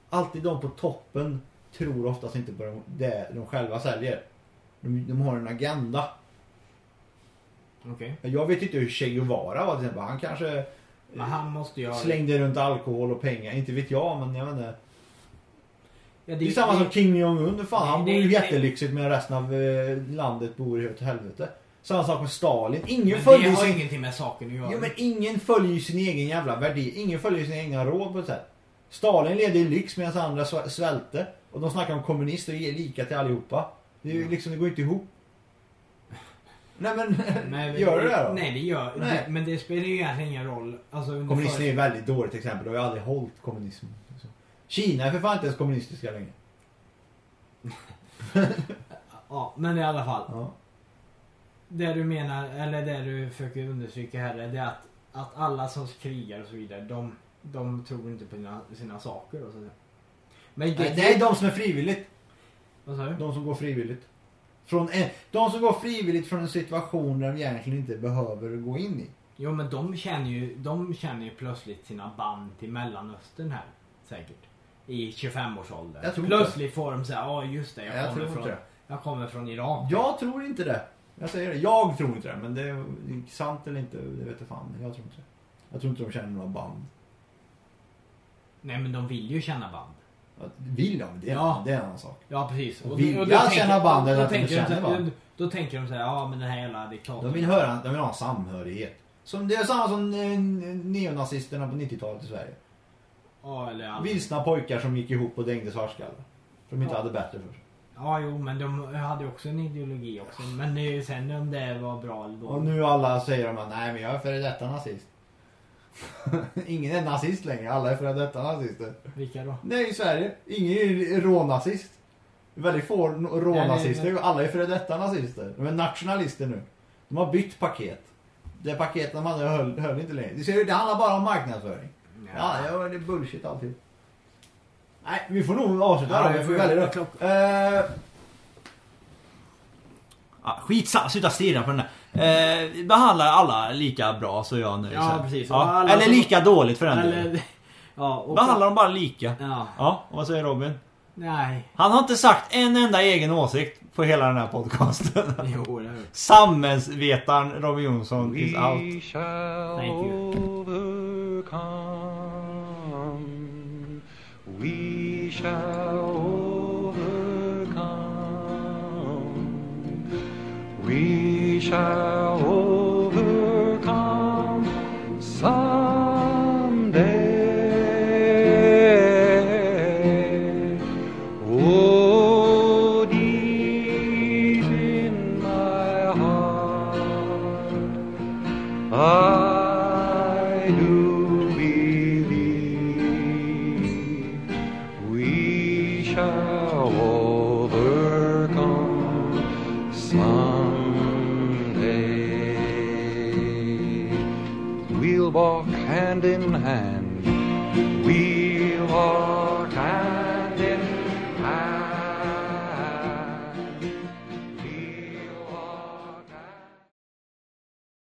Speaker 4: Alltid de på toppen tror oftast inte på de- det de själva säljer. De, de har en agenda.
Speaker 3: Okej.
Speaker 4: Jag vet inte hur Che Guevara var till exempel. Han kanske
Speaker 3: Men han måste ju ha...
Speaker 4: slängde runt alkohol och pengar. Inte vet jag men jag vet inte.
Speaker 3: Ja,
Speaker 4: Det är ju samma som Kim Jong-Un. Fan, han
Speaker 3: Det-
Speaker 4: bor
Speaker 3: det-
Speaker 4: ju jättelyxigt medan resten av eh, landet bor i åt helvete. Samma sak med Stalin. Ingen
Speaker 3: Men det
Speaker 4: följer
Speaker 3: har
Speaker 4: sin...
Speaker 3: ingenting med saken att göra.
Speaker 4: Jo, men ingen följer ju sin egen jävla värdi. Ingen följer sina egna råd på ett sätt. Stalin levde i lyx medan andra sv- svälte. Och de snackar om kommunister och ger lika till allihopa. Det, är ju liksom, det går ju inte ihop. Nej men,
Speaker 3: Nej,
Speaker 4: gör du det då?
Speaker 3: Nej, det gör
Speaker 4: Nej.
Speaker 3: Det, Men det spelar ju egentligen ingen roll. Alltså, under
Speaker 4: Kommunismen är ju
Speaker 3: för-
Speaker 4: ett väldigt dåligt exempel. Det har ju aldrig hållit kommunismen. Kina är för fan inte ens kommunistiska längre.
Speaker 3: Ja, men i alla fall.
Speaker 4: Ja.
Speaker 3: Det du menar, eller det du försöker understryka här, är det att, att alla som krigar och så vidare, de, de tror inte på sina, sina saker. Och så. vidare. Men det,
Speaker 4: Nej, det är de som är frivilligt.
Speaker 3: Vad sa du?
Speaker 4: De som går frivilligt. Från en, de som går frivilligt från en situation där de egentligen inte behöver gå in i.
Speaker 3: Jo, men de känner, ju, de känner ju plötsligt sina band till Mellanöstern här. Säkert. I 25-årsåldern.
Speaker 4: Jag tror inte.
Speaker 3: Plötsligt får de säga, ja just det, jag,
Speaker 4: Jag
Speaker 3: kommer
Speaker 4: tror
Speaker 3: från,
Speaker 4: inte det.
Speaker 3: jag kommer från Iran.
Speaker 4: Jag tror inte det. Jag säger det. Jag tror inte det. Men det är sant eller inte, det vet jag fan. Men Jag tror inte det. Jag tror inte de känner några band.
Speaker 3: Nej, men de vill ju känna band.
Speaker 4: Att- Vill de det?
Speaker 3: Ja.
Speaker 4: Det är en annan sak.
Speaker 3: Ja precis.
Speaker 4: Vilja känna band eller att de
Speaker 3: tänker
Speaker 4: känner
Speaker 3: så här-
Speaker 4: band.
Speaker 3: Då, då tänker de så här, ja men den här jävla
Speaker 4: De
Speaker 3: diktatorn.
Speaker 4: vill, höra, de vill ha en samhörighet. Som, det är samma som eh, neonazisterna på 90-talet i Sverige.
Speaker 3: Ja, eller all...
Speaker 4: Vilsna pojkar som gick ihop och dängde svartskallar. För de inte
Speaker 3: Ja.
Speaker 4: hade bättre för sig.
Speaker 3: ja jo men de hade ju också en ideologi också. Men det är ju sen om det var bra eller
Speaker 4: Och
Speaker 3: dåligt.
Speaker 4: nu alla säger de att nej men jag är före detta nazist. Ingen är nazist längre, alla är före detta nazister.
Speaker 12: Vilka då?
Speaker 4: Nej, i Sverige. Ingen är rånazist. Väldigt få n-
Speaker 12: Nej, nej,
Speaker 4: rånazister. Alla är före detta nazister. De är nationalister nu. De har bytt paket. Det paket de hade höll, höll inte längre. Du ser, det handlar bara om marknadsföring. Ja, ja det är bullshit alltid. Nej, vi får nog avsluta
Speaker 12: Ja,
Speaker 4: då.
Speaker 12: vi
Speaker 4: Vi får
Speaker 12: får
Speaker 4: välja
Speaker 12: göra
Speaker 4: då. Eh,
Speaker 10: Ja, skitsamma, sluta stirra på den där. Eh, behandla alla lika bra så är jag nöjd.
Speaker 3: Ja,
Speaker 10: sen.
Speaker 3: precis. Och
Speaker 10: Ja.
Speaker 3: alla
Speaker 10: Eller
Speaker 3: som-
Speaker 10: lika dåligt för den delen.
Speaker 3: Eller, ja, och
Speaker 10: Behandla dem bara lika.
Speaker 3: Ja,
Speaker 10: Ja, och vad säger Robin?
Speaker 3: nej.
Speaker 10: Han har inte sagt en enda egen åsikt på hela den här podcasten.
Speaker 3: Jo, det har jag gjort.
Speaker 10: Samhällsvetaren Robin Jonsson is out.
Speaker 3: Thank you.
Speaker 7: overcome. We shall overcome. We shall overcome someday. Oh, deep in my heart. I do believe we shall overcome someday. We'll walk hand in hand. We'll walk hand in hand.